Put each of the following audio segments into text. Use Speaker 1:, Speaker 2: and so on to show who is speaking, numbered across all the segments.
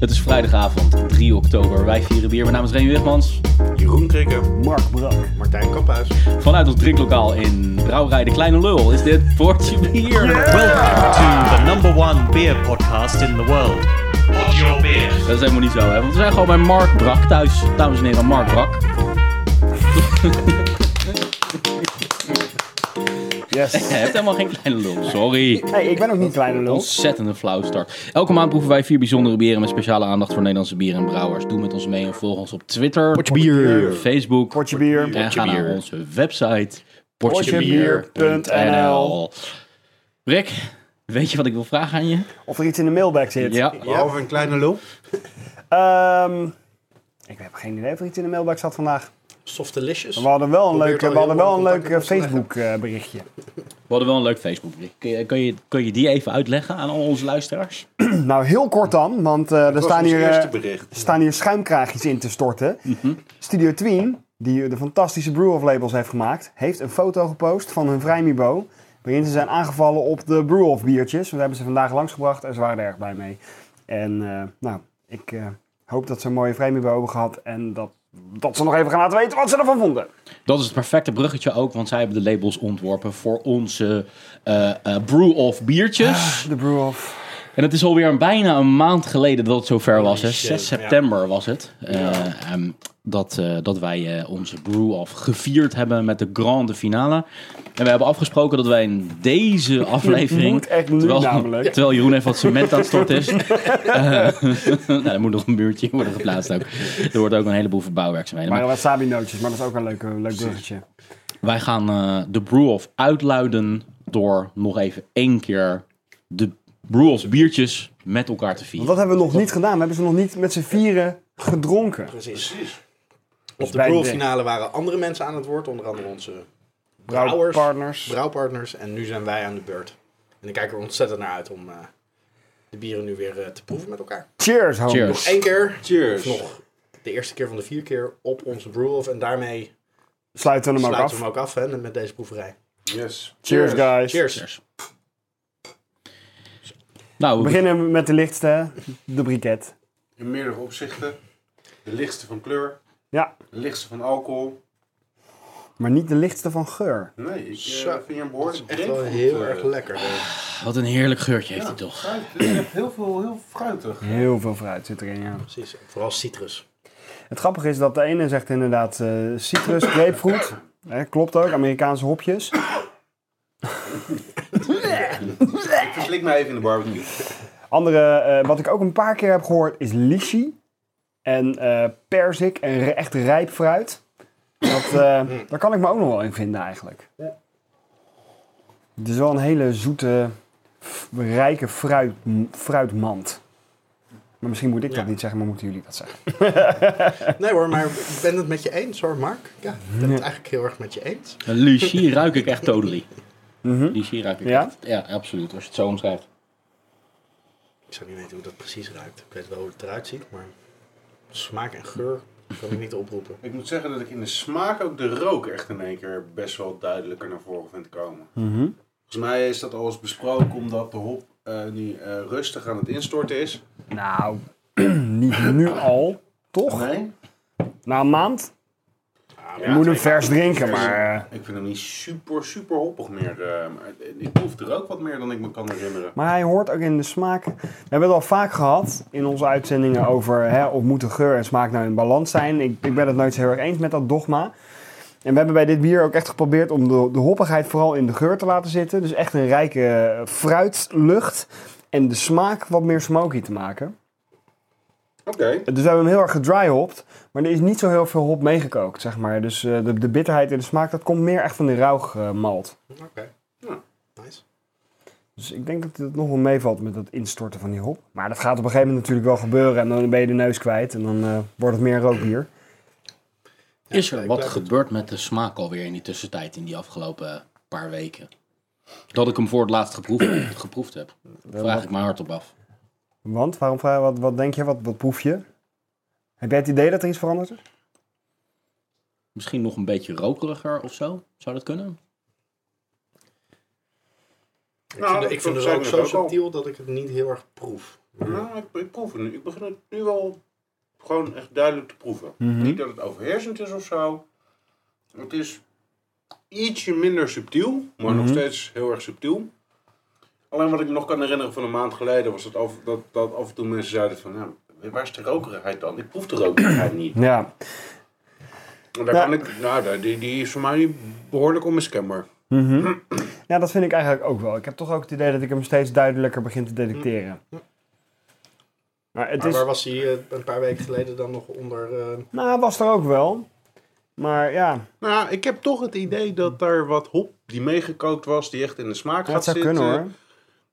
Speaker 1: Het is vrijdagavond, 3 oktober. Wij vieren bier. Mijn naam is Remy Wigmans.
Speaker 2: Jeroen Krikke,
Speaker 3: Mark Brak.
Speaker 2: Martijn Kamphuis.
Speaker 1: Vanuit ons drinklokaal in Brouwerij De Kleine Lul is dit Portje Bier.
Speaker 4: Welcome to the number one beer podcast in the world. Pod your beer.
Speaker 1: Dat is helemaal niet zo, hè? Want we zijn gewoon bij Mark Brak thuis. Dames en heren, Mark Brak. Je
Speaker 3: Yes.
Speaker 1: hebt helemaal geen kleine lul. Sorry.
Speaker 3: Hey, ik ben ook niet kleine lul.
Speaker 1: Ontzettende flauw start. Elke maand proeven wij vier bijzondere bieren met speciale aandacht voor Nederlandse bieren en brouwers. Doe met ons mee en volg ons op Twitter,
Speaker 3: bier.
Speaker 1: Facebook
Speaker 3: Kortje bier.
Speaker 1: en ga naar
Speaker 2: bier.
Speaker 1: onze website
Speaker 3: portjebier.nl.
Speaker 1: portjebier.nl. Rick, weet je wat ik wil vragen aan je?
Speaker 3: Of er iets in de mailbag zit.
Speaker 1: Ja.
Speaker 2: Behalve een kleine lul.
Speaker 3: Ehm, ik heb geen idee of er iets in de mailbag zat vandaag.
Speaker 5: Softelicious.
Speaker 3: We hadden wel een
Speaker 2: Probeer
Speaker 3: leuk, we
Speaker 2: het al
Speaker 3: hadden wel een
Speaker 2: helemaal
Speaker 3: leuk
Speaker 2: in contact met
Speaker 3: Facebook eh, berichtje.
Speaker 1: We hadden wel een leuk Facebook. Kun je, kun, je, kun je die even uitleggen aan al onze luisteraars?
Speaker 3: Nou, heel kort dan, want eh, er
Speaker 2: Dat
Speaker 3: staan
Speaker 2: was
Speaker 3: hier,
Speaker 2: ons eerste
Speaker 3: eh,
Speaker 2: bericht.
Speaker 3: staan hier schuimkraagjes in te storten. Studio Tween, die de fantastische Brew of labels heeft gemaakt, heeft een foto gepost van hun Vrijmibo. Waarin ze zijn aangevallen op de Brew of biertjes. We hebben ze vandaag langsgebracht en ze waren er erg blij mee. En eh, nou, ik eh, hoop dat ze een mooie Vrijmibo hebben gehad. En dat, dat ze nog even gaan laten weten wat ze ervan vonden.
Speaker 1: Dat is het perfecte bruggetje ook, want zij hebben de labels ontworpen voor onze eh, eh, brew-off biertjes.
Speaker 3: De Brew of.
Speaker 1: En het is alweer een- bijna een maand geleden dat het zover was. Hè?
Speaker 5: Holy shit,
Speaker 1: 6
Speaker 5: ja.
Speaker 1: september was het. eh, ehm, dat, eh, dat wij eh, onze brew-off gevierd hebben met de grande finale. En we hebben afgesproken dat wij in deze aflevering...
Speaker 3: moet echt nu namelijk.
Speaker 1: Terwijl Jeroen even wat cement aan het storten is. Eh, nou, er moet nog een muurtje worden geplaatst ook. Er wordt ook een heleboel verbouwwerkzaamheden. Maar
Speaker 3: Maar wasabi nootjes, maar dat is ook een leuk, eh, leuk bruggetje.
Speaker 1: wij gaan eh, de brew-off uitluiden door nog even één keer de brew-offs biertjes met elkaar te vieren.
Speaker 3: Want dat hebben we nog niet gedaan. We hebben ze nog niet met z'n vieren gedronken. Dus
Speaker 5: Precies. Op de
Speaker 3: bij de-
Speaker 5: pro-finale waren andere mensen aan het woord, onder andere onze brouwers,
Speaker 3: Partners.
Speaker 5: brouwpartners. En nu zijn wij aan de beurt. En ik kijk er ontzettend naar uit om eh, de bieren nu weer eh, te proeven met elkaar.
Speaker 3: Cheers, homie.
Speaker 1: Cheers.
Speaker 5: Nog één keer,
Speaker 2: Cheers.
Speaker 5: of nog de eerste keer van de vier keer op onze brew-off. En daarmee
Speaker 3: Sluiten we hem ook
Speaker 5: sluiten
Speaker 3: af.
Speaker 5: we hem ook af hè, met deze proeverij.
Speaker 2: Yes.
Speaker 3: Cheers, guys.
Speaker 5: Cheers.
Speaker 1: Cheers. Nou,
Speaker 3: We beginnen met de lichtste, de briket.
Speaker 2: In meerdere opzichten. De lichtste van kleur.
Speaker 3: Ja,
Speaker 2: De lichtste van alcohol.
Speaker 3: maar niet de lichtste van geur.
Speaker 2: Nee, ik eh,
Speaker 5: Zo.
Speaker 2: vind je hem behoorlijk
Speaker 5: Echt wel
Speaker 2: drinkgoed,
Speaker 5: heel
Speaker 2: eh,
Speaker 5: erg lekker. hè.
Speaker 1: wat een heerlijk geurtje heeft hij toch.
Speaker 2: fruit. Het is echt heel veel, heel fruitig.
Speaker 3: Heel veel fruit zit erin, ja.
Speaker 5: Precies. Vooral citrus.
Speaker 3: Het grappige is dat de ene zegt inderdaad eh, citrus, grapefruit. Hè, klopt ook, Amerikaanse hopjes.
Speaker 2: Ik verslik me even in de barbecue.
Speaker 3: Andere, eh, wat ik ook een paar keer heb gehoord, is lychee. En eh perzik en re- echt rijp fruit. Dat, eh, daar kan ik me ook nog wel in vinden eigenlijk. Het is wel een hele zoete, f- rijke fruit, fruitmand. Maar misschien moet ik dat
Speaker 5: Ja.
Speaker 3: niet zeggen, maar moeten jullie dat zeggen.
Speaker 5: Nee hoor, maar ik ben het met je eens hoor, Mark. Ja, ik ben het eigenlijk heel erg met je eens.
Speaker 1: Lucie ruik ik echt totally. Lucie ruik ik
Speaker 3: Ja?
Speaker 1: echt. Ja, absoluut. Als je het zo omschrijft.
Speaker 5: Ik zou niet weten hoe dat precies ruikt. Ik weet wel hoe het eruit ziet, maar smaak en geur kan ik niet oproepen.
Speaker 2: Ik moet zeggen dat ik in de smaak ook de rook echt in één keer best wel duidelijker naar voren vind komen. Volgens mij is dat al eens besproken omdat de hop eh, nu eh, rustig aan het instorten is.
Speaker 3: Nou, niet nu al, toch?
Speaker 2: Nee.
Speaker 3: Na een maand?
Speaker 5: Ah,
Speaker 3: Je moet hem vers drinken,
Speaker 2: Vers.
Speaker 3: maar... eh,
Speaker 2: Ik vind hem niet super, super hoppig meer. eh, maar ik proef er ook wat meer dan ik me kan herinneren.
Speaker 3: Maar hij hoort ook in de smaak. We hebben het al vaak gehad in onze uitzendingen over hè, of moeten geur en smaak nou in balans zijn. Ik, ik ben het nooit zo heel erg eens met dat dogma. En we hebben bij dit bier ook echt geprobeerd om de, de hoppigheid vooral in de geur te laten zitten. Dus echt een rijke eh, fruitlucht. En de smaak wat meer smoky te maken.
Speaker 2: Oké.
Speaker 3: Dus we hebben hem heel erg gedryhopt. Maar er is niet zo heel veel hop meegekookt, zeg maar. Dus eh, de, de bitterheid en de smaak, dat komt meer echt van de rauw eh, malt.
Speaker 5: Oké.
Speaker 2: Ja.
Speaker 5: Nice.
Speaker 3: Dus ik denk dat het nog wel meevalt met dat instorten van die hop. Maar dat gaat op een gegeven moment natuurlijk wel gebeuren. En dan ben je de neus kwijt. En dan eh, wordt het meer een rookbier.
Speaker 1: Is er wat
Speaker 5: blijf het.
Speaker 1: gebeurd met de smaak alweer in die tussentijd, in die afgelopen paar weken? Dat ik hem voor het laatst geproefd, geproefd heb. Vraag ik me hardop af.
Speaker 3: Want, waarom vraag je, wat, wat denk je? Wat, wat proef je? Heb jij het idee dat er iets veranderd is?
Speaker 1: Misschien nog een beetje rokeriger of zo? Zou dat kunnen?
Speaker 5: Ik
Speaker 2: Nou,
Speaker 5: vind,
Speaker 2: dat-
Speaker 5: ik vind
Speaker 2: dat
Speaker 5: het
Speaker 2: zei
Speaker 5: ook
Speaker 2: ik
Speaker 5: zo dus
Speaker 2: net ook al.
Speaker 5: subtiel dat ik het niet heel erg proef.
Speaker 2: Nou, ik, ik proef het nu. Ik begin het nu wel gewoon echt duidelijk te proeven.
Speaker 3: Mhm.
Speaker 2: Niet dat het overheersend is of zo. Het is ietsje minder subtiel, maar
Speaker 3: Mhm.
Speaker 2: nog steeds heel erg subtiel. Alleen wat ik me nog kan herinneren van een maand geleden was dat af, dat, dat af en toe mensen zeiden van... Ja, waar is de rokerigheid dan? Ik proef de rokerigheid niet.
Speaker 3: Ja.
Speaker 2: En daar
Speaker 3: Ja.
Speaker 2: kan ik, nou, daar- die, die is voor mij behoorlijk onmiskenbaar.
Speaker 3: ja, dat vind ik eigenlijk ook wel. Ik heb toch ook het idee dat ik hem steeds duidelijker begin te detecteren. Maar het
Speaker 5: Maar
Speaker 3: is...
Speaker 5: waar was hij eh, een paar weken geleden dan nog onder? eh,
Speaker 3: Nou, was er ook wel. Maar ja,
Speaker 2: Nou, ja, ik heb toch het idee dat daar wat hop die meegekookt was, die echt in de smaak
Speaker 3: dat
Speaker 2: gaat
Speaker 3: zou
Speaker 2: zitten.
Speaker 3: kunnen
Speaker 5: eh,
Speaker 3: hoor.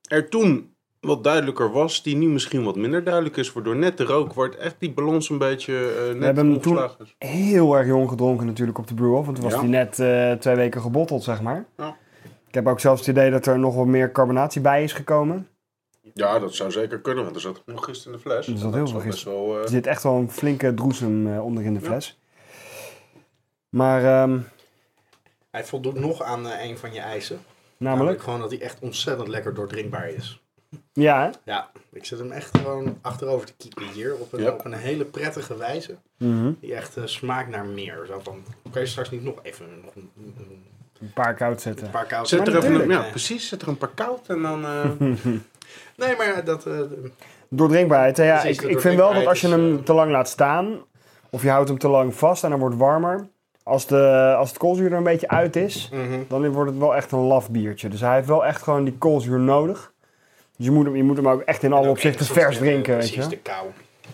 Speaker 2: Er toen wat duidelijker was, die nu misschien wat minder duidelijk is, waardoor net de rook wordt echt die balans een beetje eh net
Speaker 3: hebben hem toen-
Speaker 2: omgeslagen is.
Speaker 3: heel erg jong gedronken natuurlijk op de brew Want toen was
Speaker 2: Ja.
Speaker 3: die net eh, twee weken gebotteld, zeg maar.
Speaker 2: Ja.
Speaker 3: Ik heb ook zelfs het idee dat er nog wat meer carbonatie bij is gekomen.
Speaker 2: Ja, dat zou zeker kunnen, want er zat nog gisteren in de fles.
Speaker 3: zat
Speaker 2: En
Speaker 3: heel
Speaker 2: zou
Speaker 3: veel
Speaker 2: best wel,
Speaker 3: Er
Speaker 2: eh,
Speaker 3: zit echt wel een flinke droesem eh, onder in de fles. Maar ehm,
Speaker 5: hij voldoet nog aan eh, een van je eisen.
Speaker 3: namelijk...
Speaker 5: gewoon dat hij echt ontzettend lekker doordrinkbaar is.
Speaker 3: Ja, hè?
Speaker 5: Ja, ik zet hem echt gewoon achterover te kieken hier. Op een,
Speaker 2: Ja.
Speaker 5: op een hele prettige wijze.
Speaker 3: Mhm.
Speaker 5: Die echt eh, smaakt naar meer. Zo van, kan je straks niet nog even nog een, een-
Speaker 3: Een paar koud
Speaker 5: een
Speaker 3: zetten.
Speaker 5: paar koude...
Speaker 2: Zet er even, een- ja,
Speaker 5: Nee.
Speaker 2: precies, zet er een paar koud en dan... eh,
Speaker 5: Nee, maar dat... eh,
Speaker 3: Doordrinkbaarheid. hè, Ja,
Speaker 5: Precies,
Speaker 3: ik,
Speaker 5: de
Speaker 3: ik vind wel dat
Speaker 5: doordrinkbaarheid
Speaker 3: als je
Speaker 5: is,
Speaker 3: hem
Speaker 5: eh,
Speaker 3: te lang laat staan... of je houdt hem te lang vast en hij wordt warmer... als, de, als het koolzuur er een beetje uit is...
Speaker 5: Mhm.
Speaker 3: dan wordt het wel echt een laf biertje. Dus hij heeft wel echt gewoon die koolzuur nodig. Dus je moet hem, je moet hem ook echt in alle opzichten vers drinken, weet
Speaker 5: eh, Precies, de
Speaker 3: je.
Speaker 5: kou.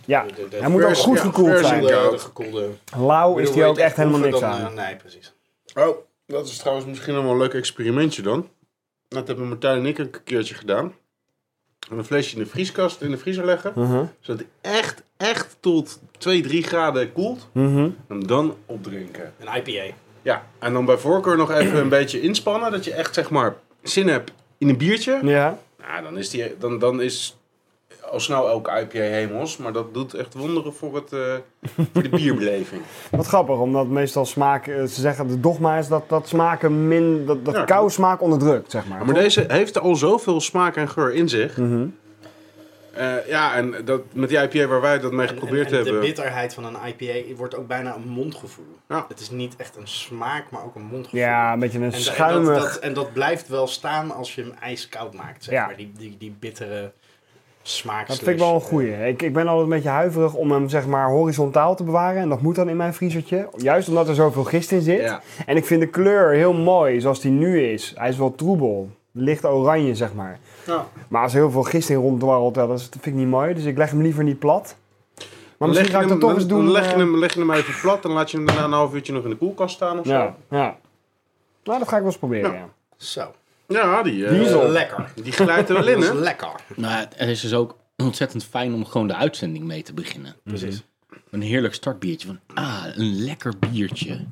Speaker 3: Ja,
Speaker 5: De- de- de
Speaker 3: hij moet ook
Speaker 5: vers-
Speaker 3: goed
Speaker 5: ja,
Speaker 3: gekoeld
Speaker 5: vers-
Speaker 3: zijn.
Speaker 5: De, de gekoelde...
Speaker 3: Lauw is
Speaker 5: Bedoel,
Speaker 3: die
Speaker 5: wil
Speaker 3: ook
Speaker 5: je het
Speaker 3: echt helemaal niks
Speaker 5: proeven, dan,
Speaker 3: aan.
Speaker 5: eh, nee, precies.
Speaker 2: Oh, dat is trouwens misschien nog wel een leuk experimentje dan. Dat hebben Martijn en ik een keertje gedaan. Een flesje in de vrieskast, in de vriezer leggen.
Speaker 3: Mhm,
Speaker 2: Zodat hij echt, echt tot 2, 3 graden koelt.
Speaker 3: mhm.
Speaker 2: En dan opdrinken.
Speaker 5: Een IPA.
Speaker 2: Ja, en dan bij voorkeur nog even een beetje inspannen. Dat je echt, zeg maar, zin hebt in een biertje.
Speaker 3: Ja,
Speaker 2: Nou, dan is, die, dan, dan is al snel elke IPA hemels. Maar dat doet echt wonderen voor, het, eh, voor de bierbeleving.
Speaker 3: wat grappig, omdat meestal smaak... eh, Ze zeggen, de dogma is dat, dat smaken min... dat, dat
Speaker 2: Ja,
Speaker 3: kou smaak onderdrukt, zeg maar.
Speaker 2: Maar deze heeft al zoveel smaak en geur in zich.
Speaker 3: Mhm.
Speaker 2: Eh, ja, en dat, met die IPA waar wij dat mee
Speaker 5: En-
Speaker 2: geprobeerd
Speaker 5: en, en
Speaker 2: hebben.
Speaker 5: de bitterheid van een IPA wordt ook bijna een mondgevoel.
Speaker 2: Ja.
Speaker 5: Het is niet echt een smaak, maar ook een mondgevoel.
Speaker 3: Ja, een beetje een
Speaker 5: En, da- en, dat,
Speaker 3: schuimig...
Speaker 5: dat, en dat blijft wel staan als je hem ijskoud maakt, zeg
Speaker 3: Ja.
Speaker 5: maar. Die, die, die bittere smaak.
Speaker 3: Dat vind ik
Speaker 5: eh,
Speaker 3: wel een goeie. Ik, ik ben altijd een beetje huiverig om hem zeg maar horizontaal te bewaren. En dat moet dan in mijn vriezertje. Juist omdat er zoveel gist in zit.
Speaker 2: Ja.
Speaker 3: En ik vind de kleur heel mooi zoals die nu is. Hij is wel troebel. Licht oranje, zeg maar.
Speaker 2: Ja.
Speaker 3: Maar als er heel veel gist in ronddwarrelt, ja, dat is- dat vind ik niet mooi. Dus ik leg hem liever niet plat. Maar
Speaker 2: Dan leg
Speaker 3: misschien
Speaker 2: je
Speaker 3: ga ik
Speaker 2: hem-
Speaker 3: dat toch
Speaker 2: dan-
Speaker 3: eens doen.
Speaker 2: Dan leg
Speaker 3: eh,
Speaker 2: je, hem, leg je hem even plat en laat je hem daarna een half uurtje nog in de koelkast staan of zo.
Speaker 3: Ja, ja. Nou, dat ga ik wel eens proberen.
Speaker 2: Ja.
Speaker 3: ja.
Speaker 5: Zo.
Speaker 2: Ja, die, eh,
Speaker 3: Die is al-
Speaker 5: lekker.
Speaker 2: die glijdt er wel in,
Speaker 5: Dat is
Speaker 2: hè?
Speaker 3: Mhm.
Speaker 5: lekker.
Speaker 1: Maar het is dus ook ontzettend fijn om gewoon de uitzending mee te beginnen.
Speaker 5: Precies.
Speaker 1: Een heerlijk startbiertje. Van, ah, een lekker biertje.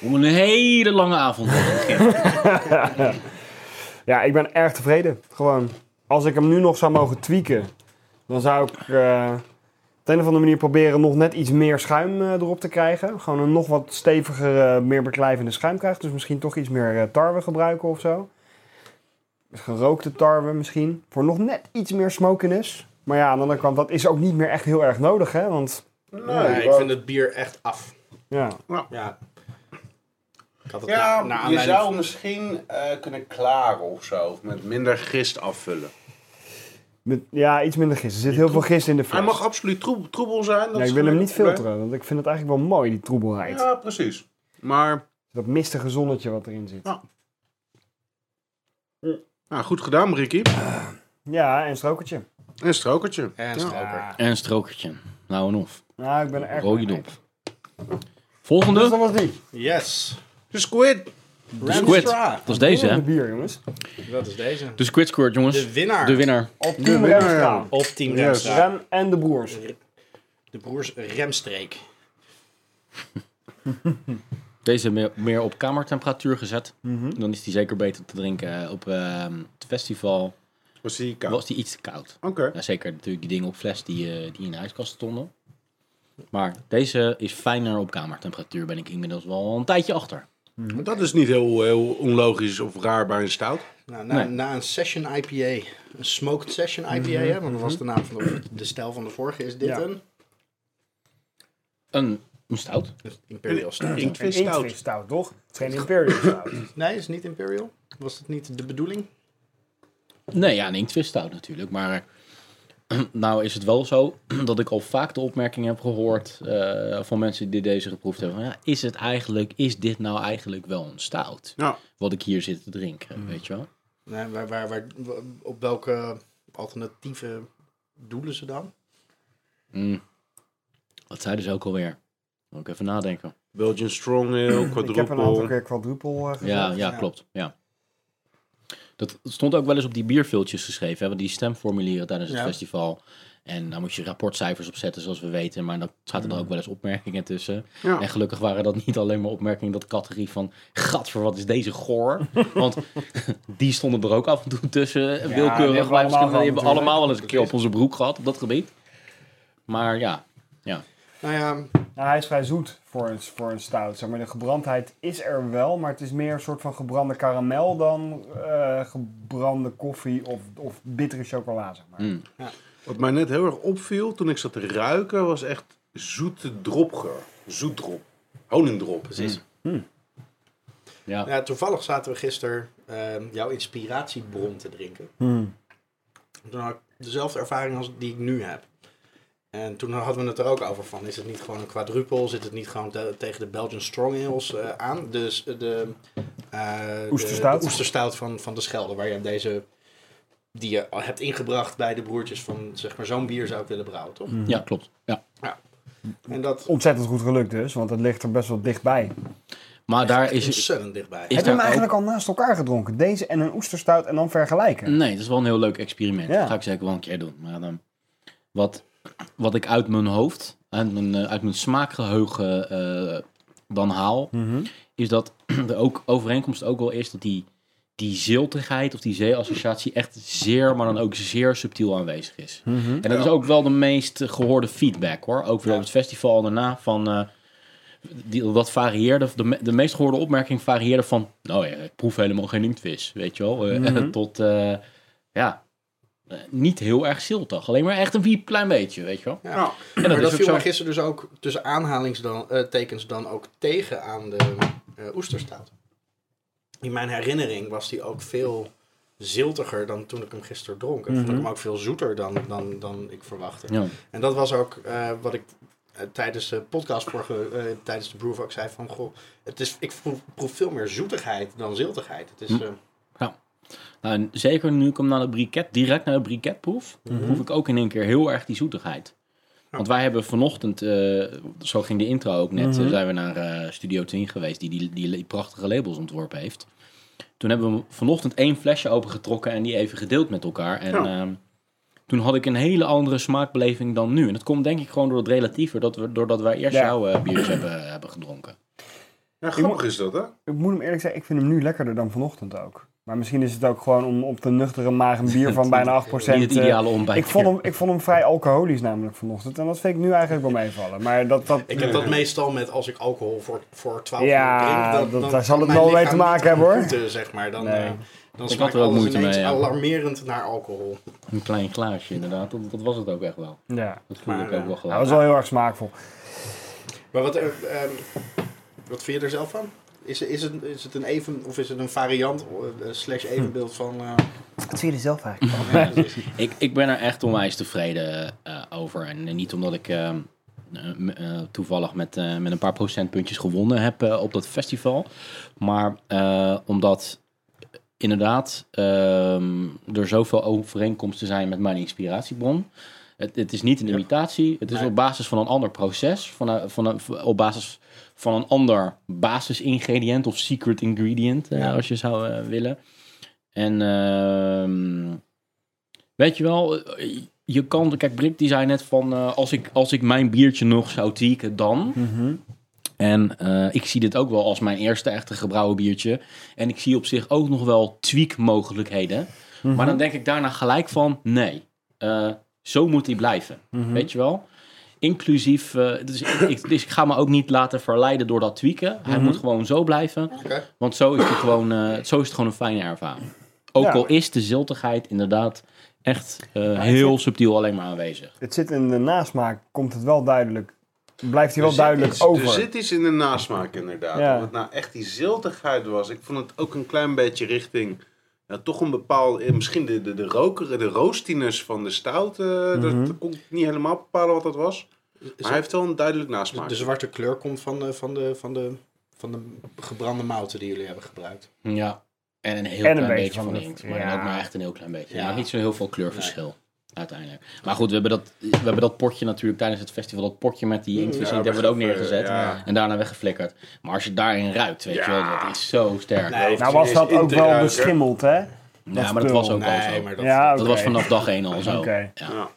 Speaker 1: Om een hele lange avond. te hebben.
Speaker 3: Ja, ik ben erg tevreden. Gewoon. Als ik hem nu nog zou mogen tweaken, dan zou ik eh, op de een of andere manier proberen nog net iets meer schuim eh, erop te krijgen. Gewoon een nog wat steviger, eh, meer beklijvende schuim krijgen. Dus misschien toch iets meer eh, tarwe gebruiken of zo. Gerookte tarwe misschien. Voor nog net iets meer smokiness. Maar ja, aan de andere kant, dat is ook niet meer echt heel erg nodig, hè? Want
Speaker 5: Nee, ik
Speaker 2: wel.
Speaker 5: vind het bier echt af.
Speaker 3: ja,
Speaker 5: Ja. Ik had het
Speaker 2: Ja,
Speaker 5: na- na
Speaker 2: je
Speaker 5: aanleiding
Speaker 2: zou
Speaker 5: van-
Speaker 2: misschien eh, kunnen klaren of zo. Of met minder gist afvullen.
Speaker 3: met, ja iets minder gist. Er zit heel veel gist in de fles.
Speaker 2: Hij mag absoluut troeb- troebel zijn. Dat
Speaker 3: ja,
Speaker 2: is
Speaker 3: ik wil hem
Speaker 2: geen
Speaker 3: niet
Speaker 2: probleem.
Speaker 3: filteren, want ik vind het eigenlijk wel mooi, die troebelheid.
Speaker 2: Ja, precies. Maar
Speaker 3: Dat mistige zonnetje wat erin zit.
Speaker 2: nou, goed gedaan, Ricky.
Speaker 3: Ja, en een strokertje.
Speaker 2: En strokertje.
Speaker 5: En
Speaker 2: Ja.
Speaker 5: stroker.
Speaker 1: En een strookertje. Nou en of.
Speaker 3: Nou, ik ben er erg
Speaker 1: Rode
Speaker 3: blij mee.
Speaker 1: dop. Volgende.
Speaker 3: Dus dat was die.
Speaker 5: Yes.
Speaker 2: De squid.
Speaker 1: De Squid.
Speaker 5: Ramstra.
Speaker 1: Dat is deze, hè?
Speaker 3: De bier, jongens.
Speaker 5: Dat is deze.
Speaker 1: De Squid Squirt, jongens.
Speaker 5: De winnaar.
Speaker 1: De winnaar.
Speaker 3: Op Team Remstra.
Speaker 5: Of Team
Speaker 2: Yes.
Speaker 5: Remstra.
Speaker 3: Rem en de broers.
Speaker 5: De broers Remstreek.
Speaker 1: Deze meer, meer op kamertemperatuur gezet.
Speaker 5: Mhm.
Speaker 1: Dan is die zeker beter te drinken. Eh, Op ehm, het festival
Speaker 2: Was die koud?
Speaker 1: was die iets te koud.
Speaker 2: Oké.
Speaker 1: Ja, zeker natuurlijk die dingen op fles die, eh, die in de ijskast stonden. Maar deze is fijner op kamertemperatuur. Ben ik inmiddels wel een tijdje achter.
Speaker 2: Dat is niet heel, heel onlogisch of raar bij een stout.
Speaker 5: Nou, na,
Speaker 1: Nee.
Speaker 5: na een session IPA, een smoked session IPA,
Speaker 2: Mhm.
Speaker 5: hè, want dat was de naam van de, de stijl van de vorige, is dit
Speaker 3: Ja.
Speaker 5: een
Speaker 1: Een, een stout.
Speaker 5: Imperial Stout.
Speaker 2: Ik
Speaker 3: Een
Speaker 2: vind stout.
Speaker 3: inktvis stout, toch? Het is geen Imperial stout.
Speaker 5: Nee, is niet Imperial. Was dat niet de bedoeling?
Speaker 1: Nee, ja, een inktvis stout natuurlijk. Maar eh, nou is het wel zo dat ik al vaak de opmerking heb gehoord eh, van mensen die deze geproefd hebben. Van, ja, is het eigenlijk, is dit nou eigenlijk wel een stout?
Speaker 2: Ja.
Speaker 1: Wat ik hier zit te drinken, weet je wel?
Speaker 5: Nee, waar, waar, waar, op welke alternatieve doelen ze dan?
Speaker 1: Mm. Dat zeiden ze ook alweer. Moet ik even nadenken.
Speaker 2: Belgian Strong Ale,
Speaker 3: Ik heb een aantal
Speaker 2: quadruple.
Speaker 3: keer quadruple eh,
Speaker 1: Ja,
Speaker 3: gezegd.
Speaker 1: ja,
Speaker 5: ja.
Speaker 1: klopt. Ja. Dat stond ook wel eens op die bierviltjes geschreven. Hebben die stemformulieren tijdens het
Speaker 5: Ja.
Speaker 1: festival. En daar moet je rapportcijfers op zetten, zoals we weten. Maar dan zaten
Speaker 3: Mm.
Speaker 1: er ook wel eens opmerkingen tussen.
Speaker 2: Ja.
Speaker 1: En gelukkig waren dat niet alleen maar opmerkingen dat categorie van... Gadver, wat is deze goor? Want die stonden er ook af en toe tussen.
Speaker 3: die hebben we
Speaker 1: Willekeurig.
Speaker 3: allemaal
Speaker 1: wij
Speaker 3: gehad
Speaker 1: hebben we
Speaker 3: natuurlijk.
Speaker 1: allemaal wel eens een keer op onze broek gehad op dat gebied. Maar ja,
Speaker 5: Nou ja,
Speaker 3: Nou, hij is vrij zoet voor een, voor een stout. Zeg maar. De gebrandheid is er wel, maar het is meer een soort van gebrande karamel dan eh, gebrande koffie of, of bittere chocola. Zeg maar.
Speaker 1: mm,
Speaker 2: Wat mij net heel erg opviel toen ik zat te ruiken, was echt zoete dropger. Zoetdrop. Honingdrop. Mm.
Speaker 5: precies.
Speaker 1: ja.
Speaker 5: Ja, toevallig zaten we gisteren ehm, jouw inspiratiebron te drinken. Toen had ik dezelfde ervaring als die ik nu heb. En toen hadden we het er ook over van, is het niet gewoon een quadrupel? Zit het niet gewoon te- tegen de Belgian Strong Ales eh, aan? Dus eh, de, eh, de-
Speaker 3: Oesterstout.
Speaker 5: de oesterstout van, van de Schelde, waar je deze... Die je al hebt ingebracht bij de broertjes van, zeg maar, zo'n bier zou ik willen brouwen, toch?
Speaker 1: ja, klopt. Ja.
Speaker 5: En dat
Speaker 3: Ontzettend goed gelukt dus, want het ligt er best wel dichtbij.
Speaker 1: Maar daar
Speaker 5: is
Speaker 1: is...
Speaker 5: ontzettend dichtbij.
Speaker 1: Is
Speaker 3: Heb je hem
Speaker 1: daar ook-
Speaker 3: eigenlijk al naast elkaar gedronken? Deze en een oesterstout en dan vergelijken?
Speaker 1: Nee, dat is wel een heel leuk experiment.
Speaker 3: Ja.
Speaker 1: Dat ga ik zeker wel een keer doen. Maar ehm, wat, wat ik uit mijn hoofd, uit mijn, eh, uit mijn smaakgeheugen eh, dan haal,
Speaker 3: Mhm.
Speaker 1: is dat de ook, overeenkomst ook wel is dat die, die ziltigheid of die zeeassociatie echt zeer, maar dan ook zeer subtiel aanwezig is.
Speaker 3: Mhm.
Speaker 1: En dat is ook wel de meest gehoorde feedback hoor. Ook weer op het festival daarna van. eh, die, dat varieerde, de, me- de meest gehoorde opmerking varieerde van, nou ja, ik proef helemaal geen inktvis, weet je wel. Eh,
Speaker 3: Mhm.
Speaker 1: Tot, eh, ja, eh, niet heel erg ziltig. Alleen maar echt een piep klein beetje, weet je wel.
Speaker 5: Ja.
Speaker 2: Ja.
Speaker 1: En Nou, dat
Speaker 5: maar dat
Speaker 1: is ook
Speaker 5: viel
Speaker 1: zo.
Speaker 5: mij gisteren dus ook tussen aanhalingstekens dan ook tegen aan de eh, oesterstaat. In mijn herinnering was die ook veel ziltiger dan toen ik hem gisteren dronk. En vond ik hem ook veel zoeter dan, dan, dan ik verwachtte.
Speaker 1: Mhm. Ja.
Speaker 5: En dat was ook eh, wat ik eh, tijdens de podcast vorige, eh, tijdens de Groove ook zei van... Goh, het is, ik proef, proef veel meer zoetigheid dan ziltigheid. Het is,
Speaker 1: Mhm.
Speaker 5: eh,
Speaker 1: Nou, en zeker nu ik hem naar de briket, direct naar de briket proef, proef ik ook in één keer heel erg die zoetigheid. Want wij hebben vanochtend, eh, zo ging de intro ook net, eh, zijn we naar eh, Studio 10 geweest, die die, die die prachtige labels ontworpen heeft. Toen hebben we vanochtend één flesje opengetrokken en die even gedeeld met elkaar. En
Speaker 2: Ja.
Speaker 1: ehm, toen had ik een hele andere smaakbeleving dan nu. En dat komt denk ik gewoon door het relatieve, dat we, doordat wij eerst
Speaker 3: Ja.
Speaker 1: jouw eh, biertje hebben, hebben gedronken.
Speaker 2: Ja, grappig is dat, hè?
Speaker 3: Ik moet hem eerlijk zeggen, ik vind hem nu lekkerder dan vanochtend ook. Maar misschien is het ook gewoon om op de nuchtere maag een bier van bijna 8%
Speaker 1: Niet het
Speaker 3: eh,
Speaker 1: ideale ontbijt.
Speaker 3: Ik vond, hem, ik vond hem vrij alcoholisch namelijk vanochtend. En dat vind ik nu eigenlijk wel meevallen. Maar dat, dat,
Speaker 5: Ik heb dat meestal met als ik alcohol voor, voor 12
Speaker 3: Ja,
Speaker 5: uur drink.
Speaker 3: dat-
Speaker 5: dan
Speaker 3: daar zal het
Speaker 5: kan
Speaker 3: wel
Speaker 5: mijn
Speaker 3: mee te
Speaker 5: lichaam
Speaker 3: maken
Speaker 5: niet
Speaker 3: hebben,
Speaker 5: goed, eh, zeg maar. Dan,
Speaker 3: Nee.
Speaker 5: eh, dan
Speaker 1: had
Speaker 5: smaakt
Speaker 1: er ook
Speaker 5: alles
Speaker 1: moeite
Speaker 5: ineens
Speaker 1: mee, ja.
Speaker 5: alarmerend naar alcohol.
Speaker 1: Een klein glaasje inderdaad, dat, dat was het ook echt wel.
Speaker 3: ja.
Speaker 1: Dat voelde ik ook
Speaker 5: Maar, eh,
Speaker 1: wel
Speaker 3: dat
Speaker 1: gelijk.
Speaker 3: was wel heel erg smaakvol.
Speaker 5: Maar wat, eh, ehm, wat vind je er zelf van? Is, is, het, is het een even of is het een variant eh, slash evenbeeld van... eh,
Speaker 3: Wat vind je er zelf eigenlijk
Speaker 5: ja, dat is-
Speaker 1: Ik, ik ben er echt onwijs tevreden eh, over. En niet omdat ik eh, eh, m- eh, toevallig met, eh, met een paar procentpuntjes gewonnen heb eh, op dat festival. Maar eh, omdat eh, inderdaad ehm, er zoveel overeenkomsten zijn met mijn inspiratiebron. Het, het is niet een imitatie. Het is
Speaker 5: Nee.
Speaker 1: op basis van een ander proces. Van een- van een- op basis van een ander basisingrediënt of secret ingredient, eh,
Speaker 5: Ja.
Speaker 1: als je zou eh, willen. En ehm, weet je wel, eh, je kan, kijk, Brick die zei net van, eh, als, ik, als ik mijn biertje nog zou tieken, dan. En eh, ik zie dit ook wel als mijn eerste echte gebrouwen biertje. En ik zie op zich ook nog wel tweakmogelijkheden. Maar dan denk ik daarna gelijk van, nee, eh, zo moet die blijven. Weet je wel? Inclusief, eh, dus, ik, dus ik ga me ook niet laten verleiden door dat tweaken. Hij moet gewoon zo blijven.
Speaker 5: Oké.
Speaker 1: Want zo is, het gewoon, eh, zo is het gewoon een fijne ervaring. Ook
Speaker 3: Ja.
Speaker 1: al is de ziltigheid inderdaad echt eh,
Speaker 3: het
Speaker 1: heel subtiel alleen maar aanwezig.
Speaker 3: Het zit in de nasmaak, komt het wel duidelijk. Blijft hij wel
Speaker 2: Er zit
Speaker 3: duidelijk
Speaker 2: iets-
Speaker 3: over.
Speaker 2: Er zit iets in de nasmaak inderdaad.
Speaker 3: Ja.
Speaker 2: Of het nou echt die ziltigheid was. Ik vond het ook een klein beetje richting... Ja, toch een bepaald... eh, Misschien de, de, de rokeren, de roostiness van de stout. eh,
Speaker 3: Mhm.
Speaker 2: dat, dat kon ik niet helemaal bepalen wat dat was. Maar hij heeft wel een duidelijk nasmaak.
Speaker 5: De
Speaker 1: Dus-
Speaker 5: zwarte kleur komt van de, van de, van de, van de gebrande mouten die jullie hebben gebruikt.
Speaker 1: Ja. En een heel
Speaker 3: een
Speaker 1: klein
Speaker 3: beetje
Speaker 1: beetje van
Speaker 3: van de-
Speaker 1: inkt. Maar
Speaker 3: ja.
Speaker 1: ook maar echt een heel klein beetje.
Speaker 5: Ja.
Speaker 1: Maar niet zo heel veel kleurverschil. Uiteindelijk. Maar goed, we hebben, dat, we hebben dat potje natuurlijk tijdens het festival, dat potje met die inkt,
Speaker 2: Mm, Ja,
Speaker 1: hebben we er ook
Speaker 2: wegge-
Speaker 1: neergezet.
Speaker 2: ja.
Speaker 1: En daarna weggeflikkerd. Maar als je daarin ruikt, weet je wel, dat is zo sterk.
Speaker 5: Nee,
Speaker 3: Nou was dat ook wel
Speaker 2: beschimmeld.
Speaker 3: beschimmeld, hè?
Speaker 1: ja, maar dat was ook al zo.
Speaker 5: Nee, maar dat,
Speaker 3: Ja,
Speaker 5: dat-
Speaker 1: Dat
Speaker 3: oké.
Speaker 1: was vanaf dag 1 al zo.
Speaker 3: Oké.
Speaker 1: Ja.
Speaker 2: Ja.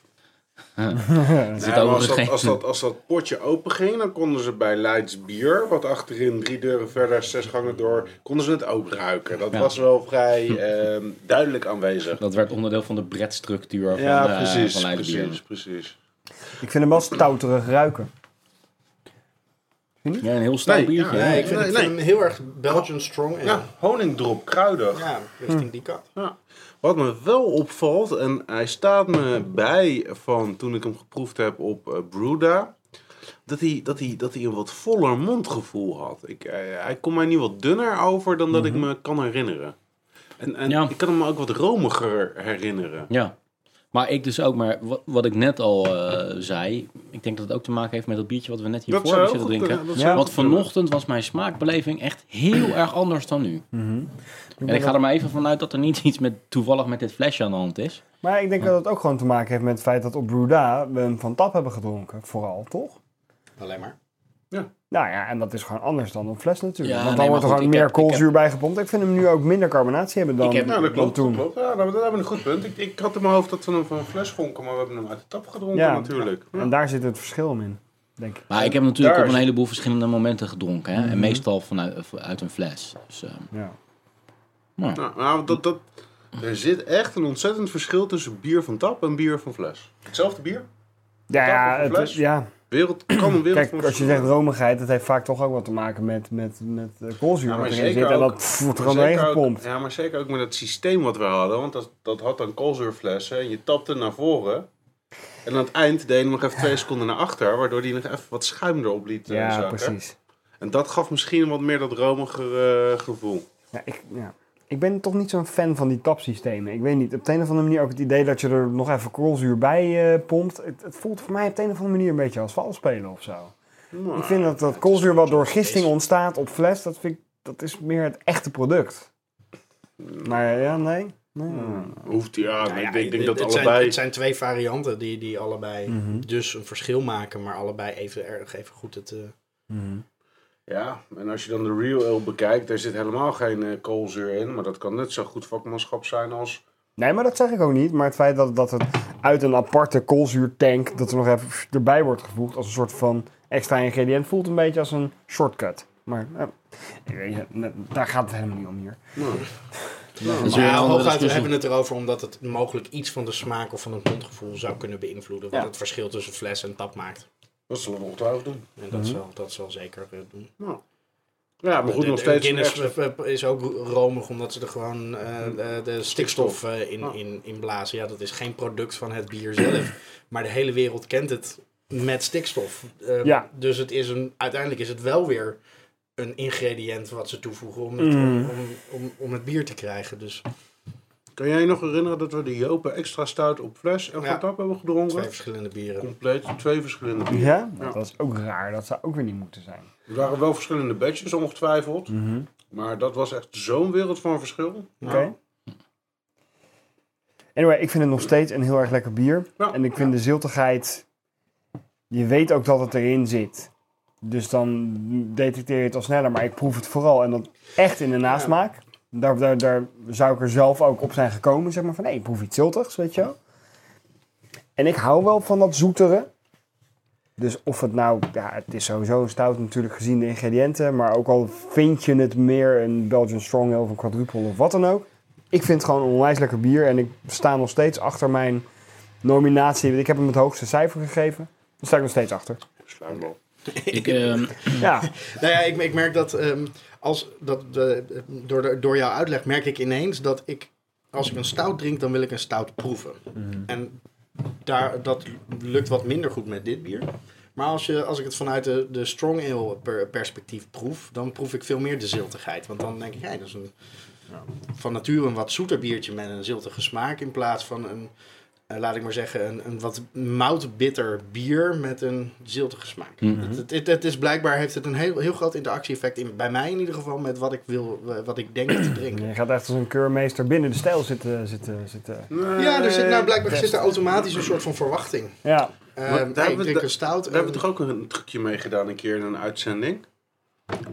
Speaker 1: Er
Speaker 2: Ja,
Speaker 1: zit
Speaker 2: maar
Speaker 1: overigens
Speaker 2: als, dat,
Speaker 1: geen-
Speaker 2: als, dat, als dat potje open ging, dan konden ze bij Leids Bier, wat achterin drie deuren verder, zes gangen door, konden ze het ook ruiken. Dat
Speaker 1: Ja.
Speaker 2: was wel vrij ehm, duidelijk aanwezig.
Speaker 1: Dat werd onderdeel van de bretstructuur van,
Speaker 2: Ja,
Speaker 1: eh,
Speaker 2: precies,
Speaker 1: van Leiden Bier.
Speaker 2: precies, precies.
Speaker 3: Ik vind hem wel stouterig ruiken.
Speaker 1: Ja, een heel stout
Speaker 2: Nee,
Speaker 1: biertje.
Speaker 2: ja,
Speaker 1: hè?
Speaker 5: nee, ik vind,
Speaker 2: Nee,
Speaker 5: ik vind
Speaker 2: nee.
Speaker 5: hem heel erg Belgian strong. En,
Speaker 2: Ja,
Speaker 5: ja.
Speaker 2: honingdrop, kruidig.
Speaker 5: richting die kant.
Speaker 2: Ja. Wat me wel opvalt, en hij staat me bij van toen ik hem geproefd heb op eh, Bruda, dat hij, dat, hij, dat hij een wat voller mondgevoel had. Ik, eh, hij kon mij nu wat dunner over dan dat ik me kan herinneren. En, en
Speaker 1: Mhm. Ja.
Speaker 2: ik kan hem me ook wat romiger herinneren.
Speaker 1: Ja. Maar ik dus ook, maar wat, wat ik net al eh, zei, ik denk dat het ook te maken heeft met dat biertje wat we net hiervoor hebben zitten drinken.
Speaker 3: Ja. zou
Speaker 1: Want vanochtend was mijn smaakbeleving echt
Speaker 5: Mm.
Speaker 1: heel erg anders dan nu.
Speaker 5: Mm-hmm.
Speaker 1: En ik ga er maar even vanuit dat er niet iets met toevallig met dit flesje aan de hand is.
Speaker 3: Maar ik denk dat het ook gewoon te maken heeft met het feit dat op Bruda we hem van tap hebben gedronken, vooral, toch?
Speaker 5: Alleen maar.
Speaker 3: Nou ja, en dat is gewoon anders dan op fles natuurlijk.
Speaker 1: Ja,
Speaker 3: Want dan
Speaker 1: nee,
Speaker 3: wordt er
Speaker 1: maar
Speaker 3: gewoon
Speaker 1: goed, ik
Speaker 3: meer
Speaker 1: heb- ik
Speaker 3: koolzuur bij gepompt. Ik vind hem nu ook minder carbonatie hebben dan,
Speaker 1: Ik heb-
Speaker 2: Ja, Nou, dat
Speaker 3: dan
Speaker 2: klopt.
Speaker 3: toen.
Speaker 2: Dat klopt. Ja, dat, dat hebben we een goed punt. Ik, ik had in mijn hoofd dat we hem van een fles schonken, maar we hebben hem uit de tap gedronken
Speaker 3: Ja.
Speaker 2: natuurlijk. Ja.
Speaker 3: En daar zit het verschil hem in, denk ik.
Speaker 1: Maar ik heb natuurlijk
Speaker 2: daar
Speaker 1: op een
Speaker 2: is-
Speaker 1: heleboel verschillende momenten gedronken. Hè?
Speaker 5: Mm-hmm.
Speaker 1: En meestal vanuit uit een fles. Dus,
Speaker 5: Oh,
Speaker 1: eh,
Speaker 3: Ja.
Speaker 2: Nou, nou, dat, dat, er zit echt een ontzettend verschil tussen bier van tap en bier van fles. Hetzelfde bier.
Speaker 3: Ja, ja,
Speaker 2: of een
Speaker 3: het-
Speaker 2: fles?
Speaker 3: ja.
Speaker 2: Wereld kan een wereld van
Speaker 3: Kijk, als je
Speaker 2: verschillen.
Speaker 3: zegt romigheid, dat heeft vaak toch ook wat te maken met, met, met eh, koolzuur
Speaker 2: Ja, maar
Speaker 3: wat erin
Speaker 2: zeker
Speaker 3: zit. En
Speaker 2: ook-
Speaker 3: dat pff, wordt er gewoon
Speaker 2: Maar
Speaker 3: doorheen
Speaker 2: zeker ook-
Speaker 3: gepompt.
Speaker 2: Ja, maar zeker ook met het systeem wat we hadden. Want dat, dat had dan koolzuurflessen. En je tapte naar voren. En aan het eind deed je hem nog even twee seconden naar achter. Waardoor hij nog even wat schuim erop liet eh,
Speaker 3: Ja,
Speaker 2: zakken.
Speaker 3: precies.
Speaker 2: En dat gaf misschien wat meer dat romige gevoel.
Speaker 3: Ja, ik, ja. ik ben toch niet zo'n fan van die tapsystemen. Ik weet niet, op de een of andere manier ook het idee dat je er nog even koolzuur bij eh, pompt. Het, het voelt voor mij op de een of andere manier een beetje als valspelen of zo.
Speaker 2: Nou,
Speaker 3: Ik vind dat dat koolzuur wat door gisting ontstaat op fles, dat, vind ik, dat is meer het echte product. Hmm. Maar ja, nee. nee.
Speaker 2: Hoeft hij aan.
Speaker 5: Nou ja,
Speaker 2: ik denk, denk
Speaker 5: het-
Speaker 2: dat
Speaker 5: het
Speaker 2: allebei...
Speaker 5: Zijn, het zijn twee varianten die, die allebei
Speaker 1: Mhm.
Speaker 5: dus een verschil maken, maar allebei even erg even goed het... eh,
Speaker 2: Ja, en als je dan de real ale bekijkt. Daar zit helemaal geen eh, koolzuur in. Maar dat kan net zo goed vakmanschap zijn als...
Speaker 3: Nee, maar dat zeg ik ook niet. Maar het feit dat, dat het uit een aparte koolzuurtank, dat er nog even pff, erbij wordt gevoegd als een soort van extra ingrediënt, voelt een beetje als een shortcut. Maar eh, ik weet het, net- daar gaat het helemaal niet om hier.
Speaker 2: Nou,
Speaker 1: dat is weer een
Speaker 5: Ja,
Speaker 1: andere
Speaker 5: hooguit, we
Speaker 1: discussie.
Speaker 5: hebben het erover omdat het mogelijk iets van de smaak of van het mondgevoel zou kunnen beïnvloeden. Wat
Speaker 3: Ja.
Speaker 5: het verschil tussen fles en tap maakt.
Speaker 2: dat zullen we ongetwijfeld doen.
Speaker 5: En
Speaker 1: Mhm.
Speaker 5: dat, zal, dat zal zeker eh, doen.
Speaker 2: Ja, maar goed,
Speaker 5: de,
Speaker 2: nog
Speaker 5: de
Speaker 2: steeds... een
Speaker 5: Guinness
Speaker 2: echte-
Speaker 5: eh, is ook romig omdat ze er gewoon eh, eh, de stikstof eh, in, in, in blazen. Ja, dat is geen product van het bier zelf. maar de hele wereld kent het met stikstof. Eh,
Speaker 3: Ja.
Speaker 5: Dus het is een, uiteindelijk is het wel weer een ingrediënt wat ze toevoegen om het, om,
Speaker 3: Mm.
Speaker 5: om, om het bier te krijgen. Dus
Speaker 2: Kan jij je nog herinneren dat we de Jopen extra stout op fles en
Speaker 5: Ja.
Speaker 2: van tap hebben
Speaker 5: twee
Speaker 2: gedronken?
Speaker 5: verschillende bieren.
Speaker 2: Compleet twee verschillende bieren.
Speaker 3: Ja?
Speaker 2: Ja.
Speaker 3: Dat is ook raar. Dat zou ook weer niet moeten zijn.
Speaker 2: Er waren wel verschillende badges ongetwijfeld.
Speaker 5: Mhm.
Speaker 2: Maar dat was echt zo'n wereld van verschil.
Speaker 3: Oké. Anyway, ik vind het nog steeds een heel erg lekker bier.
Speaker 2: Ja.
Speaker 3: En ik vind de ziltigheid... Je weet ook dat het erin zit. Dus dan detecteer je het al sneller. Maar ik proef het vooral. En dan echt in de nasmaak. Daar, daar, daar zou ik er zelf ook op zijn gekomen. Zeg maar van, hé, ik proef iets ziltigs, weet je wel. En ik hou wel van dat zoetere. Dus of het nou... Ja, het is sowieso een stout natuurlijk gezien de ingrediënten. Maar ook al vind je het meer een Belgian Strong Ale of een quadruple of wat dan ook. Ik vind het gewoon een onwijs lekker bier. En ik sta nog steeds achter mijn nominatie. Ik heb hem het hoogste cijfer gegeven. Daar sta ik nog steeds achter.
Speaker 2: Sluim wel.
Speaker 1: Ik, ehm,
Speaker 3: Ja,
Speaker 5: Nou ja, ik, ik merk dat, ehm, als, dat eh, door, de- door jouw uitleg merk ik ineens dat ik als ik een stout drink, dan wil ik een stout proeven. En daar, dat lukt wat minder goed met dit bier. Maar als, je, als ik het vanuit de, de strong ale per- perspectief proef, dan proef ik veel meer de ziltigheid. Want dan denk ik, hé, dat is een, van nature een wat zoeter biertje met een ziltige smaak. In plaats van een, eh, laat ik maar zeggen, een, een wat moutbitter bier met een ziltige smaak. het, het, het, het is blijkbaar heeft het een heel, heel groot interactie-effect, in, bij mij in ieder geval, met wat ik, wil, eh, wat ik denk te drinken.
Speaker 3: Je gaat echt als een keurmeester binnen de stijl zitten. zitten, zitten.
Speaker 5: Ja, er zit
Speaker 2: Eh,
Speaker 5: nou blijkbaar
Speaker 3: best.
Speaker 5: zit er automatisch een soort van verwachting.
Speaker 3: Ja,
Speaker 5: Eh, hey,
Speaker 2: daar hebben
Speaker 5: ik
Speaker 2: we
Speaker 5: drink
Speaker 2: de-
Speaker 5: een stout. ehm,
Speaker 2: Daar hebben we toch ook een trucje mee gedaan een keer in een uitzending.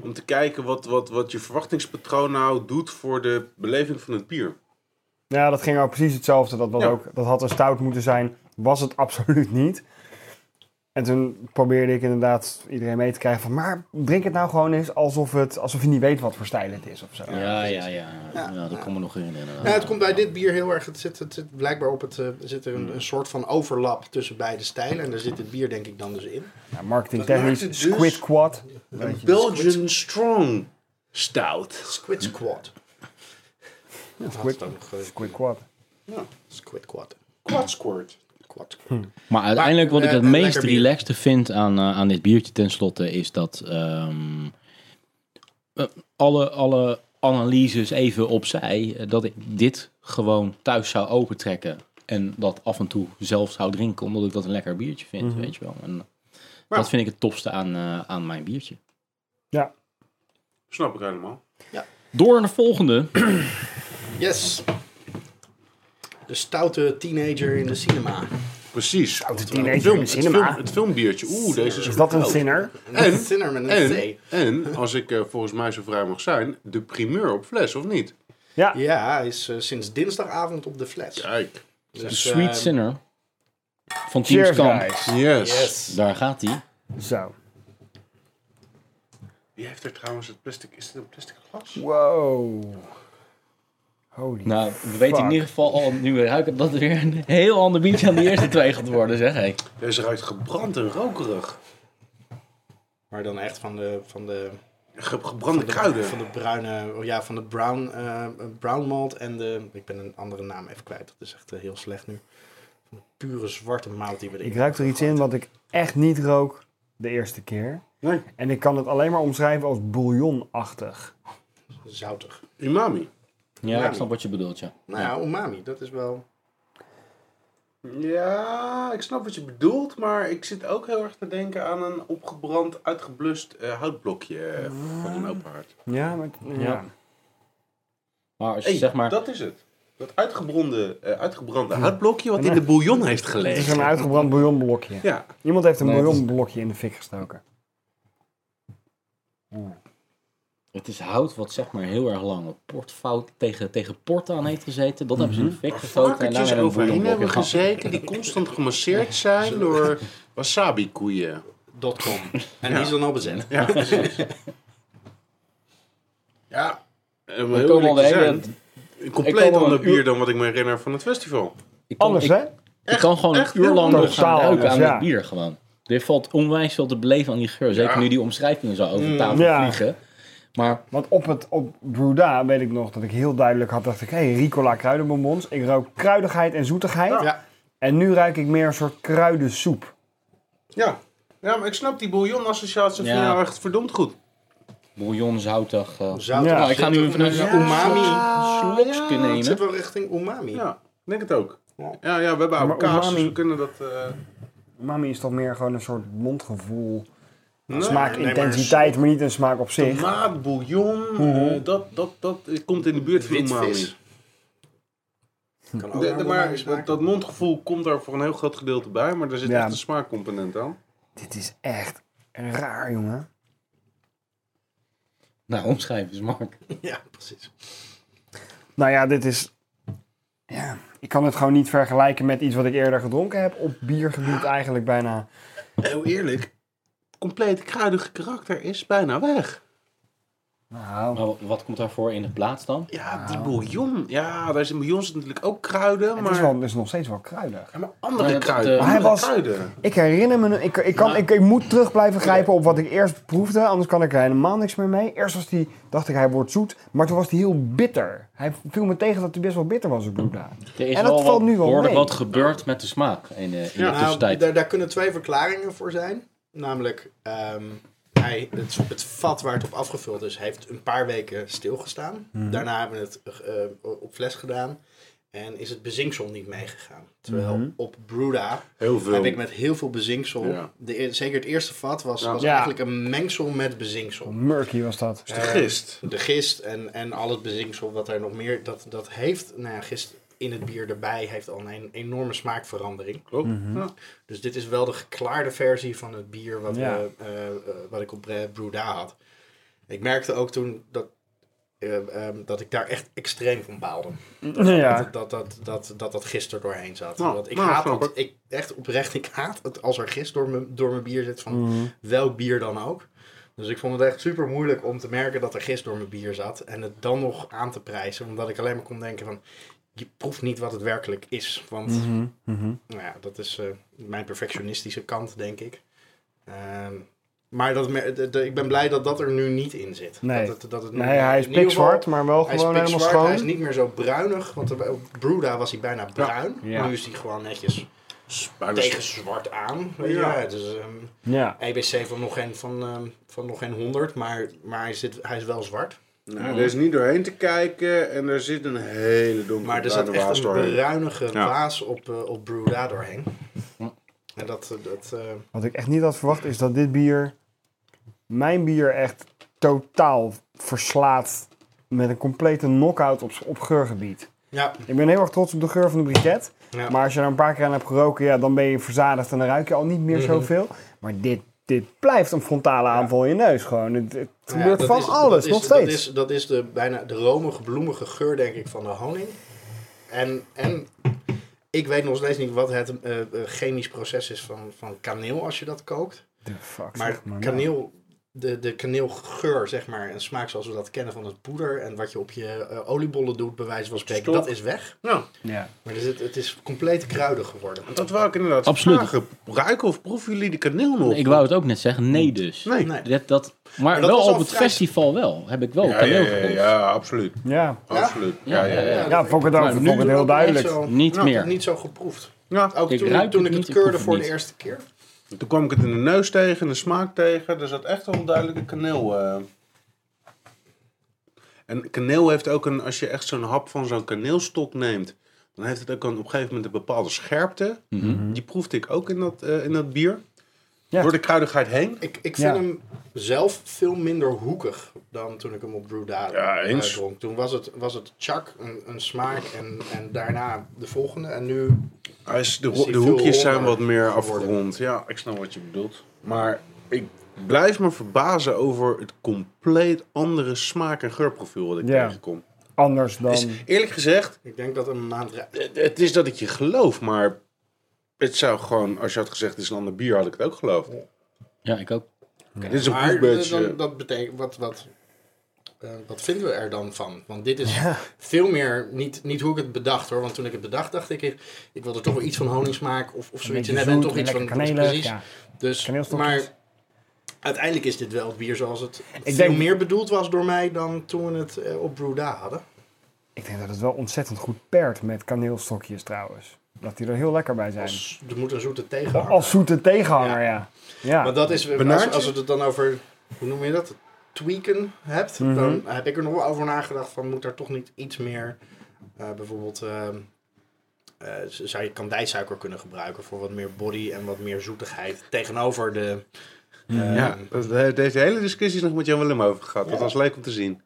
Speaker 2: Om te kijken wat, wat, wat je verwachtingspatroon nou doet voor de beleving van het bier.
Speaker 3: ja, dat ging ook precies hetzelfde. Dat, was
Speaker 2: Ja.
Speaker 3: ook, dat had een stout moeten zijn. Was het absoluut niet. En toen probeerde ik inderdaad iedereen mee te krijgen van... maar drink het nou gewoon eens alsof, het, alsof je niet weet wat voor stijl het is of zo.
Speaker 1: Ja, ja, ja.
Speaker 5: Ja.
Speaker 1: Ja, dat kan me nog herinneren.
Speaker 5: Ja, nou, het komt bij dit bier heel erg. Het zit, het zit blijkbaar op het. eh, er zit er een,
Speaker 2: Hmm.
Speaker 5: een soort van overlap tussen beide stijlen. En daar zit het bier, denk ik, dan dus in.
Speaker 3: Ja,
Speaker 2: Dat
Speaker 3: marketingtechnisch,
Speaker 2: maakt het dus-
Speaker 3: squid quad.
Speaker 2: Een Belgian Strong Stout.
Speaker 5: Squid Squad. Ja,
Speaker 3: squid-
Speaker 5: squid,
Speaker 3: Squid quad.
Speaker 5: ja, squid Quad.
Speaker 2: Quad Squirt.
Speaker 5: Quad.
Speaker 2: Hmm.
Speaker 1: Maar uiteindelijk wat ik
Speaker 5: eh,
Speaker 1: het
Speaker 5: een
Speaker 1: meest
Speaker 5: lekker bier.
Speaker 1: relaxte vind aan, eh, aan dit biertje tenslotte is dat ehm, eh, alle, alle analyses even opzij, eh, dat ik dit gewoon thuis zou opentrekken en dat af en toe zelf zou drinken, omdat ik dat een lekker biertje vind, weet je wel. En eh,
Speaker 2: Maar-
Speaker 1: dat vind ik het topste aan, eh, aan mijn biertje.
Speaker 2: Snap ik helemaal.
Speaker 1: Door naar de volgende.
Speaker 5: Yes. De stoute teenager in de cinema.
Speaker 2: Precies.
Speaker 3: de
Speaker 2: Oftewel,
Speaker 3: teenager
Speaker 2: het film-
Speaker 3: in de
Speaker 2: het
Speaker 3: cinema.
Speaker 2: film- Het filmbiertje. Oeh, deze is
Speaker 3: Is dat een
Speaker 2: goedkoop.
Speaker 3: sinner?
Speaker 5: Een thinner met een
Speaker 2: En,
Speaker 5: C.
Speaker 2: en, als ik eh, volgens mij zo vrij mag zijn, de primeur op fles, of niet?
Speaker 3: Ja.
Speaker 5: Ja, hij is eh, sinds dinsdagavond op de fles.
Speaker 2: Kijk.
Speaker 1: De
Speaker 5: Dus,
Speaker 1: Sweet
Speaker 5: eh,
Speaker 1: Sinner van Team
Speaker 3: Cheers,
Speaker 1: Skamp.
Speaker 3: guys.
Speaker 2: Yes.
Speaker 5: eh, Yes.
Speaker 1: Daar gaat hij.
Speaker 3: Zo.
Speaker 2: Wie heeft er trouwens het plastic... Is dit een plastic glas?
Speaker 3: Wow. Holy
Speaker 1: Nou, we weten in
Speaker 3: Fuck.
Speaker 1: ieder geval al, nu we ruiken, dat het weer een heel ander biertje dan de eerste twee gaat worden, zeg ik.
Speaker 2: Deze ruikt gebrand en rokerig.
Speaker 5: Maar dan echt van de, van de
Speaker 2: Ge- gebrande kruiden.
Speaker 5: Van de bruine, oh ja, van de brown, eh, brown malt en de, ik ben een andere naam even kwijt. Dat is echt eh, heel slecht nu. Van de pure zwarte malt die we erin
Speaker 3: Ik ruik er iets in wat ik echt niet rook de eerste keer.
Speaker 2: Nee,
Speaker 3: En ik kan het alleen maar omschrijven als bouillonachtig.
Speaker 5: Zoutig.
Speaker 2: umami.
Speaker 1: Ja,
Speaker 5: Ja.
Speaker 1: ik snap wat je bedoelt, ja.
Speaker 5: Nou ja, umami, dat is wel...
Speaker 2: Ja, ik snap wat je bedoelt, maar ik zit ook heel erg te denken aan een opgebrand, uitgeblust eh, houtblokje eh, van een open haard.
Speaker 3: Ja, maar, ja.
Speaker 1: Ja. Maar als je
Speaker 2: Hey,
Speaker 1: zeg maar...
Speaker 2: dat is het. Dat uitgebronde, eh, uitgebrande houtblokje wat in de bouillon heeft
Speaker 3: het is
Speaker 2: gelegen.
Speaker 3: een uitgebrand bouillonblokje.
Speaker 2: Ja,
Speaker 3: Iemand heeft een
Speaker 1: Nee, het is-
Speaker 3: bouillonblokje in de fik gestoken.
Speaker 1: Het is hout wat zeg maar heel erg lang op portfout tegen, tegen port aan heeft gezeten. Dat
Speaker 2: Mhm.
Speaker 1: hebben ze in de fik gestoten en daar
Speaker 2: varkentjes
Speaker 1: hebben we
Speaker 2: overheen
Speaker 1: een
Speaker 2: hebben
Speaker 1: boerenblok in gehad.
Speaker 2: gezeten die constant gemasseerd zijn door wasabi-koeien.
Speaker 5: Dot .com. En die is dan al bezet.
Speaker 2: Ja, precies. ja, eh, en we
Speaker 1: Ik kom al de hele...
Speaker 2: Een
Speaker 1: Ik
Speaker 2: compleet
Speaker 1: kan al
Speaker 2: ander
Speaker 1: een
Speaker 2: bier
Speaker 1: uur-
Speaker 2: dan wat ik me herinner van het festival.
Speaker 1: Ik kan,
Speaker 3: Alles,
Speaker 1: Oh, ik,
Speaker 3: hè?
Speaker 1: ik kan gewoon
Speaker 2: echt
Speaker 1: een uur lang nog
Speaker 3: totaal
Speaker 1: gaan ruiken aan
Speaker 3: anders, ja.
Speaker 1: het bier gewoon. Er valt onwijs veel te beleven aan die geur. Zeker
Speaker 2: Ja. Mm,
Speaker 1: nu die omschrijvingen zo over tafel
Speaker 3: ja.
Speaker 1: vliegen. Maar
Speaker 3: Want op, het, op Bruda weet ik nog dat ik heel duidelijk had, dacht ik, hé, hey, Ricola kruidenbonbons. Ik rook kruidigheid en zoetigheid.
Speaker 5: Ja.
Speaker 3: En nu ruik ik meer een soort kruidensoep.
Speaker 2: Ja. ja, maar ik snap die bouillon-associatie van
Speaker 1: Ja.
Speaker 2: jou echt verdomd goed.
Speaker 1: bouillon, zoutig... eh,
Speaker 5: Zoutig.
Speaker 3: Ja.
Speaker 1: nou, ik ga nu even een
Speaker 5: umami.
Speaker 1: slokje
Speaker 5: Het zit
Speaker 1: nemen.
Speaker 5: wel richting umami.
Speaker 2: Ja, ik denk het ook.
Speaker 5: Ja.
Speaker 2: Ja, ja we hebben oude
Speaker 3: Maar
Speaker 2: kaas,
Speaker 3: umami-
Speaker 2: dus we kunnen dat... eh,
Speaker 3: Mami is toch meer gewoon een soort mondgevoel.
Speaker 2: nee.
Speaker 3: Smaakintensiteit, maar niet een smaak op zich.
Speaker 2: Tomaat, bouillon, eh, dat, dat, dat eh, komt in de buurt van umami.
Speaker 5: Witvis. Kan ook
Speaker 2: De-
Speaker 5: naar
Speaker 2: de-
Speaker 5: umami
Speaker 2: Oh, maar
Speaker 5: smaken.
Speaker 2: dat, dat mondgevoel komt daar voor een heel groot gedeelte bij, maar daar zit
Speaker 3: Ja.
Speaker 2: echt een smaakcomponent aan.
Speaker 3: Dit is echt raar, jongen.
Speaker 1: Nou, omschrijven is Mark.
Speaker 5: Ja, precies.
Speaker 3: Nou ja, dit is... Ja, ik kan het gewoon niet vergelijken met iets wat ik eerder gedronken heb. Op biergebied eigenlijk bijna.
Speaker 2: Heel eerlijk, compleet kruidige karakter is bijna weg.
Speaker 3: Nou,
Speaker 1: Maar wat, wat komt daarvoor in de plaats dan?
Speaker 2: Ja, die bouillon. Ja, daar is in bouillon zit natuurlijk ook kruiden,
Speaker 3: het is,
Speaker 2: maar,
Speaker 3: wel, het is nog steeds wel kruidig.
Speaker 2: Ja, maar andere
Speaker 1: Maar dat-
Speaker 2: kruiden.
Speaker 1: eh, Maar
Speaker 3: hij
Speaker 2: andere
Speaker 3: was-
Speaker 2: kruiden.
Speaker 3: Ik herinner me, ik, ik, kan, ik, ik moet terug blijven grijpen op wat ik eerst proefde, anders kan ik er helemaal niks meer mee. Eerst was die, dacht ik, hij wordt zoet, maar toen was hij heel bitter. Hij viel me tegen dat hij best wel bitter was, het Gouda.
Speaker 1: Er is
Speaker 3: En dat
Speaker 1: wel
Speaker 3: valt
Speaker 1: wat,
Speaker 3: nu wel
Speaker 1: behoorlijk
Speaker 3: mee.
Speaker 1: wat gebeurd met de smaak in de, in de
Speaker 5: Nou,
Speaker 1: tussentijd.
Speaker 5: daar, daar kunnen twee verklaringen voor zijn. Namelijk, ehm, hij, het, het vat waar het op afgevuld is, heeft een paar weken stilgestaan. Daarna hebben we het eh, op fles gedaan. En is het bezinksel niet meegegaan. Terwijl op Bruda
Speaker 2: Heel veel.
Speaker 5: heb ik met heel veel bezinksel...
Speaker 2: Ja.
Speaker 5: De, eer- zeker het eerste vat was,
Speaker 2: Ja.
Speaker 5: was
Speaker 3: Ja.
Speaker 5: eigenlijk een mengsel met bezinksel.
Speaker 3: Murky was dat.
Speaker 2: De gist.
Speaker 5: De gist en, en al het bezinksel wat daar nog meer... Dat, dat heeft, nou ja, gist in het bier erbij heeft al een enorme smaakverandering.
Speaker 2: Klopt. Ja.
Speaker 5: Dus dit is wel de geklaarde versie van het bier wat,
Speaker 3: Ja.
Speaker 5: we, eh, eh, wat ik op eh, Brewda had. Ik merkte ook toen dat, eh, ehm, dat ik daar echt extreem van baalde.
Speaker 3: Ja.
Speaker 5: Dat, dat, dat, dat, dat dat gist er doorheen zat.
Speaker 2: Nou,
Speaker 5: Want ik
Speaker 2: nou,
Speaker 5: haat
Speaker 2: snap
Speaker 5: het, ik, echt oprecht, ik haat het als er gist door mijn, door mijn bier zit van
Speaker 3: Mhm.
Speaker 5: welk bier dan ook. Dus ik vond het echt super moeilijk om te merken dat er gist door mijn bier zat. En het dan nog aan te prijzen. Omdat ik alleen maar kon denken van, je proeft niet wat het werkelijk is. Want
Speaker 3: Mhm, mhm.
Speaker 5: nou ja, dat is eh, mijn perfectionistische kant, denk ik. Ehm, maar dat, me- de- de- ik ben blij dat dat er nu niet in zit.
Speaker 3: Nee.
Speaker 5: dat, het- dat het nu-
Speaker 3: Nee, hij is
Speaker 5: in ieder geval-
Speaker 3: pikzwart, maar wel
Speaker 5: Hij is
Speaker 3: gewoon helemaal
Speaker 5: pikzwart,
Speaker 3: schoon.
Speaker 5: Hij is niet meer zo bruinig, want op- op Bruda was hij bijna bruin.
Speaker 1: Ja.
Speaker 5: Nu is hij gewoon netjes
Speaker 2: Bijna
Speaker 5: tegen zwart aan. Weet je?
Speaker 2: dus- Ja.
Speaker 5: Ja, dus, ehm,
Speaker 3: Ja.
Speaker 5: EBC van nog geen, van, ehm, van nog geen 100, maar, maar hij, zit, hij is wel zwart.
Speaker 2: Nou, er is niet doorheen te kijken en er zit een hele donkere
Speaker 5: Maar er zat
Speaker 2: bruine
Speaker 5: echt
Speaker 2: waas
Speaker 5: een
Speaker 2: doorheen.
Speaker 5: bruinige
Speaker 2: Ja.
Speaker 5: waas op, eh, op Bruda doorheen. En dat, eh, dat, eh,
Speaker 3: Wat ik echt niet had verwacht is dat dit bier, mijn bier, echt totaal verslaat met een complete knock-out op, op geurgebied.
Speaker 5: ja,
Speaker 3: Ik ben heel erg trots op de geur van de briquet.
Speaker 5: ja.
Speaker 3: Maar als je er een paar keer aan hebt geroken, ja, dan ben je verzadigd en dan ruik je al niet
Speaker 5: Mhm.
Speaker 3: meer zoveel. Maar dit, dit blijft een frontale aanval in je neus gewoon. Het, het
Speaker 5: Nou ja,
Speaker 3: gebeurt
Speaker 5: dat
Speaker 3: van
Speaker 5: is- dat
Speaker 3: alles,
Speaker 5: is-
Speaker 3: nog steeds.
Speaker 5: Dat is, dat is de bijna de romige, bloemige geur, denk ik, van de honing. En, en ik weet nog steeds niet wat het eh, eh, chemisch proces is van, van kaneel als je dat kookt.
Speaker 3: The fuck,
Speaker 5: Maar
Speaker 3: zeg maar nou.
Speaker 5: kaneel, de, de kaneelgeur, zeg maar, en smaak zoals we dat kennen van het poeder en wat je op je eh, oliebollen doet, bij wijze van spreken,
Speaker 2: Stop.
Speaker 5: dat is weg.
Speaker 2: Ja,
Speaker 3: Ja.
Speaker 5: Maar er zit- het is compleet kruidig geworden.
Speaker 2: want dat wou ik inderdaad
Speaker 1: Absoluut.
Speaker 2: vragen. Ruiken of proeven jullie de kaneel nog?
Speaker 1: Ik wou het ook net zeggen, nee dus.
Speaker 2: Nee.
Speaker 5: Nee.
Speaker 1: Dat, dat, maar
Speaker 5: dat
Speaker 1: wel
Speaker 5: was
Speaker 1: op
Speaker 5: al
Speaker 1: het
Speaker 5: vrij-
Speaker 1: festival wel. Heb ik wel
Speaker 2: ja,
Speaker 1: Oh, kaneel
Speaker 2: ja, ja,
Speaker 1: geproefd.
Speaker 2: ja, absoluut.
Speaker 3: Ja.
Speaker 2: Absoluut. Ja, ja, ja.
Speaker 3: ja, vond ik het ook
Speaker 1: Maar
Speaker 3: vond
Speaker 1: nu
Speaker 3: ik het heel
Speaker 5: ook niet
Speaker 3: duidelijk.
Speaker 5: zo-
Speaker 1: Niet
Speaker 5: nou,
Speaker 1: meer.
Speaker 5: Niet zo geproefd.
Speaker 2: Ja.
Speaker 5: Ook
Speaker 1: Ik
Speaker 5: toen,
Speaker 1: ruik
Speaker 5: toen
Speaker 1: het
Speaker 5: ik
Speaker 1: niet,
Speaker 5: het
Speaker 1: ik
Speaker 5: keurde
Speaker 1: proef het
Speaker 5: voor de
Speaker 1: niet.
Speaker 5: eerste keer.
Speaker 2: Toen kwam ik het in de neus tegen, de smaak tegen. Er zat echt wel een duidelijke kaneel. eh. En kaneel heeft ook een, als je echt zo'n hap van zo'n kaneelstok neemt, dan heeft het ook een, op een gegeven moment een bepaalde scherpte.
Speaker 1: Mhm.
Speaker 2: Die proefde ik ook in dat, eh, in dat bier.
Speaker 3: Ja.
Speaker 2: Door de kruidigheid heen.
Speaker 5: Ik, ik vind
Speaker 3: Ja.
Speaker 5: hem zelf veel minder hoekig dan toen ik hem op Brewdad
Speaker 2: Ja, eens.
Speaker 5: eh, dronk. Toen was het, was het chak, een, een smaak en, en daarna de volgende. En nu,
Speaker 2: Hij is- de,
Speaker 5: Is die
Speaker 2: de
Speaker 5: veel
Speaker 2: hoekjes zijn
Speaker 5: ronder
Speaker 2: wat meer
Speaker 5: geworden?
Speaker 2: afgerond. Ja, ik snap wat je bedoelt. Maar ik blijf me verbazen over het compleet andere smaak- en geurprofiel wat ik
Speaker 3: Ja.
Speaker 2: tegenkom.
Speaker 3: Anders dan...
Speaker 2: Is, eerlijk gezegd,
Speaker 5: ik denk dat een maand... ra-
Speaker 2: Het- Het is dat ik je geloof, maar het zou gewoon, als je had gezegd het is een ander bier, had ik het ook geloofd.
Speaker 1: Ja, ik ook.
Speaker 2: Dit is een
Speaker 5: Maar eh,
Speaker 2: proefbeurtje.
Speaker 5: dan, dat betekent, wat, wat, eh, wat vinden we er dan van? Want dit is veel meer, niet, niet hoe ik het bedacht hoor. Want toen ik het bedacht dacht ik, ik, ik wil er toch wel iets van honingsmaak of, of zoiets.
Speaker 3: beetje
Speaker 5: En daar ben
Speaker 3: zoet
Speaker 5: toch
Speaker 3: en
Speaker 5: iets van,
Speaker 3: lekker kanelen,
Speaker 5: precies.
Speaker 3: ja.
Speaker 5: Dus,
Speaker 3: Kaneelstokjes.
Speaker 5: maar uiteindelijk is dit wel het bier zoals het veel
Speaker 3: denk-
Speaker 5: meer bedoeld was door mij dan toen we het eh, op Brewda hadden.
Speaker 3: Ik denk dat het wel ontzettend goed pairt met kaneelstokjes trouwens. Dat die er heel lekker bij zijn. Als,
Speaker 5: Als, er moet een zoete tegenhanger.
Speaker 3: zoete tegenhanger, ja. Ja,
Speaker 5: Maar dat is, als,
Speaker 2: Banaantje?
Speaker 5: als we het dan over, hoe noem je dat, tweaken hebt, dan heb ik er nog wel over nagedacht van moet daar toch niet iets meer, eh, bijvoorbeeld, eh, eh, z- zou je kandijsuiker kunnen gebruiken voor wat meer body en wat meer zoetigheid tegenover de... eh,
Speaker 2: ja, dat- daar heeft deze hele discussie nog met Jan Willem over gehad. Dat was leuk om te zien.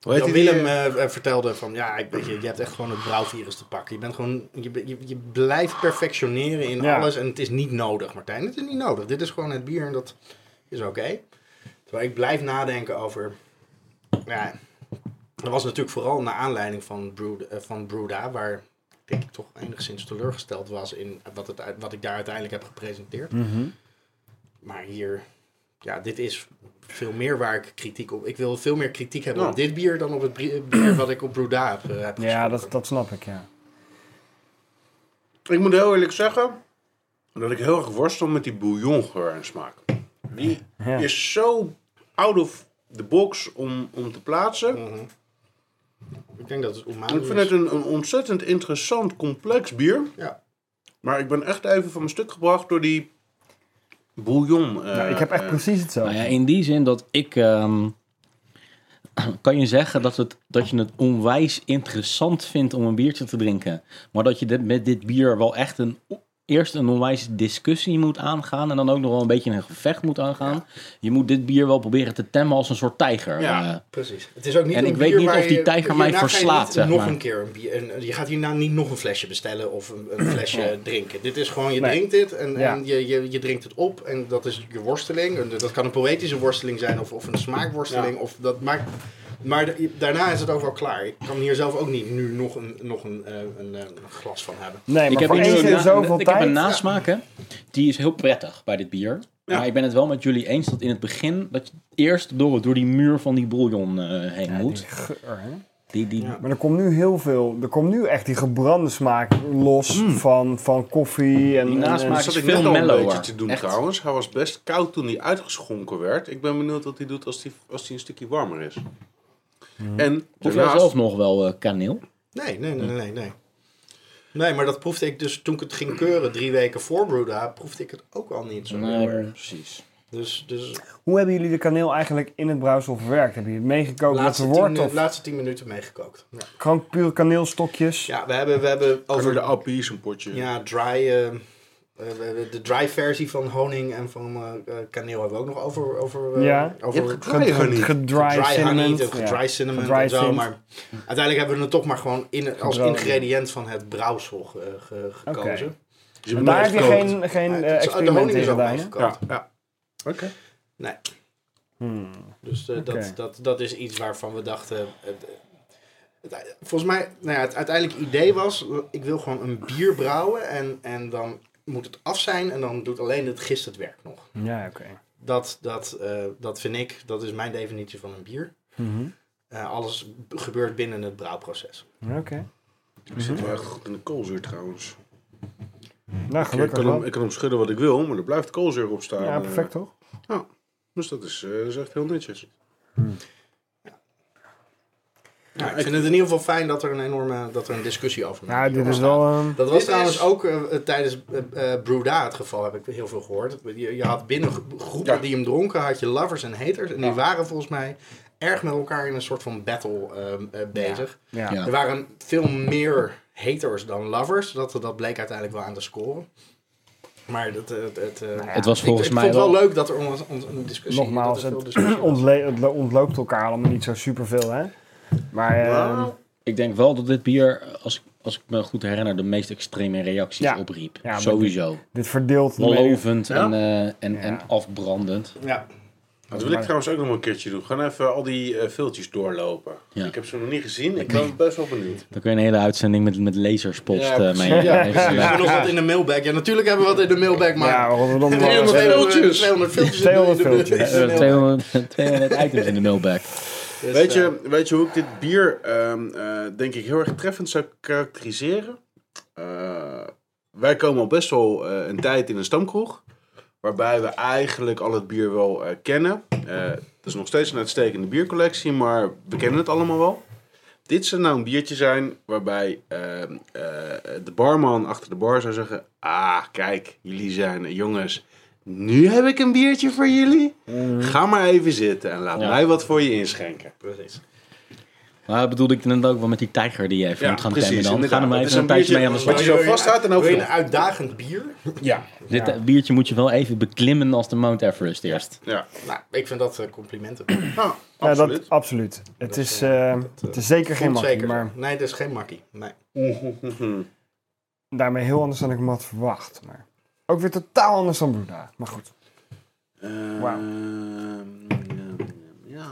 Speaker 2: Hoe heet
Speaker 5: Jan
Speaker 2: die,
Speaker 5: Willem
Speaker 2: eh,
Speaker 5: eh, eh, vertelde van, ja, ik, weet je, je hebt echt gewoon het brouwvirus te pakken. Je, bent gewoon, je, be- je, je blijft perfectioneren in
Speaker 3: Ja.
Speaker 5: alles en het is niet nodig, Martijn. Het is niet nodig. Dit is gewoon het bier en dat is oké. Terwijl ik blijf nadenken over... Ja, dat was natuurlijk vooral naar aanleiding van, Brood, eh, van Bruda, waar denk ik toch enigszins teleurgesteld was in wat, het, uit- wat ik daar uiteindelijk heb gepresenteerd. Maar hier ja, dit is veel meer waar ik kritiek op... Ik wil veel meer kritiek hebben
Speaker 2: Ja.
Speaker 5: op dit bier dan op het brie- bier wat ik op Brewda heb, eh, heb
Speaker 3: Ja,
Speaker 5: geschonken.
Speaker 3: dat, dat snap ik, ja.
Speaker 2: Ik moet heel eerlijk zeggen dat ik heel erg worstel met die bouillongeur en smaak. Die
Speaker 3: Ja.
Speaker 2: is zo out of the box om, om te plaatsen.
Speaker 5: Mhm. Ik denk dat het onmogelijk
Speaker 2: Ik vind het een, een ontzettend interessant, complex bier.
Speaker 5: Ja.
Speaker 2: Maar ik ben echt even van mijn stuk gebracht door die bouillon. eh,
Speaker 3: Nou, ik heb echt
Speaker 2: eh,
Speaker 3: precies hetzelfde.
Speaker 1: Nou ja, in die zin dat ik. ehm, kan je zeggen dat, het, dat je het onwijs interessant vindt om een biertje te drinken. Maar dat je dit, met dit bier wel echt een. Eerst een onwijs discussie moet aangaan. En dan ook nog wel een beetje een gevecht moet aangaan. Je moet dit bier wel proberen te temmen als een soort tijger.
Speaker 2: Ja.
Speaker 1: Eh,
Speaker 5: Precies. Het is ook niet
Speaker 1: En
Speaker 5: een
Speaker 1: ik weet
Speaker 5: bier
Speaker 1: niet
Speaker 5: waar
Speaker 1: of die
Speaker 5: je-
Speaker 1: tijger
Speaker 5: hierna
Speaker 1: mij
Speaker 5: ga je
Speaker 1: verslaat,
Speaker 5: niet
Speaker 1: zeg
Speaker 5: nog
Speaker 1: maar.
Speaker 5: een keer een bier. een- je gaat hierna niet nog een flesje bestellen of een, een flesje drinken. Dit is gewoon, je
Speaker 3: Nee.
Speaker 5: drinkt dit en,
Speaker 3: Ja.
Speaker 5: en je, je, je drinkt het op. En dat is je worsteling. En dat kan een poëtische worsteling zijn of, of een smaakworsteling. Of dat maakt, maar da- daarna is het ook wel klaar. Ik kan hier zelf ook niet nu nog een, nog een, eh, een, eh, een glas van hebben.
Speaker 3: Nee,
Speaker 1: ik
Speaker 3: maar
Speaker 1: heb,
Speaker 3: voor
Speaker 1: hier nu
Speaker 3: eens
Speaker 1: een,
Speaker 3: in
Speaker 1: na-
Speaker 3: zoveel
Speaker 1: ik
Speaker 3: tijd...
Speaker 1: heb een nasmaak, hè. Die is heel prettig bij dit bier.
Speaker 2: Ja.
Speaker 1: Maar ik ben het wel met jullie eens dat in het begin... dat je eerst door, door die muur van die bouillon eh, heen
Speaker 3: Ja,
Speaker 1: moet.
Speaker 3: die geur, hè?
Speaker 1: Die, die,
Speaker 5: Ja.
Speaker 3: Maar er komt nu heel veel... Er komt nu echt die gebrande smaak los van, van koffie en...
Speaker 1: Die
Speaker 3: en- en-
Speaker 1: nasmaak-
Speaker 2: Zat
Speaker 1: is
Speaker 2: ik
Speaker 1: veel
Speaker 2: net al een
Speaker 1: mellower.
Speaker 2: beetje te doen
Speaker 1: Echt.
Speaker 2: trouwens. Hij was best koud toen hij uitgeschonken werd. Ik ben benieuwd wat hij doet als hij, als hij een stukje warmer is.
Speaker 3: Mm.
Speaker 2: En
Speaker 1: proef jij
Speaker 2: daarnaast,
Speaker 1: zelf nog wel eh, kaneel?
Speaker 5: Nee, nee, nee, nee, nee. Nee, maar dat proefde ik dus toen ik het ging keuren drie weken voor Brewda, proefde ik het ook al niet zo heel erg.
Speaker 1: precies.
Speaker 5: Dus, dus
Speaker 3: Hoe hebben jullie de kaneel eigenlijk in het brouwsel verwerkt? Hebben jullie het meegekookt met
Speaker 5: laatste,
Speaker 3: verwort
Speaker 5: tien,
Speaker 3: of
Speaker 5: laatste tien minuten meegekookt. Ja,
Speaker 3: gewoon puur kaneelstokjes?
Speaker 5: ja we, hebben, we hebben
Speaker 2: over
Speaker 5: over
Speaker 2: de appies een potje.
Speaker 5: ja, dry, eh, eh, we hebben de dry versie van honing en van eh, eh, kaneel hebben we ook nog over. over eh,
Speaker 3: Ja.
Speaker 5: over
Speaker 2: Je hebt
Speaker 3: Ge- ge-
Speaker 2: honey.
Speaker 3: gedry
Speaker 5: dry honey,
Speaker 3: cinnamon.
Speaker 5: de gedry cinnamon
Speaker 3: Gedry
Speaker 5: en zo.
Speaker 3: cinnamon.
Speaker 5: Maar uiteindelijk hebben we het toch maar gewoon in, als
Speaker 3: Gedroogd.
Speaker 5: ingrediënt van het brouwsel ge- ge- gekozen.
Speaker 2: Dus
Speaker 3: En Daar heb je
Speaker 2: meegekookt.
Speaker 3: geen, geen
Speaker 5: Ja,
Speaker 3: eh,
Speaker 5: het is- oh, de
Speaker 3: experiment
Speaker 5: honing
Speaker 3: in
Speaker 5: is ook
Speaker 3: gedaan. hè?
Speaker 5: meegekookt.
Speaker 2: Ja, ja. Oké.
Speaker 5: Nee.
Speaker 3: Hmm.
Speaker 5: Dus eh,
Speaker 3: Oké.
Speaker 5: dat, dat, dat is iets waarvan we dachten. het- het- volgens mij, nou ja, het uiteindelijke idee was: ik wil gewoon een bier brouwen en, en dan moet het af zijn en dan doet alleen het gist het werk nog.
Speaker 3: Ja, oké.
Speaker 5: Dat, dat, eh, dat vind ik, dat is mijn definitie van een bier.
Speaker 3: Mhm.
Speaker 5: Eh, alles b- gebeurt binnen het brouwproces.
Speaker 3: Oké.
Speaker 2: Ik
Speaker 3: Mhm.
Speaker 2: zit wel echt goed in de koolzuur trouwens.
Speaker 3: Nou,
Speaker 2: Ik
Speaker 3: gelukkig
Speaker 2: kan, hem,
Speaker 3: wel.
Speaker 2: ik kan hem schudden wat ik wil, maar er blijft koolzuur op staan.
Speaker 3: Ja,
Speaker 2: eh.
Speaker 3: perfect toch?
Speaker 2: Dus dat is, eh, dat is echt heel netjes.
Speaker 5: Nou, ik vind het in ieder geval fijn dat er een enorme dat er een discussie over
Speaker 3: Ja, dit is
Speaker 5: ontstaat.
Speaker 3: wel... ehm,
Speaker 5: Dat was
Speaker 2: Dit
Speaker 5: trouwens
Speaker 2: is-
Speaker 5: ook eh, eh, tijdens eh eh, Brewda het geval, heb ik heel veel gehoord. Je, je had binnen gro- groepen
Speaker 2: Ja.
Speaker 5: die hem dronken, had je lovers en haters. En die waren volgens mij erg met elkaar in een soort van battle ehm, eh, bezig.
Speaker 3: ja.
Speaker 1: Ja.
Speaker 5: Er waren veel meer haters dan lovers. Dat, dat bleek uiteindelijk wel aan de score. Maar dat, eh, het, het, eh,
Speaker 1: Het was
Speaker 5: ik-
Speaker 1: volgens
Speaker 5: ik,
Speaker 1: mij
Speaker 5: vond het wel
Speaker 1: wel-
Speaker 5: leuk dat er on, on- een discussie dat
Speaker 3: Nogmaals,
Speaker 5: er veel
Speaker 3: het
Speaker 5: discussie was.
Speaker 3: ontle- het lo- ontloopt elkaar allemaal niet zo superveel, hè? Maar ehm,
Speaker 2: Nou,
Speaker 1: Ik denk wel dat dit bier, als ik, als ik me goed herinner, de meest extreme reacties
Speaker 3: Ja.
Speaker 1: opriep.
Speaker 3: Ja, maar
Speaker 1: Sowieso.
Speaker 3: dit verdeelt... de mening.
Speaker 1: Lovend
Speaker 2: Ja?
Speaker 1: en, eh, en,
Speaker 3: Ja.
Speaker 1: en afbrandend.
Speaker 5: Ja,
Speaker 2: Dat wil ik trouwens ook nog wel een keertje doen. Gaan even al die eh filtjes doorlopen.
Speaker 1: Ja.
Speaker 2: Ik heb ze nog niet gezien. Ik ben best wel benieuwd.
Speaker 1: Dan kun je een hele uitzending met, met laserspost
Speaker 2: Ja,
Speaker 1: eh,
Speaker 2: precies.
Speaker 1: mee.
Speaker 5: Ja,
Speaker 1: even-
Speaker 5: we hebben nog wat in de mailbag. Ja, natuurlijk hebben we wat in de mailbag, maar...
Speaker 3: Ja, Rotterdam...
Speaker 5: We hebben nog
Speaker 3: eh,
Speaker 5: 200 200 filmpjes. in de-
Speaker 3: 200
Speaker 5: in de-
Speaker 3: filmpjes.
Speaker 5: in de
Speaker 1: eh,
Speaker 5: mailbag.
Speaker 1: 200, 200 items in de mailbag.
Speaker 5: Dus,
Speaker 2: Weet
Speaker 5: eh,
Speaker 2: je, weet je hoe ik dit bier, ehm, eh, denk ik, heel erg treffend zou karakteriseren? Eh, wij komen al best wel eh, een tijd in een stamkroeg. Waarbij we eigenlijk al het bier wel eh, kennen. Eh, het is nog steeds een uitstekende biercollectie, maar we kennen het allemaal wel. Dit zou nou een biertje zijn waarbij ehm, eh, de barman achter de bar zou zeggen... Ah, kijk, jullie zijn er, jongens. Nu heb ik een biertje voor jullie. Ga maar even zitten en laat
Speaker 1: Ja.
Speaker 2: mij wat voor je inschenken.
Speaker 5: Precies.
Speaker 1: Maar bedoelde ik dan ook wel met die tijger die je even
Speaker 2: Ja,
Speaker 1: moet gaan
Speaker 2: precies,
Speaker 1: temmen dan.
Speaker 2: inderdaad.
Speaker 1: Ga er maar
Speaker 2: Dat
Speaker 1: even
Speaker 2: is
Speaker 1: een
Speaker 2: een
Speaker 1: tijdje mee aan de
Speaker 2: biertje
Speaker 1: slag.
Speaker 2: wat je zo vasthoudt en
Speaker 5: Wil je een
Speaker 2: overloopt.
Speaker 5: uitdagend bier?
Speaker 2: Ja.
Speaker 1: Dit eh, biertje moet je wel even beklimmen als de Mount Everest eerst.
Speaker 2: Ja,
Speaker 5: Nou, ik vind dat eh, complimenten.
Speaker 2: nou,
Speaker 3: Ja,
Speaker 2: absoluut.
Speaker 3: dat, absoluut. Het
Speaker 5: Dat,
Speaker 3: is,
Speaker 5: eh,
Speaker 3: eh,
Speaker 5: dat, eh,
Speaker 3: het is zeker geen
Speaker 5: Komt
Speaker 3: makkie,
Speaker 5: zeker.
Speaker 3: maar
Speaker 5: Nee, dat is geen makkie. Nee.
Speaker 3: daarmee heel anders dan ik me had verwacht. Maar ook weer totaal anders dan Bruda. Maar goed.
Speaker 2: Ehm,
Speaker 3: Wauw.
Speaker 2: ja,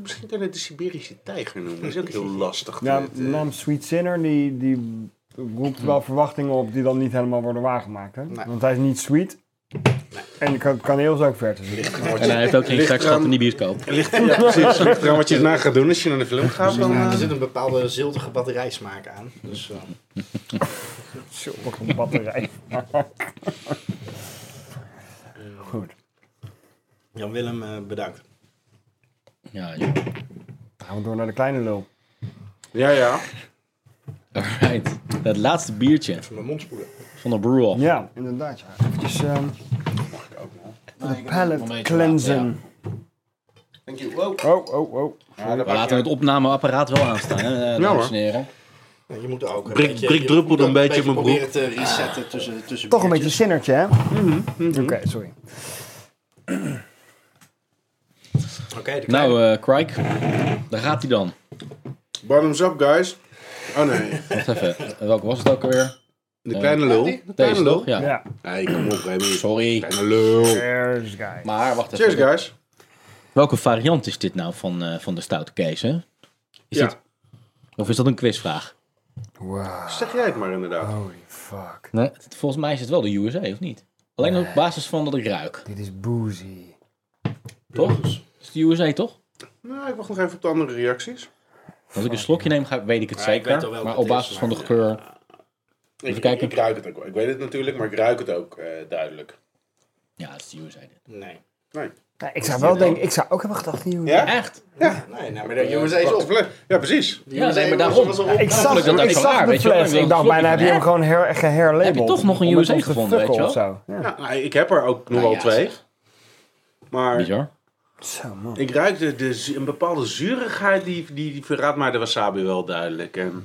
Speaker 2: misschien kan je het de Siberische tijger noemen. Dat is ook heel lastig. te
Speaker 3: Ja,
Speaker 5: eh,
Speaker 3: de
Speaker 2: weten.
Speaker 3: naam Sweet Sinner die, die roept wel verwachtingen op die dan niet helemaal worden waargemaakt. Hè?
Speaker 5: Nee.
Speaker 3: Want hij is niet sweet. En kan, kan heel zo ver te zien.
Speaker 1: En hij heeft ook geen
Speaker 2: Ligt
Speaker 1: seks
Speaker 2: eraan-
Speaker 1: gehad in die bioscoop.
Speaker 2: Ligt, ja, precies. Ligt eraan wat je daarna gaat doen als je naar de film gaat. Dan,
Speaker 5: Ja,
Speaker 2: eh,
Speaker 5: er zit een bepaalde ziltige batterijsmaak aan. Dus, eh,
Speaker 3: Zo, wat een batterij. Nou, Goed.
Speaker 5: Jan-Willem, eh, bedankt.
Speaker 1: Ja, ja.
Speaker 3: Dan gaan we door naar de kleine lul.
Speaker 2: ja, ja.
Speaker 1: Alright. Dat laatste biertje
Speaker 5: Even mijn mond spoelen.
Speaker 1: van de brew
Speaker 3: Ja, inderdaad. Ja. Eventjes ehm, de palette cleansen.
Speaker 2: Thank you. Wow.
Speaker 3: Oh, oh, oh.
Speaker 2: Ja, dat
Speaker 1: We laten het opnameapparaat wel aanstaan, hè, dames
Speaker 2: hoor.
Speaker 1: en heren.
Speaker 5: Ja, Je moet er ook een
Speaker 2: Brik-
Speaker 5: beetje-
Speaker 2: Brik
Speaker 5: je
Speaker 2: druppelde
Speaker 5: moet ook
Speaker 2: een beetje op mijn
Speaker 5: proberen te resetten tussen, tussen
Speaker 3: Toch een beetje
Speaker 1: dus-
Speaker 5: biertjes.
Speaker 3: zinnertje, hè?
Speaker 1: Mhm,
Speaker 3: Oké, sorry.
Speaker 5: Oké, de kleine-
Speaker 1: Nou, eh Crike, daar gaat hij dan.
Speaker 2: Bottoms up, guys. Oh nee.
Speaker 1: Wacht even, welke was het ook alweer?
Speaker 2: De kleine lul. De kleine
Speaker 1: Deze,
Speaker 2: lul.
Speaker 1: toch? Ja.
Speaker 3: Ja.
Speaker 2: Nee, kom op, Remy.
Speaker 1: Sorry.
Speaker 2: Kleine lul.
Speaker 3: Cheers, guys.
Speaker 1: Maar wacht even.
Speaker 2: Cheers, guys.
Speaker 1: Welke variant is dit nou van, eh, van de stoute Kees, hè? Is
Speaker 2: Ja.
Speaker 1: dit, of is dat een quizvraag?
Speaker 3: Wow.
Speaker 2: Zeg jij het maar
Speaker 1: Oh.
Speaker 2: inderdaad.
Speaker 3: Holy fuck.
Speaker 1: Nee. Volgens mij is het wel de USA, of niet? Alleen op basis van dat ik ruik,
Speaker 3: Dit is boozy.
Speaker 1: toch? Is de USA, toch?
Speaker 2: Nou, ik wacht nog even op de andere reacties.
Speaker 1: Als ik een slokje neem, ga, weet ik het
Speaker 5: Ja, ik weet al
Speaker 1: zeker.
Speaker 5: welke
Speaker 1: maar
Speaker 5: het
Speaker 1: op
Speaker 5: is,
Speaker 1: basis van de
Speaker 5: maar- eh,
Speaker 1: geur...
Speaker 2: Ik,
Speaker 1: kijken.
Speaker 2: ik ruik het ook wel. Ik weet het natuurlijk, maar ik ruik het ook eh, duidelijk.
Speaker 1: Ja, het is de USA. dit.
Speaker 5: Nee.
Speaker 3: Nou, ik zou wel denken, ik zou ook hebben gedacht, joh.
Speaker 2: Ja?
Speaker 1: Echt?
Speaker 5: Nee, nou, maar de jongens is
Speaker 2: Wacht,
Speaker 5: op.
Speaker 2: vle- Ja, precies.
Speaker 1: Ja, nee, maar
Speaker 5: was-
Speaker 1: daarom.
Speaker 5: was al
Speaker 3: ik zag,
Speaker 1: Ongelukkig dat
Speaker 3: ik
Speaker 1: dat zo
Speaker 3: zag
Speaker 1: waar,
Speaker 3: de
Speaker 1: weet je wel.
Speaker 3: fles.
Speaker 1: Ik wil
Speaker 3: Ik
Speaker 1: een
Speaker 3: dacht
Speaker 1: slokje
Speaker 3: bijna, heb
Speaker 1: van,
Speaker 3: je hem
Speaker 1: hè?
Speaker 3: gewoon her, geherlabeld.
Speaker 1: Heb je toch nog een
Speaker 3: Om het
Speaker 1: USA
Speaker 3: ons te
Speaker 1: gevonden, weet je
Speaker 3: fucken
Speaker 1: wel?
Speaker 3: of zo. Ja.
Speaker 2: Ja, nou, ik heb er ook nog
Speaker 1: Nou
Speaker 2: wel
Speaker 1: ja,
Speaker 2: twee.
Speaker 1: zeg.
Speaker 2: Maar
Speaker 1: Bizar.
Speaker 3: Zo, man.
Speaker 2: ik ruik de, de, zu- een bepaalde zurigheid, die, die, die verraadt mij de wasabi wel duidelijk. En,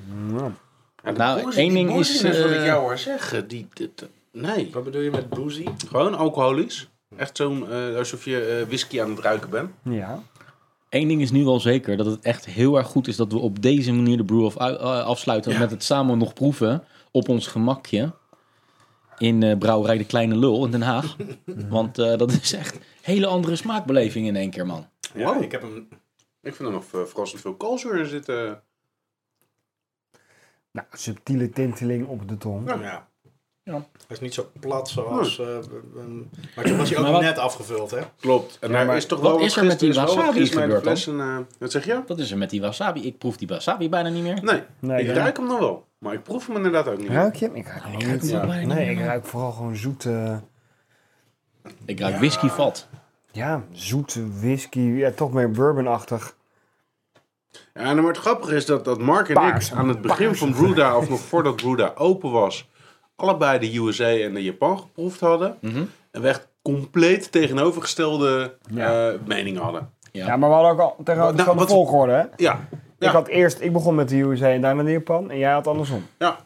Speaker 2: en de
Speaker 1: Nou,
Speaker 2: boerzi-
Speaker 1: één
Speaker 2: die
Speaker 1: ding
Speaker 2: boerzi
Speaker 1: is,
Speaker 2: net wat ik
Speaker 1: eh,
Speaker 2: jou hoor zeggen. Die, dit- nee,
Speaker 5: Wat bedoel je met boozy?
Speaker 2: gewoon alcoholisch. Echt zo'n, eh, alsof je eh, whisky aan het ruiken bent.
Speaker 3: Ja.
Speaker 1: Eén ding is nu wel zeker, dat het echt heel erg goed is dat we op deze manier de brew eh, afsluiten. Met het samen nog proeven op ons gemakje in eh, Brouwerij de Kleine Lul in Den Haag. Want eh, dat is echt een hele andere smaakbeleving in één keer, man.
Speaker 5: Ja,
Speaker 2: Wow.
Speaker 5: ik heb hem...
Speaker 2: Ik vind er nog eh, verrassend veel koolzuur in zitten.
Speaker 3: Nou, subtiele tinteling op de tong.
Speaker 5: Ja.
Speaker 1: Ja.
Speaker 5: Hij is niet zo plat zoals... eh, ehm, maar toen was hij ook
Speaker 1: Maar wat-
Speaker 5: net afgevuld, hè?
Speaker 2: Klopt. En daar
Speaker 3: maar
Speaker 2: is toch
Speaker 1: wat
Speaker 2: wel
Speaker 1: is er met
Speaker 2: gist-
Speaker 1: die
Speaker 2: is wel wat
Speaker 1: wasabi
Speaker 2: gist bij de
Speaker 1: gebeurd dan?
Speaker 2: fles en, eh, wat zeg je?
Speaker 1: Dat is er met die wasabi. Ik proef die wasabi bijna niet meer.
Speaker 2: Nee,
Speaker 3: Nee,
Speaker 2: ik
Speaker 3: ja.
Speaker 2: ruik hem nog wel. Maar ik proef hem inderdaad ook niet.
Speaker 3: Ruik je hem? Ik ruik hem
Speaker 1: Ik ruik, hem
Speaker 3: niet.
Speaker 1: ook bijna niet
Speaker 3: Nee,
Speaker 1: meer.
Speaker 3: ik ruik vooral gewoon zoete...
Speaker 1: ik ruik whiskyvat.
Speaker 3: Ja, zoete whisky. Ja, toch meer bourbonachtig.
Speaker 2: Ja, en maar het grappige is dat, dat Mark en
Speaker 3: Paars.
Speaker 2: ik aan het begin
Speaker 3: Paars.
Speaker 2: van Bruda, of nog voordat Bruda open was, allebei de USA en de Japan geproefd hadden. En we echt compleet tegenovergestelde
Speaker 3: Ja.
Speaker 2: eh, meningen hadden.
Speaker 1: Ja.
Speaker 3: Ja, maar we hadden ook al tegenover
Speaker 2: Nou,
Speaker 3: van de
Speaker 2: wat-
Speaker 3: volgorde, hè?
Speaker 2: Ja. Ja.
Speaker 3: Ik had eerst, ik begon met de USA en daarna de Japan. En jij had andersom.
Speaker 2: ja.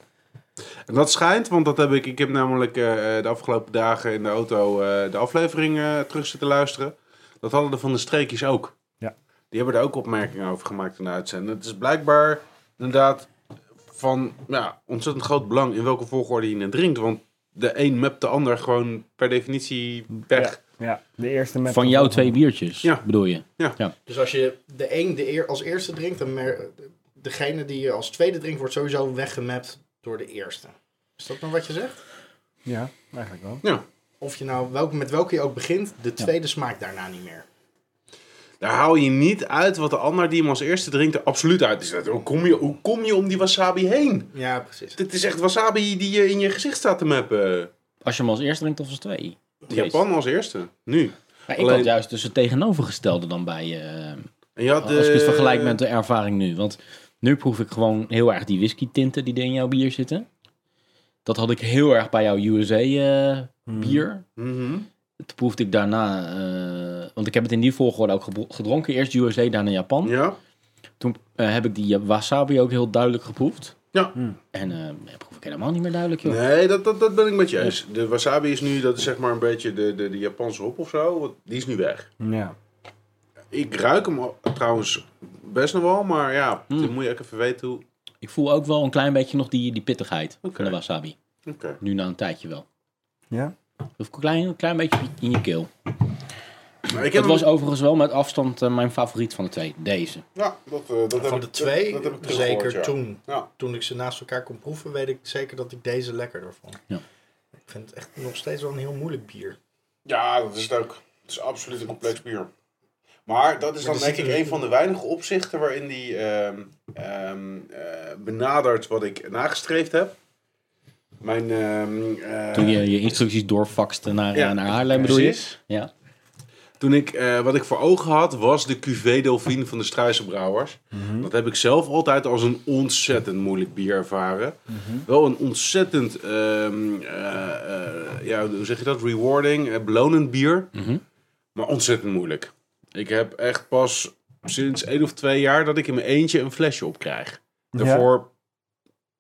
Speaker 2: En dat schijnt, want dat heb ik, ik heb namelijk eh, de afgelopen dagen in de auto eh, de aflevering eh, terug zitten luisteren. Dat hadden de van de streekjes ook.
Speaker 3: Ja.
Speaker 2: Die hebben daar ook opmerkingen over gemaakt in de uitzending. Het is blijkbaar inderdaad van ja, ontzettend groot belang in welke volgorde je het drinkt. Want de een mept de ander gewoon per definitie weg.
Speaker 3: Ja, ja, de eerste met...
Speaker 1: Van
Speaker 3: de
Speaker 1: jouw twee
Speaker 3: volgorde.
Speaker 1: biertjes,
Speaker 2: Ja.
Speaker 1: bedoel je?
Speaker 5: Dus als je de een de eer, als eerste drinkt, dan mer- degene die je als tweede drinkt, wordt sowieso weggemapt door de eerste. Is dat dan wat je zegt?
Speaker 3: Ja, eigenlijk wel.
Speaker 5: Of je nou, welk, met welke je ook begint, de tweede smaakt daarna niet meer.
Speaker 2: Daar haal je niet uit wat de ander die hem als eerste drinkt er absoluut uit is. Dat- Hoe kom je, hoe kom je om die wasabi heen?
Speaker 5: Ja, precies.
Speaker 2: Dit is echt wasabi die je in je gezicht staat te meppen.
Speaker 1: Als je hem als eerste drinkt of als twee?
Speaker 2: Japan als eerste. Nu.
Speaker 1: Ja, ik
Speaker 2: Alleen-
Speaker 1: had juist dus het tegenovergestelde dan bij... eh,
Speaker 2: En je had
Speaker 1: Als ik het
Speaker 2: eh,
Speaker 1: vergelijk met de ervaring nu. Want nu proef ik gewoon heel erg die whisky tinten die er in jouw bier zitten. Dat had ik heel erg bij jouw USA eh,
Speaker 2: Hmm.
Speaker 1: bier.
Speaker 2: mhm.
Speaker 1: Dat proefde ik daarna. eh, want ik heb het in die volgorde ook gebro- gedronken. Eerst USA, daarna Japan.
Speaker 2: Ja.
Speaker 1: Toen eh, heb ik die wasabi ook heel duidelijk geproefd.
Speaker 2: Ja.
Speaker 1: En eh, dat proef ik helemaal niet meer duidelijk, joh.
Speaker 2: Nee, dat, dat, dat ben ik met je eens. De wasabi is nu, dat is zeg maar een beetje de, de, de Japanse hop of zo. want Die is nu weg.
Speaker 3: Ja.
Speaker 2: Ik ruik hem al- trouwens best nog wel, maar ja, dan moet je ook even weten hoe...
Speaker 1: Ik voel ook wel een klein beetje nog die, die pittigheid
Speaker 2: Oké.
Speaker 1: van de wasabi.
Speaker 2: Oké.
Speaker 1: Nu na een tijdje wel.
Speaker 3: Ja?
Speaker 1: Of een klein, een klein beetje in je keel.
Speaker 2: Maar ik
Speaker 1: Dat
Speaker 2: heb
Speaker 1: was
Speaker 2: hem-
Speaker 1: overigens wel met afstand eh, mijn favoriet van de twee. Deze.
Speaker 2: Ja, dat, eh, dat heb
Speaker 5: Van
Speaker 2: ik-
Speaker 5: de twee,
Speaker 2: dat, dat heb ik teruggehoord,
Speaker 5: zeker
Speaker 2: ja.
Speaker 5: toen.
Speaker 2: Ja.
Speaker 5: Toen ik ze naast elkaar kon proeven, weet ik zeker dat ik deze lekkerder vond.
Speaker 1: Ja.
Speaker 5: Ik vind het echt nog steeds wel een heel moeilijk bier.
Speaker 2: Ja, dat is het ook. Het is absoluut een complex bier. Maar dat is dan denk ik een van de weinige opzichten waarin die ehm, ehm, eh, benadert wat ik nagestreefd heb. Mijn, ehm, eh,
Speaker 1: Toen je je instructies doorfaxte naar,
Speaker 2: Ja,
Speaker 1: eh, naar Haarlem bedoel je?
Speaker 2: precies.
Speaker 1: Ja.
Speaker 2: Toen ik, eh, wat ik voor ogen had, was de cuvée Delphine van de Struisenbrouwers. Dat heb ik zelf altijd als een ontzettend moeilijk bier ervaren. Wel een ontzettend, ehm, eh, eh, ja, hoe zeg je dat, rewarding, eh, belonend bier.
Speaker 1: Mhm.
Speaker 2: Maar ontzettend moeilijk. Ik heb echt pas sinds één of twee jaar dat ik in mijn eentje een flesje op krijg.
Speaker 3: Ja.
Speaker 2: Daarvoor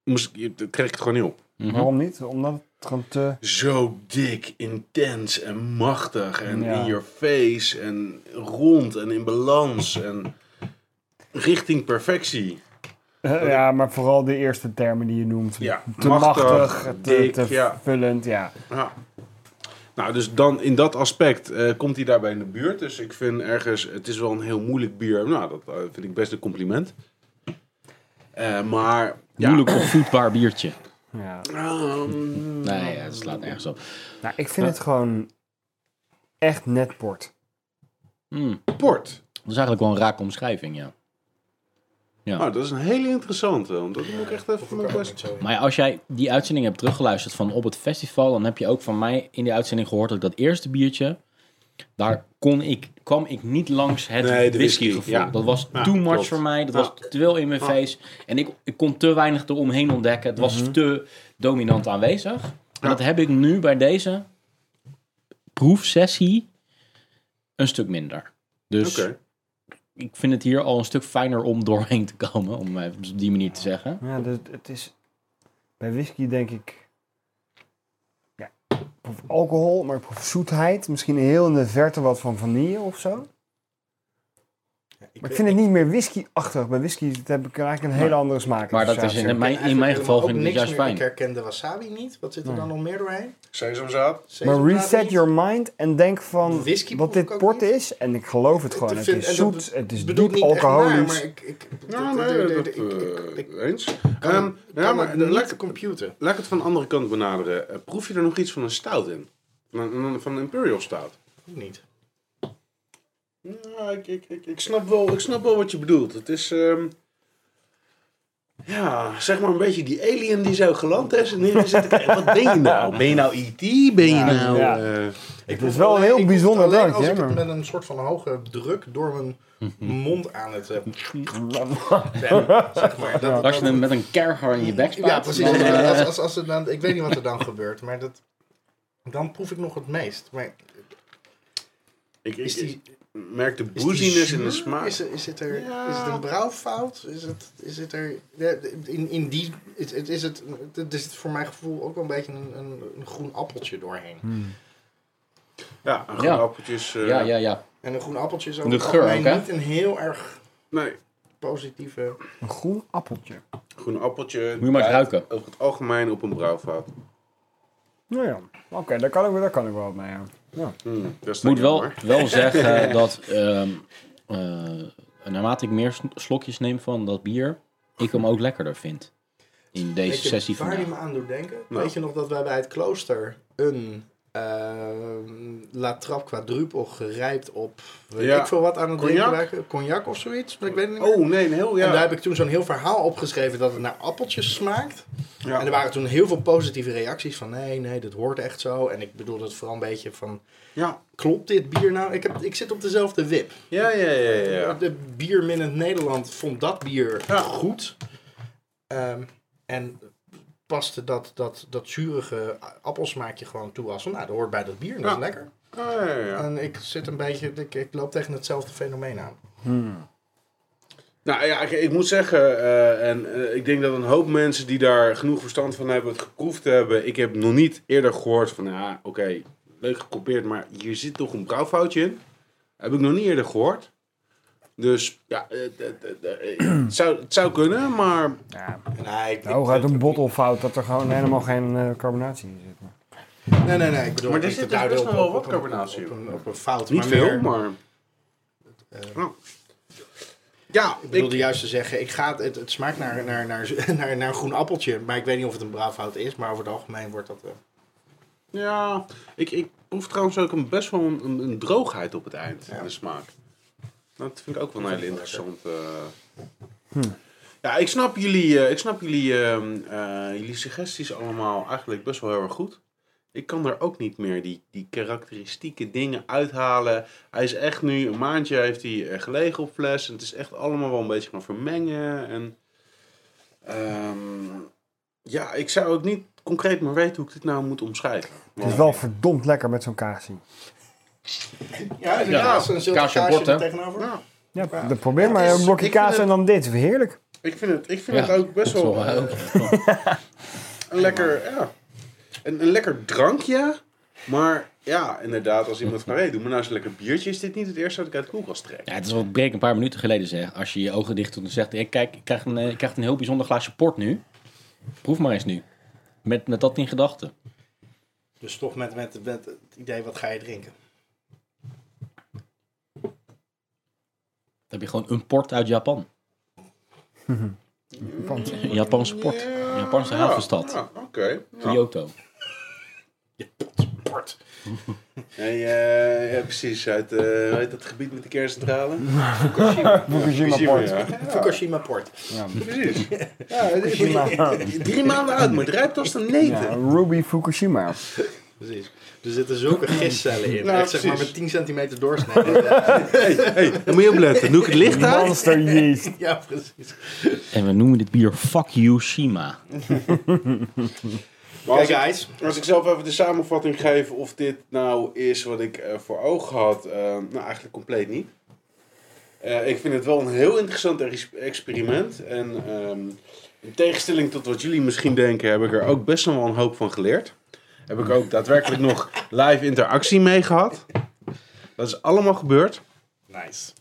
Speaker 2: moest ik, kreeg ik het gewoon niet op.
Speaker 1: Mhm.
Speaker 3: Waarom niet? Omdat het gewoon te...
Speaker 2: Zo dik, intens en machtig en
Speaker 3: Ja.
Speaker 2: in your face en rond en in balans en richting perfectie.
Speaker 3: Eh, ja, maar vooral de eerste termen die je noemt.
Speaker 2: Ja,
Speaker 3: te machtig,
Speaker 2: machtig,
Speaker 3: te,
Speaker 2: dik,
Speaker 3: te
Speaker 2: ja.
Speaker 3: vullend, ja.
Speaker 2: Ja. Nou, dus dan in dat aspect eh, komt hij daarbij in de buurt. Dus ik vind ergens, het is wel een heel moeilijk bier. Nou, dat eh, vind ik best een compliment. Eh, maar, ja.
Speaker 1: Moeilijk opvoedbaar biertje.
Speaker 3: ja.
Speaker 2: Ehm,
Speaker 1: Nee, het slaat nergens op.
Speaker 3: Nou, ik vind het gewoon echt net port.
Speaker 1: Hmm.
Speaker 2: port.
Speaker 1: Dat is eigenlijk wel een raak omschrijving, ja. Ja.
Speaker 2: Nou, dat is een hele interessante. Want dat moet ik echt even mijn best...
Speaker 1: Maar ja, als jij die uitzending hebt teruggeluisterd van op het festival, dan heb je ook van mij in die uitzending gehoord dat ik dat eerste biertje, daar kon ik, kwam ik niet langs het
Speaker 2: Nee, de whisky,
Speaker 1: whiskygevoel.
Speaker 2: ja.
Speaker 1: Dat was
Speaker 2: Ja,
Speaker 1: too much
Speaker 2: klopt.
Speaker 1: voor mij, dat
Speaker 2: Ja.
Speaker 1: was te veel in mijn face en ik, ik kon te weinig eromheen ontdekken. Het
Speaker 2: Mhm.
Speaker 1: was te dominant aanwezig. En dat heb ik nu bij deze proefsessie een stuk minder. Dus
Speaker 2: Oké.
Speaker 1: ik vind het hier al een stuk fijner om doorheen te komen, om het op die manier te zeggen.
Speaker 3: Ja, dus het is... Bij whisky denk ik... Ja, ik proef alcohol, maar ik proef zoetheid. Misschien heel in de verte wat van vanille of zo. Maar ik vind het niet meer whisky-achtig. Bij whisky heb ik eigenlijk een hele andere smaak.
Speaker 1: Maar dat is
Speaker 3: associatie.
Speaker 1: in mijn, in mijn geval vind ik het juist
Speaker 5: Ik
Speaker 1: fijn.
Speaker 5: herkende wasabi niet. Wat zit er dan nog meer doorheen?
Speaker 2: Sesamzaad.
Speaker 3: Maar
Speaker 5: Sesamzaad
Speaker 3: reset
Speaker 5: niet.
Speaker 3: your mind en denk van
Speaker 5: Whisky
Speaker 3: wat
Speaker 5: proef
Speaker 3: dit
Speaker 5: ik ook
Speaker 3: port
Speaker 5: niet.
Speaker 3: is. En ik geloof het gewoon.
Speaker 5: Ik
Speaker 3: Het
Speaker 5: vind-
Speaker 3: is
Speaker 5: en dat
Speaker 3: zoet, het is
Speaker 5: bedoel ik
Speaker 3: diep
Speaker 5: niet echt naar,
Speaker 3: alcoholisch.
Speaker 5: maar ik- ik-
Speaker 2: Ja,
Speaker 5: ik-
Speaker 2: nee,
Speaker 5: ik-
Speaker 2: dat
Speaker 5: ik- ik-
Speaker 2: eh, eens.
Speaker 5: kan
Speaker 2: Ehm,
Speaker 5: het-
Speaker 2: ja,
Speaker 5: kan
Speaker 2: maar
Speaker 5: het
Speaker 2: de-
Speaker 5: niet
Speaker 2: laat, ik-
Speaker 5: computer.
Speaker 2: laat ik het van de andere kant benaderen. Eh, proef je er nog iets van een stout in? Van een, van een Imperial stout?
Speaker 5: Ook Niet.
Speaker 2: Ja, ik, ik, ik, ik, snap wel, ik snap wel wat je bedoelt. Het is... ehm, ja, zeg maar een beetje die alien die zo geland is. En iedereen zit te kijken, wat ben je nou? Ben je nou E.T.? Ben je nou...
Speaker 3: ja.
Speaker 2: eh,
Speaker 5: Ik
Speaker 3: Het is
Speaker 5: proef
Speaker 3: wel een
Speaker 5: alleen-
Speaker 3: heel
Speaker 5: ik proef
Speaker 3: bijzonder
Speaker 5: het alleen
Speaker 3: drankje,
Speaker 5: Als ik
Speaker 3: hè,
Speaker 5: het
Speaker 3: maar-
Speaker 5: met een soort van hoge druk door mijn mond aan het heb. zeg maar. Dat,
Speaker 1: Als je hem met een kerker in je bek spaat,
Speaker 5: ja, precies.
Speaker 1: dan, eh,
Speaker 5: Als, als, als het dan, ik weet niet wat er dan gebeurt, maar dat, dan proef ik nog het meest. Maar
Speaker 2: ik, ik,
Speaker 5: is die,
Speaker 2: ik merk de
Speaker 5: is die
Speaker 2: booziness in de
Speaker 5: zuur?
Speaker 2: smaak.
Speaker 5: Is, is, het er,
Speaker 2: Ja.
Speaker 5: is het een brouwfout? Is het, is het er... ja, In, in die... Is, het- is het, het is voor mijn gevoel ook wel een beetje een, een, een groen appeltje doorheen.
Speaker 1: Hm.
Speaker 2: Ja, een
Speaker 1: Ja.
Speaker 2: grappeltjes. eh,
Speaker 1: ja, ja, ja.
Speaker 5: En een groen appeltje is ook
Speaker 1: De geur
Speaker 5: algemeen
Speaker 1: ook, hè?
Speaker 5: niet een heel erg
Speaker 2: Nee,
Speaker 5: positieve...
Speaker 3: Een groen appeltje.
Speaker 2: groen appeltje.
Speaker 1: Moet je maar eens
Speaker 2: lijkt
Speaker 1: ruiken.
Speaker 2: Over het algemeen op een brouwfout.
Speaker 3: Nou ja, oké, daar, kan ik wel- daar kan ik wel wat mee. Ja.
Speaker 2: Hmm, dat is
Speaker 1: Ik moet
Speaker 2: dan
Speaker 1: wel,
Speaker 2: jammer.
Speaker 1: wel zeggen dat ehm, eh, naarmate ik meer sn- slokjes neem van dat bier, ik hem ook lekkerder vind. In deze
Speaker 5: Weet je
Speaker 1: sessie
Speaker 5: waar je
Speaker 1: vandaag.
Speaker 5: me aan doet denken?
Speaker 2: Nou.
Speaker 5: Weet je nog dat wij bij het klooster een ehm, La Trappe quadruple gerijpt op... Weet
Speaker 2: Ja.
Speaker 5: ik veel wat aan het drinken
Speaker 2: Cognac?
Speaker 5: waren? Cognac of zoiets? Ik weet het niet meer.
Speaker 2: Oh nee, een heel
Speaker 5: En daar
Speaker 2: ja.
Speaker 5: heb ik toen zo'n heel verhaal opgeschreven dat het naar appeltjes smaakt.
Speaker 2: ja.
Speaker 5: En er waren toen heel veel positieve reacties van nee, nee, dat hoort echt zo. En ik bedoel dat vooral een beetje van,
Speaker 2: Ja.
Speaker 5: klopt dit bier nou? Ik, heb, ik zit op dezelfde wip.
Speaker 2: Ja, ja, ja, ja, ja.
Speaker 5: De bierminnend Nederland vond dat bier
Speaker 2: Ja.
Speaker 5: goed. Ehm, en paste dat, dat, dat zurige appelsmaakje gewoon toe als van, nou, dat hoort bij dat bier, dat
Speaker 2: Ja.
Speaker 5: is lekker.
Speaker 2: Ja, ja, ja.
Speaker 5: En ik zit een beetje, ik, ik loop tegen hetzelfde fenomeen aan.
Speaker 2: Nou ja, ik, ik moet zeggen, eh, en eh, ik denk dat een hoop mensen die daar genoeg verstand van hebben, het geproefd hebben. Ik heb nog niet eerder gehoord van, ja, oké, leuk geprobeerd, maar hier zit toch een brouwfoutje in. Heb ik nog niet eerder gehoord. Dus ja, eh, eh, eh, eh, het, zou, het zou kunnen, maar
Speaker 3: Ja.
Speaker 5: Nee, ik-
Speaker 3: Nou, uit een bottelfout dat er gewoon helemaal geen eh, carbonatie in zit.
Speaker 5: Nee, nee, nee. Ik bedoel,
Speaker 2: Maar er
Speaker 5: niet te
Speaker 2: zit dus best
Speaker 5: duiden
Speaker 2: wel
Speaker 5: op- op
Speaker 2: wat
Speaker 5: een-
Speaker 2: carbonatie
Speaker 5: Op
Speaker 2: in.
Speaker 5: een, op een fout.
Speaker 2: niet
Speaker 5: maar
Speaker 2: veel.
Speaker 5: meer- eh,
Speaker 2: Maar Nou. ja,
Speaker 5: Nou, Ik
Speaker 2: ik,
Speaker 5: wilde juist te zeggen, ik ga, het- het, het smaakt naar, naar, naar, naar, naar een groen appeltje. Maar ik weet niet of het een braafhout is. Maar over het algemeen wordt dat... eh,
Speaker 2: Ja, ik, ik proef trouwens ook een, best wel een, een, een droogheid op het eind in de smaak. Nou, Dat vind ik ook wel een hele interessante. eh. Ja, ik snap jullie, eh, ik snap jullie, ehm, eh, jullie suggesties allemaal eigenlijk best wel heel erg goed. Ik kan er ook niet meer die, die karakteristieke dingen uithalen. Hij is echt nu, een maandje heeft hij eh, gelegen op fles. En het is echt allemaal wel een beetje gaan vermengen. En, ehm, ja, ik zou ook niet concreet maar weten hoe ik dit nou moet omschrijven.
Speaker 3: Het is wel verdomd lekker met zo'n kaasie.
Speaker 5: Ja,
Speaker 1: Ja,
Speaker 5: ja, een zilver
Speaker 1: kaasje op
Speaker 5: kaasje
Speaker 1: bord, hè?
Speaker 5: er tegenover.
Speaker 2: Nou,
Speaker 3: Ja, dat probeer maar
Speaker 2: het is-
Speaker 3: een blokje
Speaker 2: ik vind
Speaker 3: kaas
Speaker 2: het-
Speaker 3: en dan dit. Heerlijk.
Speaker 2: Ik vind het, ik vind
Speaker 1: Ja,
Speaker 2: het ook best wel
Speaker 1: wel
Speaker 2: eh, een lekker, ja, een, een lekker drankje. Maar ja, inderdaad, als iemand van hey, doe maar nou eens een lekker biertje, is dit niet het eerste dat ik uit de koelkast trek.
Speaker 1: Ja, het is wat Breek een paar minuten geleden zeg. Als je je ogen dicht doet en zegt, ik, kijk, ik, krijg een, eh, ik krijg een heel bijzonder glaasje port nu. Proef maar eens nu. Met, met dat in gedachten.
Speaker 5: Dus toch met, met, met het idee, wat ga je drinken?
Speaker 1: Dan heb je gewoon een port uit Japan. Een Japanse port. Een Japanse havenstad.
Speaker 2: Ja, Oh, oké. Ja.
Speaker 1: Kyoto.
Speaker 5: Port.
Speaker 2: Hey, eh, ja, precies. Uit eh, hoe heet dat gebied met de kerncentrale?
Speaker 3: Fukushima port.
Speaker 2: Ja,
Speaker 5: Fukushima Port.
Speaker 2: precies. Ja, het is- drie maanden oud, maar het ruikt als een
Speaker 3: Ja,
Speaker 2: neten.
Speaker 3: Ruby Fukushima.
Speaker 5: Precies. Er zitten zulke gistcellen in.
Speaker 2: Nou,
Speaker 5: Echt, zeg maar
Speaker 2: precies.
Speaker 5: met 10 centimeter doorsnijden.
Speaker 2: Hey, hey, dan moet je opletten. Doe ik het licht uit?
Speaker 3: Monster yeast.
Speaker 5: ja, precies.
Speaker 1: En we noemen dit bier Fuck You Shima.
Speaker 2: Maar als
Speaker 5: Kijk,
Speaker 2: ik-
Speaker 5: guys.
Speaker 2: Als ik zelf even de samenvatting geef of dit nou is wat ik eh, voor ogen had, eh, nou eigenlijk compleet niet. Eh, ik vind het wel een heel interessant ex- experiment. En ehm, in tegenstelling tot wat jullie misschien denken, heb ik er ook best nog wel een hoop van geleerd. Heb ik ook daadwerkelijk nog live interactie mee gehad. Dat is allemaal gebeurd.
Speaker 5: Nice.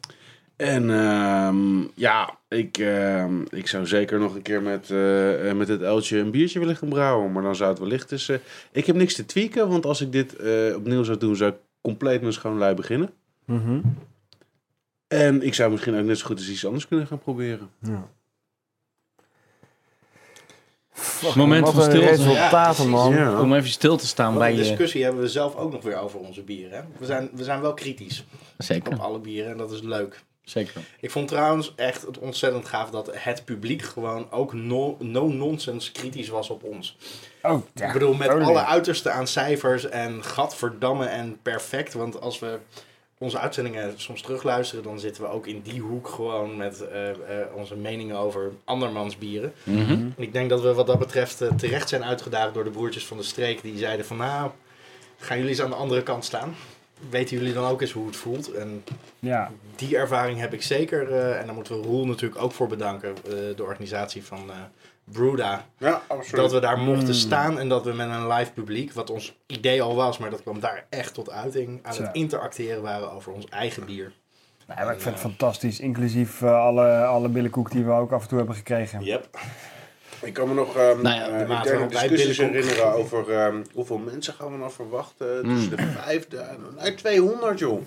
Speaker 2: En ehm, ja, ik, ehm, ik zou zeker nog een keer met, eh, eh, met het uiltje een biertje willen gaan brouwen. Maar dan zou het wellicht dus... eh, ik heb niks te tweaken, want als ik dit eh, opnieuw zou doen, zou ik compleet met schoonlui beginnen. En ik zou misschien ook net zo goed als iets anders kunnen gaan proberen.
Speaker 1: Moment
Speaker 3: Wat
Speaker 1: van
Speaker 3: een
Speaker 1: stilte.
Speaker 3: resultaten, man.
Speaker 2: Ja.
Speaker 1: Om even stil te staan
Speaker 5: Want
Speaker 1: bij
Speaker 5: die
Speaker 1: je.
Speaker 5: discussie hebben we zelf ook nog weer over onze bieren. hè? We zijn, we zijn wel kritisch op
Speaker 1: Zeker,
Speaker 5: alle bieren en dat is leuk.
Speaker 1: zeker.
Speaker 5: Ik vond trouwens echt het ontzettend gaaf dat het publiek gewoon ook no- no-nonsense kritisch was op ons.
Speaker 3: Oh, ja.
Speaker 5: Ik bedoel, met
Speaker 3: Oh, nee.
Speaker 5: alle uitersten aan cijfers en gadverdamme en perfect. Want als we onze uitzendingen soms terugluisteren, dan zitten we ook in die hoek gewoon met eh, eh, onze meningen over andermans bieren. En ik denk dat we wat dat betreft eh, terecht zijn uitgedaagd door de broertjes van de streek. Die zeiden van, nou, gaan jullie eens aan de andere kant staan. Weten jullie dan ook eens hoe het voelt? En
Speaker 3: Ja.
Speaker 5: die ervaring heb ik zeker. eh, en daar moeten we Roel natuurlijk ook voor bedanken. eh, de organisatie van eh Bruda.
Speaker 2: Ja, absoluut.
Speaker 5: Dat we daar mochten staan en dat we met een live publiek, wat ons idee al was, maar dat kwam daar echt tot uiting, aan
Speaker 3: Zo.
Speaker 5: het interacteren waren over ons eigen bier.
Speaker 3: Nee, maar ik vind het fantastisch. Inclusief eh, alle, alle billenkoek die we ook af en toe hebben gekregen.
Speaker 5: Yep.
Speaker 2: Ik kan me nog ehm
Speaker 1: Nou ja,
Speaker 2: eh,
Speaker 5: de mate
Speaker 2: interne
Speaker 5: waarop wij
Speaker 2: discussies
Speaker 5: binnenkomen.
Speaker 2: herinneren over ehm, hoeveel mensen gaan we nou verwachten.
Speaker 5: Mm.
Speaker 2: Tussen de 5000 en 200, joh.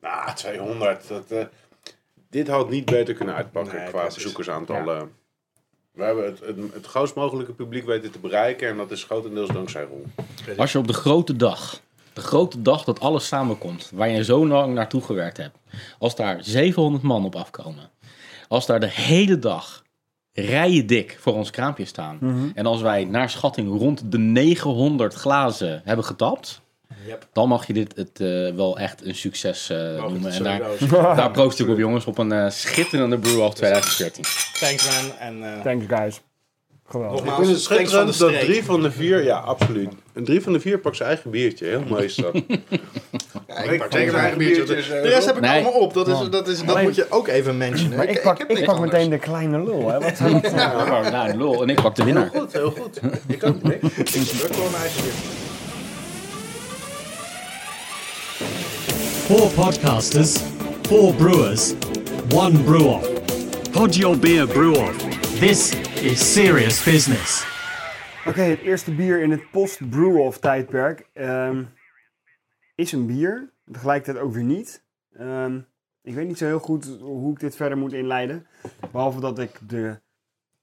Speaker 2: Nou, 200. Dat, eh, dit had niet beter kunnen uitpakken
Speaker 5: Nee,
Speaker 2: qua
Speaker 5: precies.
Speaker 2: bezoekersaantallen. We hebben het, het, het grootst mogelijke publiek weten te bereiken en dat is grotendeels dankzij Roel.
Speaker 1: Als je op de grote dag, de grote dag dat alles samenkomt, waar je zo lang naartoe gewerkt hebt, als daar 700 man op afkomen, als daar de hele dag rijen dik voor ons kraampje staan, en als wij naar schatting rond de 900 glazen hebben getapt,
Speaker 5: Yep.
Speaker 1: dan mag je dit het, eh, wel echt een succes eh, noemen. En daar,
Speaker 5: Sowieso.
Speaker 1: daar proost ik op, jongens, op een eh, schitterende brew of 2014.
Speaker 5: Thanks man. En eh,
Speaker 3: Thanks, guys. Geweldig.
Speaker 2: Ik vind het
Speaker 5: nogmaals, thanks van de
Speaker 2: schitterend dat
Speaker 5: streek.
Speaker 2: drie van de vier, ja absoluut. En drie van de vier pakt zijn eigen biertje, heel mooi is dat.
Speaker 5: Ja, ik pak
Speaker 2: pak
Speaker 5: zeker mijn eigen biertje.
Speaker 2: biertjes,
Speaker 5: De
Speaker 2: eh,
Speaker 5: rest heb ik
Speaker 1: Nee.
Speaker 5: allemaal op. Dat, is, dat, is, dat
Speaker 3: Alleen-
Speaker 5: moet je ook even mentionen.
Speaker 3: Maar ik pak,
Speaker 5: heb
Speaker 3: ik
Speaker 5: niks
Speaker 3: pak
Speaker 5: anders.
Speaker 3: meteen de kleine lul, hè. Wat zou dat zijn?
Speaker 1: Oh, nou, lol. En ik pak de winnaar.
Speaker 2: Goed, heel goed. Ik ook, Nick.
Speaker 5: Ik pak gewoon mijn eigen biertje.
Speaker 4: Four podcasters, four brewers, one brew off. Pod your beer brew off. This is serious business.
Speaker 3: Oké, het eerste bier in het post-brew-off tijdperk ehm, is een bier. Tegelijkertijd ook weer niet. Ehm, ik weet niet zo heel goed hoe ik dit verder moet inleiden. Behalve dat ik de,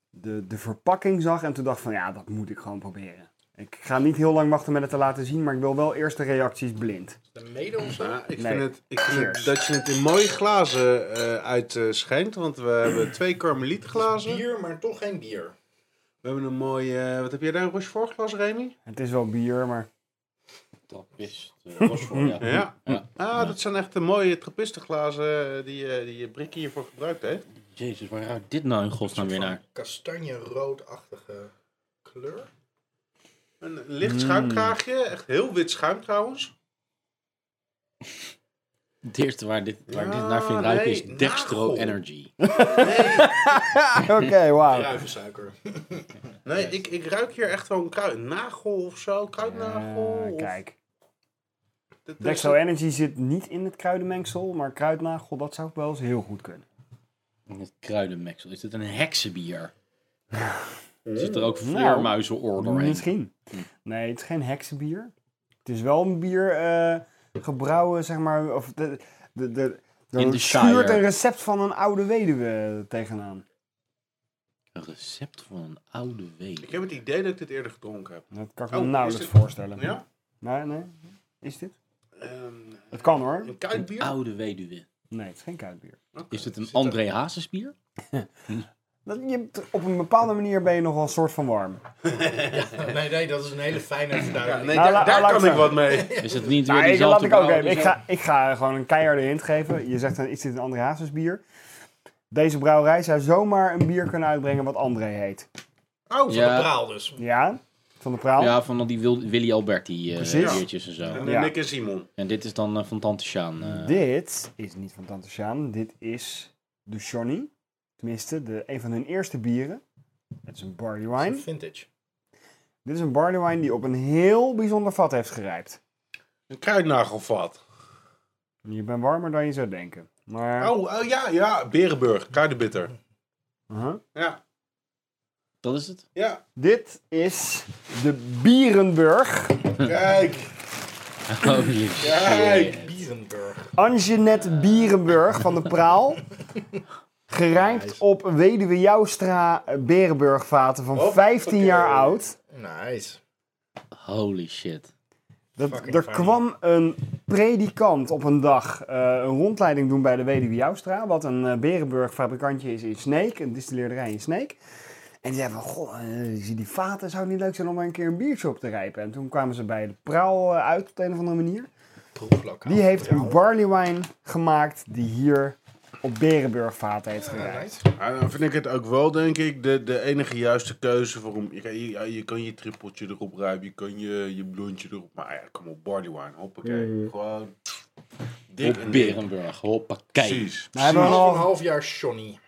Speaker 3: de, de verpakking zag en toen dacht van ja, dat moet ik gewoon proberen. Ik ga niet heel lang wachten met het te laten zien, maar ik wil wel eerst de reacties blind.
Speaker 5: De mede of zo?
Speaker 2: Ja, Nou, ik
Speaker 3: Nee.
Speaker 2: vind, het, ik vind
Speaker 3: Cheers.
Speaker 2: het dat je het in mooie glazen eh uitschijnt. Want we hebben twee karmelietglazen.
Speaker 5: Bier, maar toch geen bier.
Speaker 2: We hebben een mooie... eh, wat heb jij daar een Rochefort glas, Remy?
Speaker 3: Het is wel bier, maar
Speaker 1: Dat is eh, was voor, ja.
Speaker 2: Ja.
Speaker 1: Ja.
Speaker 2: Ah, dat zijn echt de mooie trappistenglazen eh, die, eh die Brick hiervoor gebruikt heeft.
Speaker 1: Jezus, waar ruikt dit nou in godsnaam weer naar?
Speaker 5: Kastanje-roodachtige kleur.
Speaker 2: Een
Speaker 3: Mm.
Speaker 2: licht schuimkraagje. Echt heel wit schuim trouwens.
Speaker 1: Het eerste waar dit, waar
Speaker 2: Ja,
Speaker 1: dit naar vindt ruiken
Speaker 3: Ah,
Speaker 2: nee,
Speaker 1: is Dextro
Speaker 2: nagel.
Speaker 1: Energy.
Speaker 3: oké, wauw.
Speaker 5: Druivensuiker.
Speaker 2: Nee, ik, ik ruik hier echt wel een kruid, nagel of zo. Kruidnagel.
Speaker 3: Eh,
Speaker 2: of-
Speaker 3: kijk,
Speaker 2: dat is-
Speaker 3: Dextro Energy zit niet in het kruidenmengsel, maar kruidnagel, dat zou wel eens heel goed kunnen.
Speaker 1: Het kruidenmeksel. Is dit een heksenbier?
Speaker 3: Hmm.
Speaker 1: Zit er ook vleermuizenoor doorheen?
Speaker 3: Nou, Misschien.
Speaker 1: Hm.
Speaker 3: Nee, het is geen heksenbier. Het is wel een bier eh, gebrouwen, zeg maar, of de, de, de, de,
Speaker 1: In de
Speaker 3: schuurt
Speaker 1: Shire.
Speaker 3: een recept van een oude weduwe tegenaan.
Speaker 1: Een recept van een oude
Speaker 2: Ik
Speaker 1: week.
Speaker 2: heb het idee dat ik dit eerder gedronken heb.
Speaker 3: Dat kan ik me
Speaker 2: Oh, is
Speaker 3: nauwelijks
Speaker 2: dit-
Speaker 3: voorstellen.
Speaker 2: Ja?
Speaker 3: Nee, nee. Is dit?
Speaker 2: Ehm,
Speaker 3: Het kan hoor.
Speaker 2: een kuitbier?
Speaker 3: Nou,
Speaker 1: Oude weduwe.
Speaker 3: Nee, het is geen koudbier.
Speaker 1: Is dit een André Hazesbier?
Speaker 3: Dat, je, op een bepaalde manier ben je nog wel een soort van warm.
Speaker 5: Nee, nee, dat is een hele fijne verduidelijking.
Speaker 2: Nee,
Speaker 3: Nou, la-
Speaker 2: daar, daar
Speaker 3: laat ik
Speaker 2: kan ik
Speaker 3: zeggen.
Speaker 2: wat mee.
Speaker 1: Is het niet weer
Speaker 3: Nou, ik, laat
Speaker 1: diezelfde
Speaker 3: ik ook
Speaker 1: brouwer
Speaker 3: even. Ik
Speaker 1: die
Speaker 3: ga, ik ga gewoon een keiharde hint geven. Je zegt dan, is dit een André Hazes bier? Deze brouwerij zou zomaar een bier kunnen uitbrengen wat André heet.
Speaker 5: Oh, van
Speaker 1: Ja.
Speaker 5: de praal dus.
Speaker 3: Ja? Van de
Speaker 1: zelf-
Speaker 3: Praal?
Speaker 1: Ja, van al die Wil- Willy Alberti eh,
Speaker 3: Precies.
Speaker 1: biertjes en zo.
Speaker 2: En
Speaker 3: Ja.
Speaker 2: Nick en Simon.
Speaker 1: En dit is dan eh, van Tante Sjaan. eh.
Speaker 3: Dit is niet van Tante Sjaan. Dit is de Johnny. Tenminste, de, een van hun eerste bieren. Het is een barley
Speaker 5: Dat is
Speaker 3: wine.
Speaker 5: een Vintage.
Speaker 3: Dit is een barley wine die op een heel bijzonder vat heeft gerijpt.
Speaker 2: Een kruidnagelvat.
Speaker 3: Je bent warmer dan je zou denken. Maar...
Speaker 2: Oh, oh ja, ja. Berenburg. Kruidenbitter.
Speaker 3: Uh-huh.
Speaker 2: Ja.
Speaker 1: Dat is het.
Speaker 2: Ja.
Speaker 3: Dit is de Bierenburg.
Speaker 2: Kijk.
Speaker 1: Oh, jezus.
Speaker 2: Kijk.
Speaker 5: Bierenburg.
Speaker 3: Angenette Bierenburg van de Praal. Gerijmd
Speaker 5: Nice.
Speaker 3: op Weduwe Joustra Berenburgvaten van
Speaker 2: Hoppakee.
Speaker 3: 15 jaar oud.
Speaker 5: Nice.
Speaker 1: Holy shit.
Speaker 3: Dat,
Speaker 5: Fucking
Speaker 3: er
Speaker 5: fijn.
Speaker 3: kwam een predikant op een dag eh, een rondleiding doen bij de Weduwe Joustra. Wat een eh, Berenburg fabrikantje is in Sneek, een distilleerderij in Sneek. En die zei van, goh, eh, zie die vaten, zou het niet leuk zijn om er een keer een biertje op te rijpen. En toen kwamen ze bij de praal eh, uit op de een of andere manier.
Speaker 5: Proeflokaal.
Speaker 3: Die heeft een barley wine gemaakt die hier op Berenburgvaten heeft gerijpt.
Speaker 5: Nice.
Speaker 2: Ah, dan vind ik het ook wel, denk ik, de, de enige juiste keuze voor om... Je, kan- je, ja, je kan je trippeltje erop ruimen, je kan je, je blondje erop... Maar ja, kom op, barley wine, hoppakee. Gewoon dik
Speaker 1: Op
Speaker 2: en dik.
Speaker 1: Berenburg. Hoppakee.
Speaker 2: Precies.
Speaker 3: Nou, hebben we
Speaker 5: Half een
Speaker 3: nog
Speaker 5: half jaar Johnny.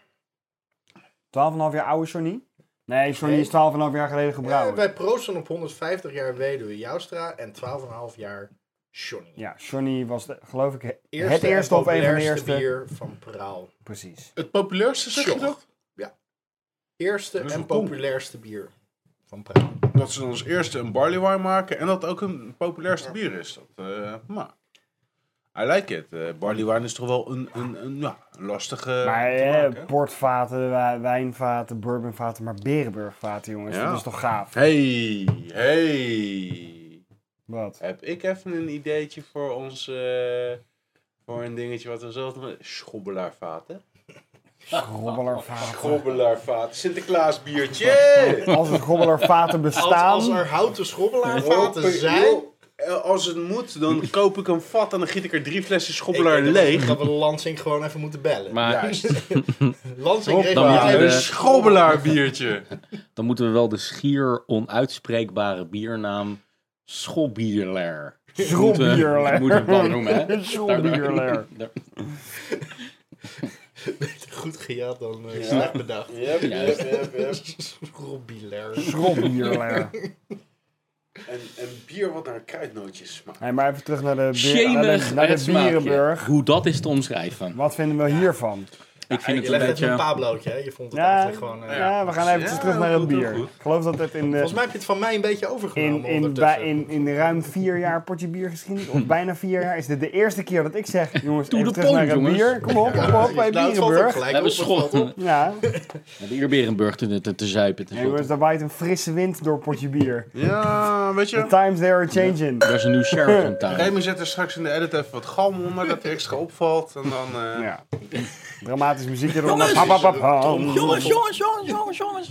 Speaker 3: 12,5 jaar oude Johnny? Nee, Johnny
Speaker 5: Nee.
Speaker 3: is 12,5 jaar geleden
Speaker 5: Ja,
Speaker 3: gebrouwen. Ja,
Speaker 5: Eh, wij proosten op 150 jaar weduwe Joustra en 12,5 jaar Johnny.
Speaker 3: Johnny was de- geloof ik he-
Speaker 5: Eerste
Speaker 3: het
Speaker 5: en
Speaker 3: eerste of een van de
Speaker 5: populairste
Speaker 3: eerste.
Speaker 5: bier van Praal.
Speaker 3: Precies.
Speaker 2: Het populairste, zeg je
Speaker 5: Sjoch.
Speaker 2: dat?
Speaker 5: Eerste
Speaker 2: Dat is
Speaker 5: en
Speaker 2: een kom.
Speaker 5: populairste bier van Praal.
Speaker 2: Dat ze dan als eerste een barley wine maken en dat ook een populairste bier is. Dat, eh, maar... I like it. Eh, barley wine is toch wel een, een, een, ja, een lastige
Speaker 3: Maar
Speaker 2: te
Speaker 3: eh,
Speaker 2: maken.
Speaker 3: portvaten, wa- wijnvaten, bourbonvaten, maar Berenburgvaten jongens,
Speaker 2: Ja.
Speaker 3: dat is toch gaaf?
Speaker 2: Hey, hey.
Speaker 3: Wat?
Speaker 2: Heb ik even een ideetje voor ons... eh, voor een dingetje wat we zelf noemen? Schobbelaarvaten.
Speaker 3: Grobbelervaten.
Speaker 2: Schobbelaarvaten. Sinterklaas biertje.
Speaker 3: Als het grobbelervaten
Speaker 5: Als, als
Speaker 3: bestaan,
Speaker 5: er houten schobbelaarvaten zijn...
Speaker 2: eh, Als het moet, dan koop ik een vat en dan giet ik er drie flessen
Speaker 5: Ik
Speaker 2: schobbelaar
Speaker 5: denk dat we-
Speaker 2: leeg.
Speaker 5: Dat we Lansing gewoon even moeten bellen.
Speaker 1: Maar
Speaker 5: Lansing kreeg
Speaker 1: dan
Speaker 5: wel
Speaker 1: moeten we-
Speaker 2: een
Speaker 5: een
Speaker 2: schobbelaar biertje.
Speaker 1: dan moeten we wel de schier onuitspreekbare biernaam Schobbierler.
Speaker 3: Schrobbierler.
Speaker 1: Moeten we dan noemen, hè?
Speaker 3: Schrobbierler.
Speaker 1: Daar-
Speaker 5: goed gejat dan eh, slecht bedacht.
Speaker 2: Yep,
Speaker 1: yep,
Speaker 5: Robbilair.
Speaker 3: schrobbierler.
Speaker 2: En, en bier wat naar kruidnootjes smaakt.
Speaker 3: Hey, maar even terug eh, naar de, bier, naar de,
Speaker 1: Schemerig
Speaker 3: naar de
Speaker 1: het smaakje.
Speaker 3: Bierenburg.
Speaker 1: Hoe dat is te omschrijven.
Speaker 3: Wat vinden we hiervan?
Speaker 1: ik vind het
Speaker 5: je
Speaker 1: een
Speaker 5: legt
Speaker 1: beetje...
Speaker 5: met een Pablootje, hè? Je vond het
Speaker 3: Ja,
Speaker 5: eigenlijk gewoon... eh,
Speaker 3: Ja, we gaan eventjes
Speaker 2: Ja,
Speaker 3: terug naar het
Speaker 2: goed, heel
Speaker 3: bier.
Speaker 2: goed.
Speaker 3: Ik geloof dat het in de,
Speaker 5: Volgens mij heb je het van mij een beetje overgenomen
Speaker 3: in, in, bij,
Speaker 5: ondertussen.
Speaker 3: in, in ruim vier jaar potje bier geschiedenis, of bijna vier jaar, is dit de eerste keer dat ik zeg, jongens,
Speaker 1: Doe
Speaker 3: even
Speaker 1: de
Speaker 3: terug
Speaker 1: pont,
Speaker 3: naar het
Speaker 1: jongens.
Speaker 3: bier. Kom op, kom op, bij
Speaker 5: Nou, het valt ook
Speaker 3: Bierenburg.
Speaker 5: gelijk
Speaker 1: Ja,
Speaker 5: op,
Speaker 1: de
Speaker 5: het valt op.
Speaker 1: school.
Speaker 3: Ja,
Speaker 1: De Eerberenburg te, te, te zuipen. Te
Speaker 3: Ja, jongens, daar waait een frisse wind door potje bier.
Speaker 2: Ja, weet
Speaker 3: The
Speaker 2: je.
Speaker 3: times they are changing.
Speaker 1: Er is een nieuw sheriff in town.
Speaker 2: Remy zet er straks in de edit even wat galm onder, dat hij extra opvalt. En dan... eh,
Speaker 3: Ja. Dramatisch muziekje eronder. Pa, pa, pa, pa.
Speaker 6: Jongens, jongens, jongens, jongens, jongens.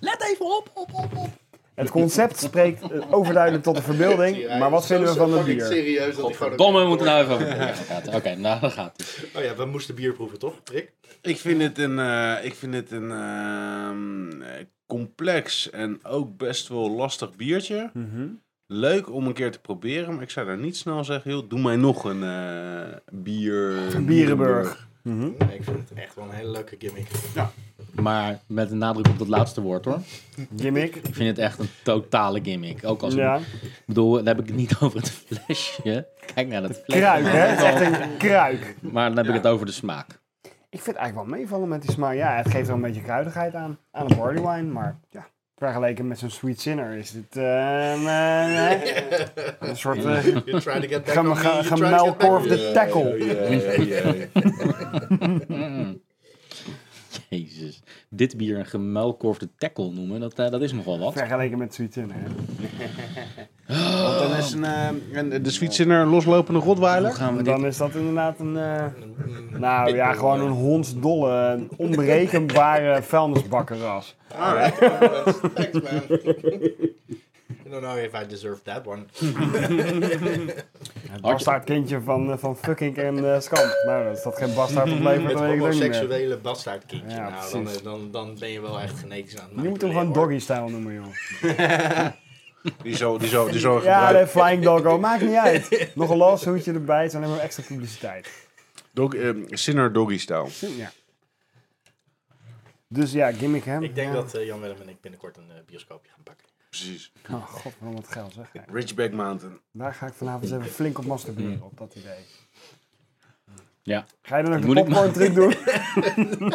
Speaker 6: Let even op, op, op, op.
Speaker 3: Het concept spreekt eh, overduidelijk tot de verbeelding, maar wat vinden we van het
Speaker 5: Fucking
Speaker 3: bier?
Speaker 5: serieus dat ik gewoon...
Speaker 1: Domme, we moeten nou even over praten. Oké, nou, dat gaat het.
Speaker 5: Oh ja, we moesten bier proeven, toch, Rick?
Speaker 2: Ik vind het een, eh, ik vind het een ehm, eh, complex en ook best wel lastig biertje. Leuk om een keer te proberen, maar ik zou daar niet snel zeggen, joh, doe mij nog een eh, bier...
Speaker 3: Bierenburg.
Speaker 5: Nee, ik vind het echt wel een hele leuke gimmick.
Speaker 1: Maar met een nadruk op dat laatste woord, hoor.
Speaker 3: Gimmick.
Speaker 1: Ik vind het echt een totale gimmick. Ook als...
Speaker 3: Ja.
Speaker 1: Ik bedoel, daar heb ik het niet over het flesje. Kijk naar dat flesje.
Speaker 3: Kruik, hè? Het is echt een kruik.
Speaker 1: Maar dan heb ik het over de smaak.
Speaker 3: Ik vind het eigenlijk wel meevallen met die smaak. Ja, het geeft wel een beetje kruidigheid aan, aan een barley wine, maar ja. Vergeleken met zo'n Sweet Sinner is dit eh, een, eh, een soort eh,
Speaker 5: You're trying to get back
Speaker 3: gem-
Speaker 5: on me,
Speaker 3: ge-
Speaker 5: you're trying to get back on me.
Speaker 3: gemuilkorfde tackle.
Speaker 1: Jezus. Dit bier een gemuilkorfde tackle noemen, dat, eh, dat is nogal wat.
Speaker 3: Vergeleken met Sweet Sinner. hè.
Speaker 2: Want dan is een, eh, een- de Sweet Sinner loslopende Rottweiler.
Speaker 1: Gaan we dit...
Speaker 3: Dan is dat inderdaad een, eh,
Speaker 5: Mm,
Speaker 3: nou ja, gewoon een hondsdolle, een onberekenbare vuilnisbakkerras.
Speaker 5: alright. Alright. Thanks, man. I don't know if I deserve that one.
Speaker 3: Het bastaard kindje van, eh, van fucking en eh, Skamp. Nou, als dat geen bastaard oplevert,
Speaker 5: Het
Speaker 3: dan weet ik het ook niet meer.
Speaker 5: homoseksuele bastaardkindje.
Speaker 3: Ja,
Speaker 5: nou, dan,
Speaker 3: precies.
Speaker 5: eh, dan, dan ben je wel echt genetisch aan het
Speaker 3: Je moet hem gewoon doggy-style noemen, joh.
Speaker 2: Die zo, die zo, die zo
Speaker 3: Ja, de
Speaker 2: gebruikt.
Speaker 3: Flying Doggo, maakt niet uit. Nog een los hoedje erbij, het is alleen maar extra publiciteit.
Speaker 2: Dog, eh, Sinner Doggy Style.
Speaker 3: Ja. Dus ja, gimmick hè?
Speaker 5: Ik denk
Speaker 3: Ja.
Speaker 5: dat eh, Jan-Willem en ik binnenkort een eh, bioscoopje gaan pakken.
Speaker 2: Precies.
Speaker 3: Oh god, wat wat geld zeg. Ja,
Speaker 2: Ridgeback Mountain.
Speaker 3: Daar ga ik vanavond eens even flink op masturberen, op dat idee.
Speaker 1: Ja.
Speaker 3: Ga je dan ook de
Speaker 1: Moet ik maar-
Speaker 3: popcorn truc doen?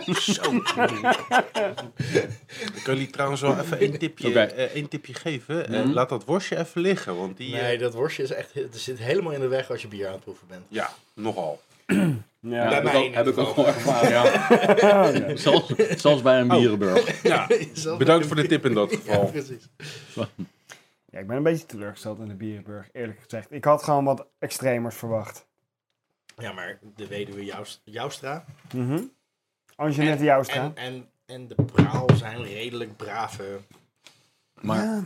Speaker 2: Ik kan jullie trouwens wel even één tipje,
Speaker 1: Oké.
Speaker 2: eh, één tipje geven. Eh, laat dat worstje even liggen, want die... eh,
Speaker 5: Nee, dat worstje is echt, het zit helemaal in de weg als je bier aan het proeven bent.
Speaker 2: Ja, nogal.
Speaker 1: Ja,
Speaker 3: Ja.
Speaker 1: heb, ik
Speaker 5: mij
Speaker 1: ook,
Speaker 5: in
Speaker 1: heb ik
Speaker 5: ieder
Speaker 1: ook wel ervaren, ja. zoals, zoals bij een
Speaker 5: Oh.
Speaker 1: bierenburg.
Speaker 2: Ja,
Speaker 5: Zelfs
Speaker 2: bedankt
Speaker 5: met
Speaker 2: voor de tip in dat
Speaker 5: Ja,
Speaker 2: geval.
Speaker 5: precies.
Speaker 3: ja, ik ben een beetje teleurgesteld in de Bierenburg, eerlijk gezegd. Ik had gewoon wat extremers verwacht.
Speaker 5: Ja, maar de weduwe Joust- Joustra
Speaker 3: Mhm. Angelette Joustra.
Speaker 5: en, en, en de praal zijn redelijk brave.
Speaker 1: Maar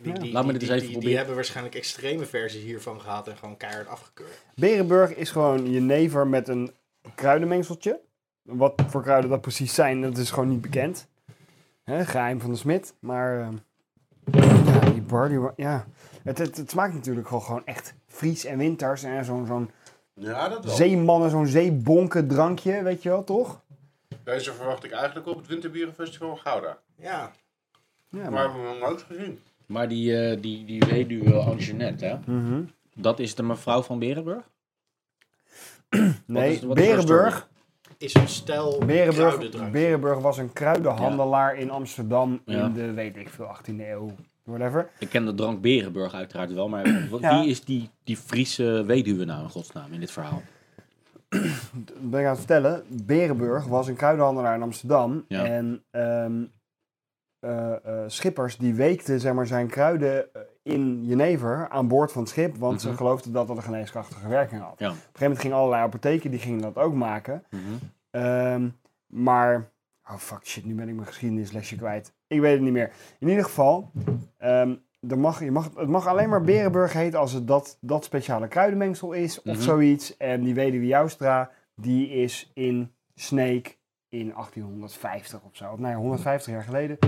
Speaker 5: Die, die,
Speaker 1: Laat me dit
Speaker 5: die-
Speaker 1: eens even
Speaker 5: die- die
Speaker 1: proberen.
Speaker 5: hebben waarschijnlijk extreme versies hiervan gehad en gewoon keihard afgekeurd.
Speaker 3: Berenburg is gewoon jenever met een kruidenmengseltje. Wat voor kruiden dat precies zijn, dat is gewoon niet bekend. Hè, geheim van de smid. Maar ehm, ja, die barley wa- ja. Het, het, het smaakt natuurlijk gewoon, gewoon echt Fries en winters. En zo'n zo'n
Speaker 2: Ja, dat wel.
Speaker 3: zeemannen, zo'n zeebonken drankje, weet je wel, toch?
Speaker 2: Deze verwacht ik eigenlijk op het Winterbierenfestival Gouda.
Speaker 5: Ja,
Speaker 3: Ja,
Speaker 2: Maar
Speaker 3: maar,
Speaker 2: we hebben hem nog nooit gezien.
Speaker 1: Maar die, eh, die, die weduwe Anjanette, hè?
Speaker 3: Mhm.
Speaker 1: Dat is de mevrouw van Berenburg?
Speaker 3: nee,
Speaker 1: is- wat is haar
Speaker 3: Berenburg,
Speaker 5: is een stel
Speaker 3: Berenburg,
Speaker 5: kruidendrankje.
Speaker 3: Berenburg was een kruidenhandelaar in Amsterdam
Speaker 1: Ja.
Speaker 3: in de, weet ik veel, 18e eeuw. Whatever.
Speaker 1: Ik ken de drank Berenburg uiteraard wel, maar wat,
Speaker 3: Ja.
Speaker 1: wie is die, die Friese weduwe nou in godsnaam in dit verhaal?
Speaker 3: ben ik aan het vertellen. Berenburg was een kruidenhandelaar in Amsterdam.
Speaker 1: Ja.
Speaker 3: En ehm, eh, eh, schippers die weekten zeg maar, zijn kruiden eh, in Jenever aan boord van het schip. Want ze geloofden dat dat een geneeskrachtige werking had.
Speaker 1: Mhm. Ja.
Speaker 3: Op een gegeven moment gingen allerlei apotheken die gingen dat ook maken. Ehm, maar. Oh fuck shit, nu ben ik mijn geschiedenislesje kwijt. Ik weet het niet meer. In ieder geval, ehm, er mag, je mag, het mag alleen maar Berenburg heten als het dat, dat speciale kruidenmengsel is of zoiets. En die weduwe Joustra, die is in Sneek in 1850 of zo. Of nee, 150 jaar geleden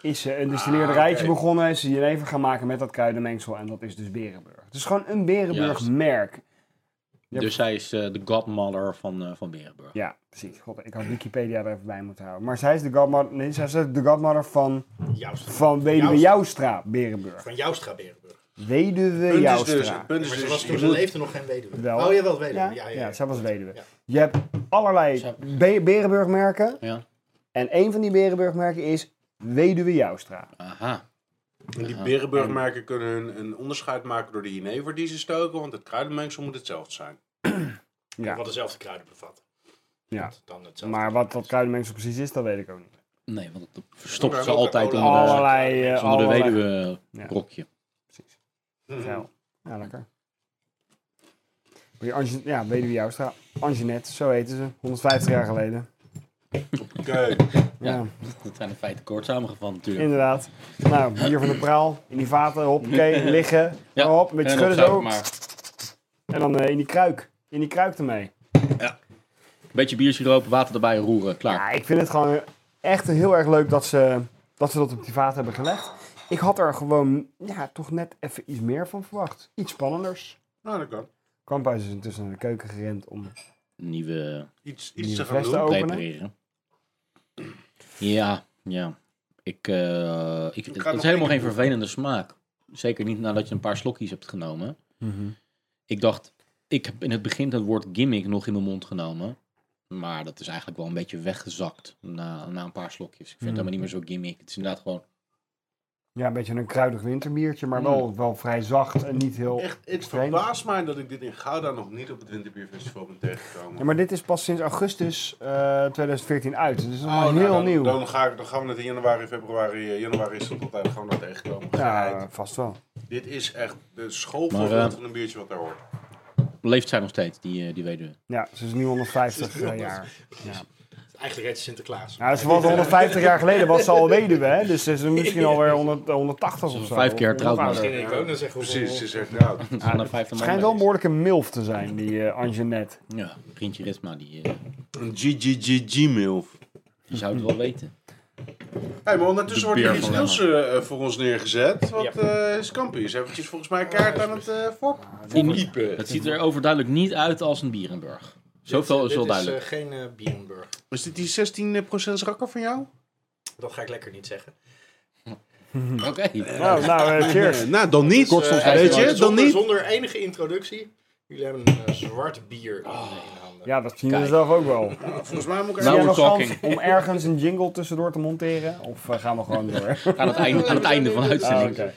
Speaker 3: is ze een distilleerderijtje
Speaker 2: oké.
Speaker 3: begonnen. En ze jenever gaan maken met dat kruidenmengsel. En dat is dus Berenburg. Het is gewoon een Berenburg-merk. Yep.
Speaker 1: Dus zij is eh, de godmother van, eh, van Berenburg.
Speaker 3: Ja, precies. God, ik had Wikipedia er even bij moeten houden. Maar zij is de godmother, nee, zij is de godmother van,
Speaker 5: Joustra.
Speaker 3: van Weduwe
Speaker 5: Joustra.
Speaker 3: Joustra, Berenburg.
Speaker 5: Van Joustra Berenburg.
Speaker 3: Weduwe
Speaker 2: Punt is dus,
Speaker 3: Joustra.
Speaker 2: het punt
Speaker 5: Maar
Speaker 2: is
Speaker 5: ze
Speaker 2: dus,
Speaker 5: was
Speaker 2: je
Speaker 5: toen ze
Speaker 2: moet-
Speaker 5: leefde nog geen weduwe.
Speaker 3: Wel.
Speaker 5: Oh ja, wel weduwe.
Speaker 3: Ja,
Speaker 5: Ja, ja, ja.
Speaker 3: ja, zij was weduwe.
Speaker 5: Ja.
Speaker 3: Je hebt allerlei
Speaker 1: Zo.
Speaker 3: be- Berenburgmerken.
Speaker 1: Ja.
Speaker 3: En een van die Berenburgmerken is Weduwe Joustra.
Speaker 1: Aha.
Speaker 2: En die berenburgmerken kunnen hun een onderscheid maken door de jenever die ze stoken, want het kruidenmengsel moet hetzelfde zijn.
Speaker 3: Ja.
Speaker 5: Wat dezelfde kruiden bevat.
Speaker 3: ja.
Speaker 5: Dan hetzelfde.
Speaker 3: Maar wat dat kruidenmengsel precies is, dat weet ik ook niet.
Speaker 1: Nee, want het verstopt
Speaker 2: Oké,
Speaker 1: ze
Speaker 2: oké,
Speaker 1: altijd
Speaker 2: oké.
Speaker 1: onder de,
Speaker 3: Allerlei... eh,
Speaker 1: onder de
Speaker 3: allerlei-
Speaker 1: weduwe
Speaker 3: Ja.
Speaker 1: rokje.
Speaker 3: Ja, ja lekker. Maar die Ange- ja, weduwe Joustra. Angenette, zo heten ze. 150 jaar geleden.
Speaker 2: Oké.
Speaker 3: Ja,
Speaker 1: Dat zijn de feiten kort samengevat natuurlijk.
Speaker 3: inderdaad. Nou, bier van de praal. In die vaten, hoppakee, liggen.
Speaker 1: Ja,
Speaker 3: hop, een beetje
Speaker 1: en
Speaker 3: schudden
Speaker 1: opzout
Speaker 3: zo.
Speaker 1: maar.
Speaker 3: En dan eh, in die kruik. In die kruik ermee.
Speaker 1: Beetje biersiroop, water erbij roeren, klaar.
Speaker 3: Ja, ik vind het gewoon echt heel erg leuk dat ze dat, ze dat op die vaten hebben gelegd. Ik had er gewoon ja, toch net even iets meer van verwacht. Iets spannenders.
Speaker 2: Nou, dat kan.
Speaker 3: Kamphuis is intussen naar de keuken gerend om
Speaker 1: Nieuwe
Speaker 2: Iets, iets
Speaker 3: nieuwe
Speaker 2: te gaan
Speaker 3: fles te
Speaker 2: doen.
Speaker 3: openen.
Speaker 1: prepareren. Ja, ja. Ik, eh, ik,
Speaker 2: ga
Speaker 1: het is
Speaker 2: nog één
Speaker 1: helemaal
Speaker 2: keer
Speaker 1: geen vervelende smaak. Zeker niet nadat je een paar slokjes hebt genomen. Ik dacht, ik heb in het begin dat woord gimmick nog in mijn mond genomen. Maar dat is eigenlijk wel een beetje weggezakt na, na een paar slokjes. Ik vind het helemaal niet meer zo gimmick. Het is inderdaad gewoon...
Speaker 3: Ja, een beetje een kruidig winterbiertje, maar wel, wel vrij zacht en niet heel...
Speaker 2: Mm. Echt, het
Speaker 3: vreemd.
Speaker 2: verbaast mij dat ik dit in Gouda nog niet op het Winterbierfestival ben tegengekomen.
Speaker 3: Ja, maar dit is pas sinds augustus eh, 2014 uit. Dus het is nog
Speaker 2: Oh,
Speaker 3: maar
Speaker 2: nou,
Speaker 3: heel
Speaker 2: dan,
Speaker 3: nieuw.
Speaker 2: Dan, ga ik, dan gaan we het in januari, februari. eh, Januari is het altijd gewoon naar tegenkomen.
Speaker 3: ja,
Speaker 2: Geheid.
Speaker 3: vast wel.
Speaker 2: Dit is echt de school
Speaker 1: Maar, eh,
Speaker 2: van een biertje wat daar hoort.
Speaker 1: Leeft zij nog steeds, die, eh, die weduwe?
Speaker 3: Ja, ze is nu 150
Speaker 5: Ze is
Speaker 3: eh, jaar. Ja.
Speaker 5: Eigenlijk reed ze Sinterklaas.
Speaker 3: Nou, ze was 150 jaar geleden was ze al weduwe, hè? Dus ze is misschien alweer 100, 180 of zo.
Speaker 1: vijf keer
Speaker 3: Of nog
Speaker 1: getrouwd, maar-
Speaker 3: ouder.
Speaker 5: Misschien denk ik ook dan zeg hoeveel...
Speaker 2: Precies, ze is echt oud.
Speaker 1: Ze gaan naar vijfde
Speaker 3: Het
Speaker 1: man
Speaker 3: schijnt wel
Speaker 1: bij.
Speaker 3: moeilijk een milf te zijn, die eh Anjanette.
Speaker 1: Ja, vriendje Risma, die, eh,
Speaker 2: Een GGGG-milf.
Speaker 1: die zou het wel weten.
Speaker 2: Hé, maar ondertussen wordt hier
Speaker 1: beer
Speaker 2: iets
Speaker 1: van
Speaker 2: nieuws eh, voor ons neergezet. Want eh Scampi is eventjes volgens mij kaart aan het eh voor- voorpiepen.
Speaker 1: Het ziet er overduidelijk niet uit als een Bierenburg. Zoveel is wel duidelijk.
Speaker 5: is eh, geen eh Bierenburg.
Speaker 2: Is dit die 16% rakker van jou?
Speaker 5: Dat ga ik lekker niet zeggen.
Speaker 1: Oké.
Speaker 3: Nou, nou, eh, cheers.
Speaker 2: Eh, nou, dan niet.
Speaker 1: Kort soms
Speaker 5: Eh,
Speaker 1: weet
Speaker 5: zonder-
Speaker 1: je,
Speaker 5: zonder, Zonder enige introductie. Jullie hebben een eh, zwart bier in de handen.
Speaker 3: Ja, dat zien we
Speaker 1: Kijk.
Speaker 3: zelf ook wel.
Speaker 2: Volgens mij moet
Speaker 1: Nou,
Speaker 2: ik
Speaker 3: Zie jij nog
Speaker 1: we're
Speaker 3: kans om ergens een jingle tussendoor te monteren? Of eh, gaan we gewoon door?
Speaker 1: Aan het einde, aan het einde van de
Speaker 3: Ah,
Speaker 1: uitzending.
Speaker 3: oké.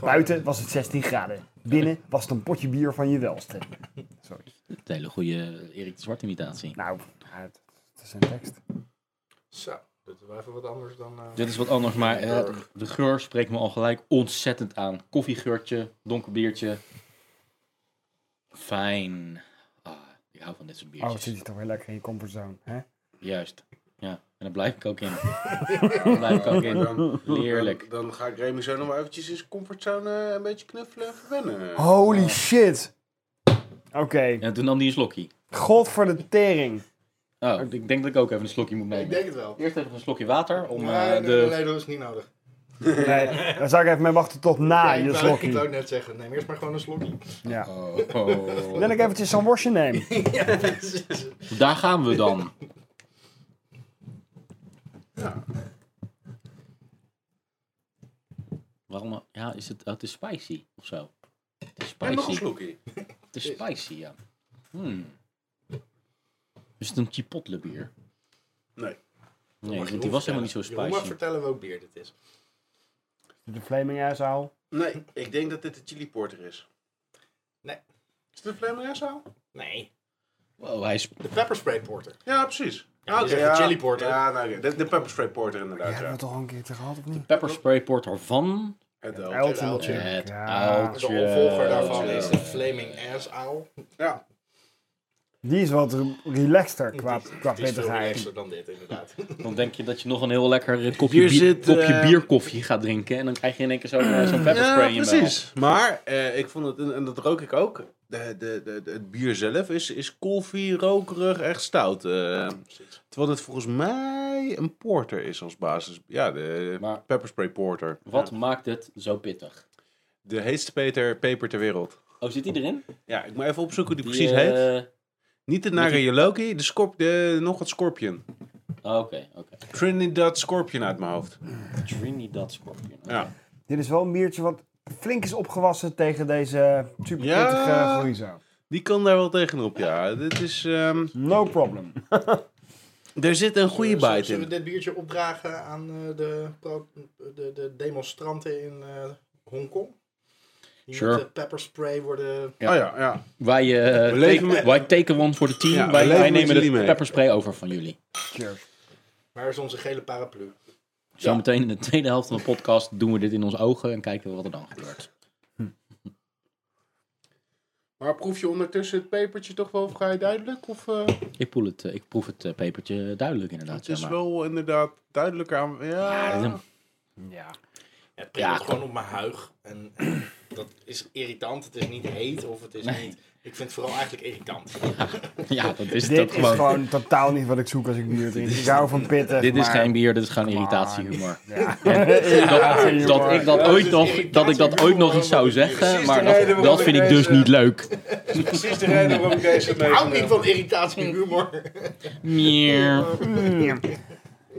Speaker 3: Buiten was het 16 graden. Binnen was het een potje bier van je welste.
Speaker 1: Het hele goede eh, Erik de Zwart imitatie.
Speaker 3: Nou, het, het is een tekst.
Speaker 5: Zo, dat is wel even wat anders dan... eh,
Speaker 1: Nou. Dit is wat anders, maar eh, de geur spreekt me al gelijk ontzettend aan. Koffiegeurtje, donker biertje. Fijn. Ah, ik hou van dit soort
Speaker 3: Oh, het zit
Speaker 1: biertjes.
Speaker 3: hier toch weer lekker in je comfortzone. Hè?
Speaker 1: Juist. Ja, en daar blijf ik ook in. Daar blijf ik ook in.
Speaker 2: Dan,
Speaker 1: Heerlijk.
Speaker 2: Dan, dan ga ik Remy zo nog maar eventjes in zijn comfortzone eh, een beetje knuffelen en verwennen.
Speaker 3: Holy shit! Oké,
Speaker 1: En toen nam hij een slokje.
Speaker 3: god voor de tering.
Speaker 1: Oh, ik denk dat ik ook even een slokje moet nemen.
Speaker 5: Ik denk het wel.
Speaker 1: Eerst even een slokje water om eh,
Speaker 5: nee, nee,
Speaker 1: de...
Speaker 5: nee, dat is niet nodig.
Speaker 3: Nee, daar zou ik even mee wachten tot na
Speaker 5: Ja,
Speaker 3: je
Speaker 5: ik wou- Ik wou
Speaker 3: slokje.
Speaker 5: het net zeggen. Neem eerst maar gewoon een slokje.
Speaker 3: Ja.
Speaker 1: Oh, oh.
Speaker 3: Dan ik eventjes zo'n worstje neem.
Speaker 1: Daar gaan we dan. Waarom? Ja, is het, oh, het is spicy of zo? Het is
Speaker 2: En nog een
Speaker 1: spicy.
Speaker 2: slokje.
Speaker 1: Het is spicy, ja. Hmm. Is het een chipotle bier?
Speaker 2: Nee.
Speaker 1: Nee, want die was helemaal niet zo
Speaker 5: Je mag
Speaker 1: spicy.
Speaker 5: vertellen welk bier dit is.
Speaker 3: De Flaming Airzaal.
Speaker 2: Nee, ik denk dat dit de chili porter is.
Speaker 5: Nee.
Speaker 2: Is dit een Flaming zo?
Speaker 5: Nee,
Speaker 1: Wow, hij is...
Speaker 5: de pepper spray porter.
Speaker 2: Ja, precies.
Speaker 5: Ja, je
Speaker 2: Oké,
Speaker 5: zegt de chili porter.
Speaker 2: Ja, nou, oké. de, de pepper spray porter inderdaad.
Speaker 3: Die hebben
Speaker 2: Ja,
Speaker 3: we toch al een keertje gehad, of niet?
Speaker 1: Pepper spray porter van...
Speaker 2: Het wel.
Speaker 3: Uiltje.
Speaker 5: uiltje.
Speaker 1: Het
Speaker 3: Ja.
Speaker 5: De
Speaker 1: oudje.
Speaker 5: opvolger daarvan is de Flaming Ass Owl.
Speaker 2: Ja,
Speaker 3: Die is wat re- relaxter qua, qua
Speaker 5: Die is veel
Speaker 3: pittigheid.
Speaker 5: relaxer dan dit, inderdaad.
Speaker 1: Dan denk je dat je nog een heel lekker kopje,
Speaker 2: Hier
Speaker 1: bier,
Speaker 2: zit,
Speaker 1: kopje
Speaker 2: eh,
Speaker 1: bierkoffie gaat drinken. En dan krijg je in één keer zo'n eh, zo'n pepper spray in je mel.
Speaker 2: precies. Maar eh, ik vond het, en en dat rook ik ook, de, de, de, de- het bier zelf is, is koffie, rokerig, echt stout. eh. terwijl het volgens mij een porter is als basis. Ja, de
Speaker 1: Maar-
Speaker 2: pepper spray porter.
Speaker 1: Wat maakt het zo pittig?
Speaker 2: De heetste peter, peper ter wereld.
Speaker 1: Oh, zit die erin?
Speaker 2: Ja, ik moet even opzoeken hoe die,
Speaker 1: Die,
Speaker 2: precies heet.
Speaker 1: eh,
Speaker 2: Niet de Nagayeloki, de, scorp, de nog wat Scorpion.
Speaker 1: oh, Oké, oké.
Speaker 2: Trinidad Scorpion uit mijn hoofd.
Speaker 1: Trinidad Scorpion. oké.
Speaker 2: Ja.
Speaker 3: Dit is wel een biertje wat flink is opgewassen tegen deze super pittige
Speaker 2: Ja.
Speaker 3: groeizaal.
Speaker 2: Die kan daar wel tegenop, ja. Dit is, ehm,
Speaker 3: No problem.
Speaker 2: er zit een goede
Speaker 5: Zullen-
Speaker 2: bite
Speaker 5: Zullen we
Speaker 2: in.
Speaker 5: dit biertje opdragen aan eh, de, pro- de, de demonstranten in eh, Hongkong? Die
Speaker 1: Sure.
Speaker 5: met eh, pepperspray worden...
Speaker 1: Ja.
Speaker 2: Oh ja, ja.
Speaker 1: Wij, eh,
Speaker 2: We leven
Speaker 1: take-
Speaker 2: met-
Speaker 1: wij taken one voor de team.
Speaker 2: Ja, we
Speaker 1: wij,
Speaker 2: leven
Speaker 1: wij
Speaker 2: met
Speaker 1: nemen
Speaker 2: jullie
Speaker 1: de
Speaker 2: mee.
Speaker 1: pepperspray over van jullie.
Speaker 3: Cheers.
Speaker 5: Waar is onze gele paraplu?
Speaker 1: Zometeen in de tweede helft van de podcast doen we dit in ons ogen en kijken we wat er dan gebeurt.
Speaker 2: Maar proef je ondertussen het pepertje toch wel vrij duidelijk? Of, eh,
Speaker 1: Ik, proef het, eh, ik proef het eh, pepertje duidelijk inderdaad.
Speaker 2: het is
Speaker 1: ja, maar-
Speaker 2: wel inderdaad duidelijker aan... Ja,
Speaker 1: Ja,
Speaker 5: Ja, het prikkelt gewoon op mijn huig. En, en dat is irritant. Het is niet heet of het is niet... Ik vind het vooral eigenlijk irritant.
Speaker 1: ja, dat is het ook
Speaker 3: Dit is
Speaker 1: gewoon.
Speaker 3: gewoon totaal niet wat ik zoek als ik bier drink. Ik hou van pittig.
Speaker 1: Dit is
Speaker 3: maar-
Speaker 1: geen bier, dit is gewoon
Speaker 3: Come on.
Speaker 1: irritatiehumor.
Speaker 3: Ja.
Speaker 1: Dat, dat ik dat
Speaker 5: Ja,
Speaker 1: ooit nog,
Speaker 5: dus
Speaker 1: dat ik dat ooit nog iets zou zeggen, maar dat, dat vind ik dus niet leuk.
Speaker 2: precies de reden waarom ik deze
Speaker 5: Ik hou niet van irritatie en humor.
Speaker 1: Meer.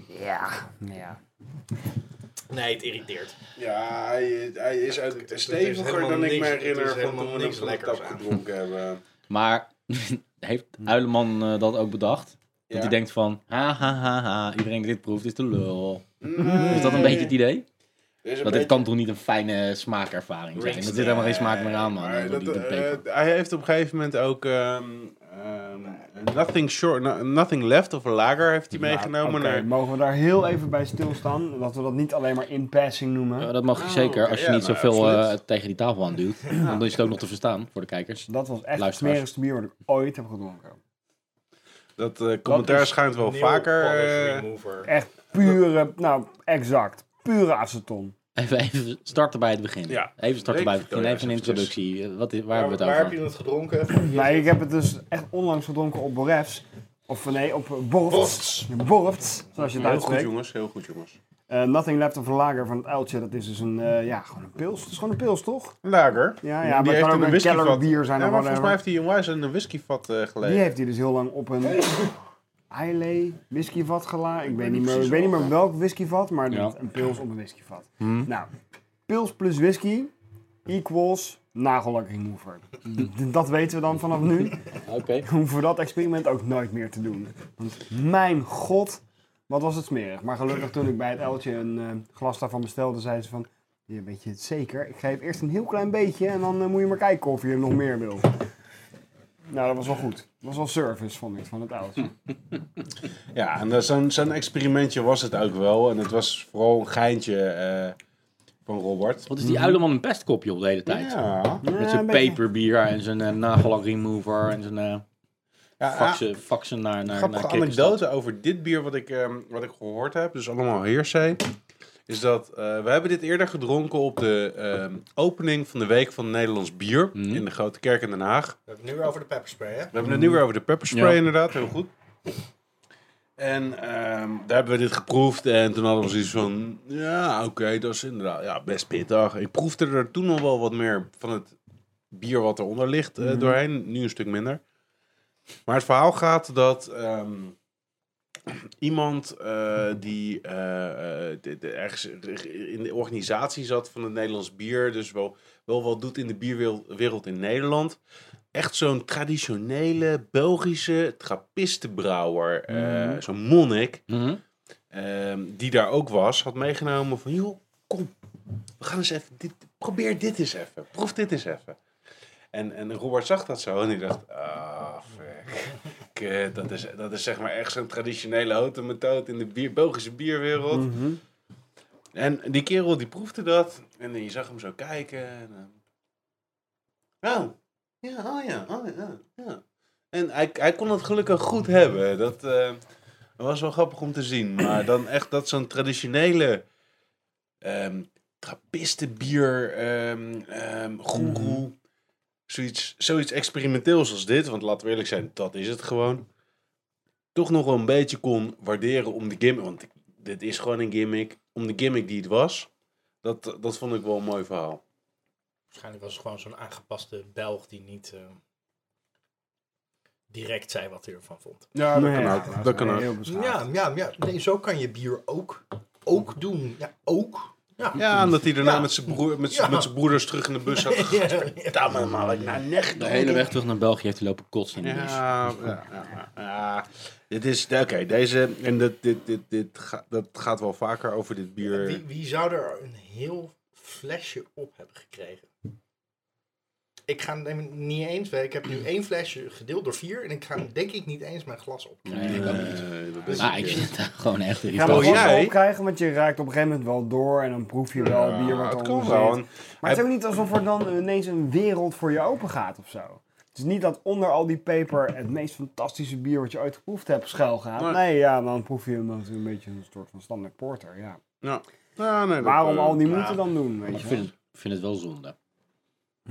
Speaker 3: Ja. ja.
Speaker 5: Nee, het irriteert.
Speaker 2: Ja, hij, hij is uit,
Speaker 5: heeft
Speaker 2: steviger
Speaker 5: helemaal
Speaker 2: dan ik
Speaker 5: niks-
Speaker 2: me
Speaker 5: het is
Speaker 2: herinner van
Speaker 5: helemaal
Speaker 2: toen we
Speaker 5: niks
Speaker 2: hem
Speaker 5: lekkers
Speaker 2: tap
Speaker 5: aan.
Speaker 2: gedronken hebben.
Speaker 1: Maar heeft Uileman eh, dat ook bedacht? Dat
Speaker 2: Ja.
Speaker 1: hij denkt van, ha ha ha ha, iedereen die dit proeft is de lul.
Speaker 2: "Mm,
Speaker 1: Is dat een beetje het idee?
Speaker 2: Er is
Speaker 1: Want
Speaker 2: een
Speaker 1: dit
Speaker 2: beetje-
Speaker 1: kan toch niet een fijne smaakervaring zijn? Er zit helemaal geen smaak meer aan, man.
Speaker 2: Maar
Speaker 1: door
Speaker 2: dat,
Speaker 1: die- die peper.
Speaker 2: eh, hij heeft op een gegeven moment ook ehm, ehm, nothing, short, no- nothing Left of Lager heeft hij meegenomen.
Speaker 3: Oké,
Speaker 2: naar,
Speaker 3: Mogen we daar heel even bij stilstaan? Dat we dat niet alleen maar in passing noemen.
Speaker 1: Ja, dat mag je
Speaker 2: Oh,
Speaker 1: zeker
Speaker 2: oké,
Speaker 1: als je
Speaker 2: ja,
Speaker 1: niet
Speaker 2: nou,
Speaker 1: zoveel eh,
Speaker 2: absoluut.
Speaker 1: tegen die tafel aan duwt. Dan is het ook nog te verstaan voor de kijkers.
Speaker 3: Dat was echt het
Speaker 1: Luisteraars.
Speaker 3: smerigste bier wat ik ooit heb gedronken.
Speaker 2: dat eh, commentaar
Speaker 3: is
Speaker 2: schijnt wel
Speaker 5: Nail
Speaker 2: vaker.
Speaker 5: polish
Speaker 2: eh,
Speaker 5: remover.
Speaker 3: Echt pure, nou exact, pure aceton.
Speaker 1: Even, even starten bij het begin.
Speaker 2: Ja.
Speaker 1: Even starten
Speaker 2: Leuk,
Speaker 1: bij het begin.
Speaker 2: Victoria,
Speaker 1: Even een
Speaker 2: eventjes.
Speaker 1: introductie. Eh, Wat is, waar
Speaker 5: Waar,
Speaker 1: hebben we
Speaker 5: waar
Speaker 1: het
Speaker 5: heb
Speaker 1: over?
Speaker 5: je het gedronken?
Speaker 3: Nee, ik heb het dus echt onlangs gedronken op Borefs. Of nee, op Borfts. Borfts, zoals je het
Speaker 2: heel goed
Speaker 3: uitspreekt.
Speaker 2: jongens, heel goed jongens.
Speaker 3: Eh, Nothing Left of Lager van het Uiltje, dat is dus een, eh, ja, gewoon een pils. Het is gewoon een pils, toch?
Speaker 2: Lager.
Speaker 3: Ja, ja, maar het kan ook een kellerbier zijn
Speaker 2: Ja,
Speaker 3: of
Speaker 2: maar volgens mij
Speaker 3: whatever.
Speaker 2: heeft hij een wijze een whiskyvat eh
Speaker 3: Die
Speaker 2: gelegen.
Speaker 3: heeft hij dus heel lang op een Islay whiskyvat gelaten. Ik, weet niet meer- ik weet niet meer welk whiskyvat, maar
Speaker 1: Ja.
Speaker 3: dit- een pils op een whiskyvat. Nou, pils plus whisky equals nagellak remover. D- Dat weten we dan vanaf nu.
Speaker 1: Oké.
Speaker 3: hoeven we dat experiment ook nooit meer te doen. Want mijn god, wat was het smerig. Maar gelukkig toen ik bij het uiltje een eh, glas daarvan bestelde, zeiden ze van... "Ja, weet je het zeker? Ik geef eerst een heel klein beetje en dan eh, moet je maar kijken of je er nog meer wil. Nou, dat was wel goed. Dat was wel service, vond ik, van het
Speaker 2: Hm.
Speaker 3: uiltje.
Speaker 2: Ja, en dat- zo'n zo'n experimentje was het ook wel. En het was vooral een geintje eh, van Robert.
Speaker 1: Wat is die uileman een pestkop, joh, de hele tijd?
Speaker 2: Ja.
Speaker 1: Met
Speaker 3: Ja,
Speaker 1: zijn
Speaker 3: een beetje.
Speaker 1: peperbier en zijn eh, nagellak remover en zijn eh,
Speaker 2: Ja, ja,
Speaker 1: faxen, faxen naar, naar, naar
Speaker 2: Ah. grappige
Speaker 1: Kikkerstad.
Speaker 2: anekdote over dit bier wat ik, ehm, wat ik gehoord heb, dus allemaal heersay, is dat eh, we hebben dit eerder gedronken op de ehm, opening van de Week van Nederlands Bier
Speaker 1: Mhm.
Speaker 2: in de Grote Kerk in Den Haag.
Speaker 5: We hebben het nu over de pepperspray, hè?
Speaker 2: We hebben het nu weer over de pepperspray
Speaker 1: Ja.
Speaker 2: inderdaad, heel goed. En ehm, daar hebben we dit geproefd en toen hadden we zoiets van, ja oké, dat is inderdaad ja, best pittig. Ik proefde er toen al wel wat meer van het bier wat eronder ligt eh, doorheen, nu een stuk minder. Maar het verhaal gaat dat ehm, iemand eh, die eh, eh, de- de- ergens in de organisatie zat van het Nederlands bier, dus wel, wel wat doet in de bierwereld in Nederland, echt zo'n traditionele Belgische trappistenbrouwer, eh, zo'n monnik,
Speaker 1: Mhm.
Speaker 2: ehm, die daar ook was, had meegenomen van, joh, kom, we gaan eens even, dit, probeer dit eens even, proef dit eens even. En, en Robert zag dat zo en die dacht, ah, fuck, kut, dat is, dat is zeg maar echt zo'n traditionele houte methode in de bier, Belgische bierwereld. En die kerel die proefde dat en je zag hem zo kijken. En, eh, oh, ja, oh ja, oh ja, ja. En hij, hij kon het gelukkig goed hebben. Dat eh, was wel grappig om te zien. Maar dan echt dat zo'n traditionele ehm trappistenbier ehm ehm goeroe, zoiets, zoiets experimenteels als dit, want laten we eerlijk zijn, dat is het gewoon, toch nog wel een beetje kon waarderen om de gimmick, want dit is gewoon een gimmick, om de gimmick die het was, dat, dat vond ik wel een mooi verhaal.
Speaker 5: Waarschijnlijk was het gewoon zo'n aangepaste Belg die niet eh, direct zei wat hij ervan vond.
Speaker 2: Ja,
Speaker 3: Nou ja,
Speaker 2: Dat kan ook.
Speaker 3: heel beschaafd.
Speaker 5: Ja, ja, ja. Nee, zo kan je bier ook, ook doen. Ja, ook.
Speaker 2: Ja, omdat hij daarna met zijn broer, met z'n- met zijn broeders terug in de bus had. gegooid.
Speaker 3: nou
Speaker 1: De hele weg terug naar België heeft hij lopen kotsen Dus- in de bus.
Speaker 2: Ja, ja, ja, ja. Dit is, oké, deze, en dat, dit, dit, dit, ga- dat gaat wel vaker over dit bier.
Speaker 5: Wie, wie zou er een heel flesje op hebben gekregen? Ik ga hem niet eens weten. Ik heb nu één flesje gedeeld door vier. En ik ga hem denk ik niet eens mijn glas op.
Speaker 2: Eh, dat is
Speaker 3: Nou,
Speaker 1: Ah,
Speaker 2: het,
Speaker 1: ik
Speaker 2: eh.
Speaker 1: vind dat gewoon echt
Speaker 3: Ga maar
Speaker 2: Oh,
Speaker 1: irritant.
Speaker 3: vast wel
Speaker 2: jij?
Speaker 3: opkrijgen, want je raakt op een gegeven moment wel door en dan proef je wel
Speaker 2: Ja,
Speaker 3: bier wat
Speaker 2: het
Speaker 3: eronder
Speaker 2: kan
Speaker 3: zit.
Speaker 2: wel. En-
Speaker 3: Maar het is ook niet alsof er dan ineens een wereld voor je open gaat of zo. Het is niet dat onder al die peper het meest fantastische bier wat je ooit geproefd hebt schuil gaat.
Speaker 2: Nee.
Speaker 3: Nee, ja, dan proef je hem als een beetje een soort van standaard porter, ja.
Speaker 2: Ja. Ja, nee, dat,
Speaker 3: Waarom
Speaker 2: eh,
Speaker 3: al die
Speaker 2: ja. Mhm.
Speaker 3: moeite dan doen, weet
Speaker 1: Ik
Speaker 3: je
Speaker 1: vind het, ik vind het wel zonde.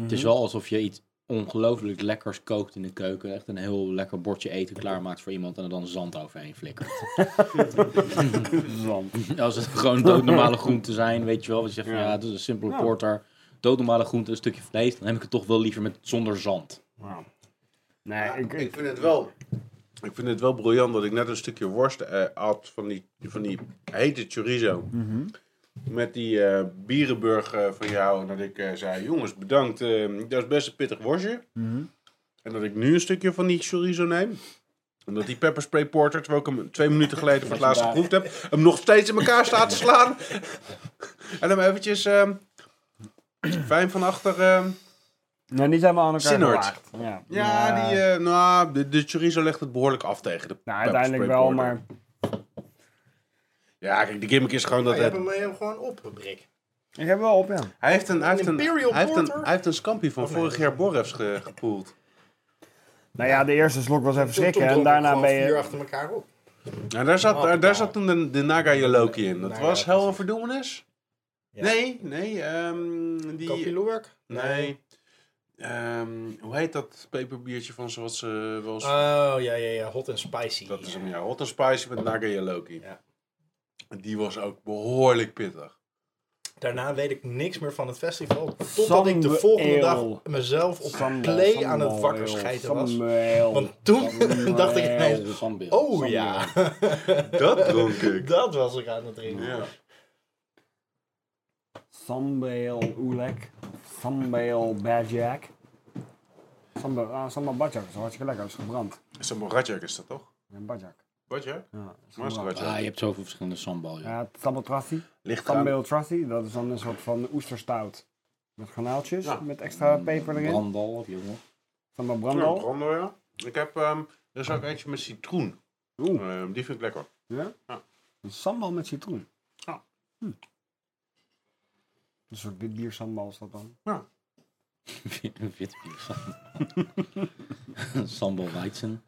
Speaker 1: Het is wel alsof je iets ongelooflijk lekkers kookt in de keuken. Echt een heel lekker bordje eten klaarmaakt voor iemand en er dan zand overheen flikkert.
Speaker 3: wel?
Speaker 1: Als het gewoon doodnormale groenten zijn, weet je wel. Als je zegt van ja, het is een simpele porter. Doodnormale groenten, een stukje vlees. Dan heb ik het toch wel liever met zonder zand.
Speaker 3: Ja. Nee, ik,
Speaker 2: Ik
Speaker 3: ik,
Speaker 2: vind het wel. Ik vind het wel briljant dat ik net een stukje worst eh at van die, van die hete chorizo. Met die eh, bierenburg eh, van jou. En dat ik eh, zei, jongens, bedankt. eh, dat is best een pittig worstje. En dat ik nu een stukje van die chorizo neem. Omdat die pepperspray porter, terwijl ik hem twee minuten geleden voor het laatst geproefd heb, hem nog steeds in elkaar staat te slaan. en hem eventjes ehm, fijn van achter... ehm,
Speaker 3: nou, die zijn we aan elkaar
Speaker 2: Sinnert.
Speaker 3: gewaagd. Ja,
Speaker 2: ja, die, eh, nou, de, de chorizo legt het behoorlijk af tegen de
Speaker 3: nou, uiteindelijk wel,
Speaker 2: pepperspray
Speaker 3: maar
Speaker 2: porter. Ja, kijk, de gimmick is gewoon dat
Speaker 5: Je hebt
Speaker 2: het...
Speaker 5: hem hem gewoon op, Brik.
Speaker 3: ik heb wel op, ja.
Speaker 2: Hij heeft een, hij heeft een,
Speaker 5: Imperial
Speaker 2: hij heeft een,
Speaker 5: Porter?
Speaker 2: hij heeft een scampie van vorig jaar Borrefs ge, gepoeld.
Speaker 3: Nou ja, de eerste slok was even
Speaker 5: Toen
Speaker 3: schrikken
Speaker 5: dronk
Speaker 3: en
Speaker 5: ik
Speaker 3: daarna
Speaker 5: gewoon
Speaker 3: ben je...
Speaker 5: vier achter elkaar op.
Speaker 2: Nou, daar zat,
Speaker 5: Oh,
Speaker 2: daar, daar
Speaker 5: nou.
Speaker 2: zat toen de, de Naga Jaloki in. Dat
Speaker 5: Naga
Speaker 2: was
Speaker 5: Jaloki.
Speaker 2: Hel en Verdoemenis?
Speaker 5: Ja.
Speaker 2: Nee, nee. ehm die,
Speaker 5: Kopiloerk?
Speaker 2: nee. Ehm, hoe heet dat peperbiertje van ze wat ze wel eens...
Speaker 5: Oh, ja, ja, ja. Hot and spicy.
Speaker 2: dat is hem, ja. Hot and Spicy met Naga Jaloki.
Speaker 5: Ja.
Speaker 2: Die was ook behoorlijk pittig.
Speaker 5: Daarna weet ik niks meer van het festival. Totdat ik de
Speaker 3: Samuel.
Speaker 5: volgende dag mezelf op play aan het wakker schijten was. Want toen dacht ik ineens,
Speaker 1: Zandbeeld.
Speaker 5: Oh ja,
Speaker 2: Dat dronk ik.
Speaker 5: dat was ik aan het drinken.
Speaker 2: Ja.
Speaker 3: Sambeel Oelek. Sambeel Badjak. Sambeel, ah, sambeel badjak. Dat is hartstikke lekker. Dat is gebrand.
Speaker 2: Sambal Ratjak is dat toch?
Speaker 3: Een badjak.
Speaker 2: Ratjak?
Speaker 3: Ja, dat is
Speaker 2: Maar is het
Speaker 3: gebrand.
Speaker 2: Ratjak?
Speaker 1: Ah, je hebt zoveel verschillende sambal. joh.
Speaker 3: ja, sambeel trassi.
Speaker 2: Ligt aan.
Speaker 3: Sambeel trassi. Dat is dan een soort van oesterstout. Met granaaltjes.
Speaker 2: Ja.
Speaker 3: Met extra eh, peper erin.
Speaker 1: Brandal, jongen.
Speaker 3: Sambeel
Speaker 2: Ja,
Speaker 3: brandal.
Speaker 2: brandel, ja. Ik heb, ehm, er is ook eentje met citroen.
Speaker 3: Oeh.
Speaker 2: Ehm, die vind ik lekker.
Speaker 3: Ja?
Speaker 2: Ja.
Speaker 3: Een sambal met citroen.
Speaker 2: Ja.
Speaker 3: Hm. Een soort wit bier sambal is dat dan.
Speaker 1: Wit bier. Sambal Weizen.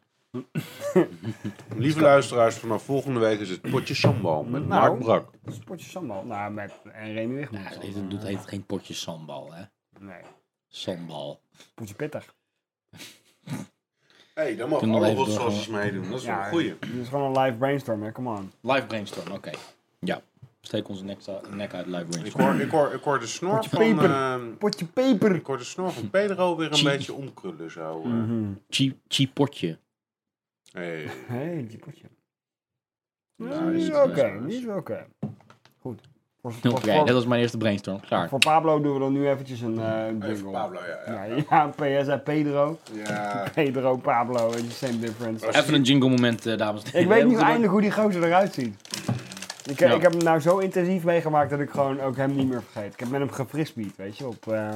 Speaker 2: Lieve luisteraars, vanaf volgende week is het potje sambal met
Speaker 3: Nou.
Speaker 2: Mark Brak.
Speaker 3: Een spotje sambal. Nou, met en Remy Wigman.
Speaker 1: Ja, dit Nou, doet heet geen potje sambal, hè?
Speaker 3: Nee.
Speaker 1: Sambal.
Speaker 3: Potje pittig.
Speaker 2: Hé, hey, dan mag
Speaker 1: Kunnen we
Speaker 2: alle
Speaker 1: even
Speaker 2: rotsasjes meedoen. Dat is wel een goeie.
Speaker 3: Dit is gewoon een live brainstorm, hè? Come on.
Speaker 1: Live brainstorm, oké. Ja. Steek onze nek, nek uit live
Speaker 2: Ik
Speaker 1: brainstorm.
Speaker 2: hoor, ik hoor, ik hoor de snor
Speaker 3: Potje
Speaker 2: van...
Speaker 3: peper.
Speaker 2: ehm,
Speaker 3: Potje peper.
Speaker 2: ik hoor de snor van Pedro weer een
Speaker 1: Chie.
Speaker 2: beetje omkrullen zo. eh.
Speaker 1: Mhm. Chi- Chipotje.
Speaker 2: Hey.
Speaker 3: Hé, hey, die potje.
Speaker 2: Nou,
Speaker 3: die is
Speaker 2: is het
Speaker 3: oké,
Speaker 2: best wel
Speaker 3: die
Speaker 2: eens.
Speaker 3: is wel oké. Goed. Voor,
Speaker 1: Oké,
Speaker 3: voor-
Speaker 1: dat was mijn eerste brainstorm. Klaar.
Speaker 3: voor Pablo doen we dan nu eventjes een eh jingle.
Speaker 2: Even Pablo, ja. ja.
Speaker 3: Ja, ja, PS en Pedro.
Speaker 2: ja.
Speaker 3: Pedro, Pablo, it's the same difference.
Speaker 1: Even een jingle moment, eh, dames en heren.
Speaker 3: Ik weet niet eindelijk hoe die gozer eruit ziet. Ik,
Speaker 1: Ja.
Speaker 3: ik heb hem nou zo intensief meegemaakt dat ik gewoon ook hem niet meer vergeet. Ik heb met hem gefrisbeed, weet je, op... eh,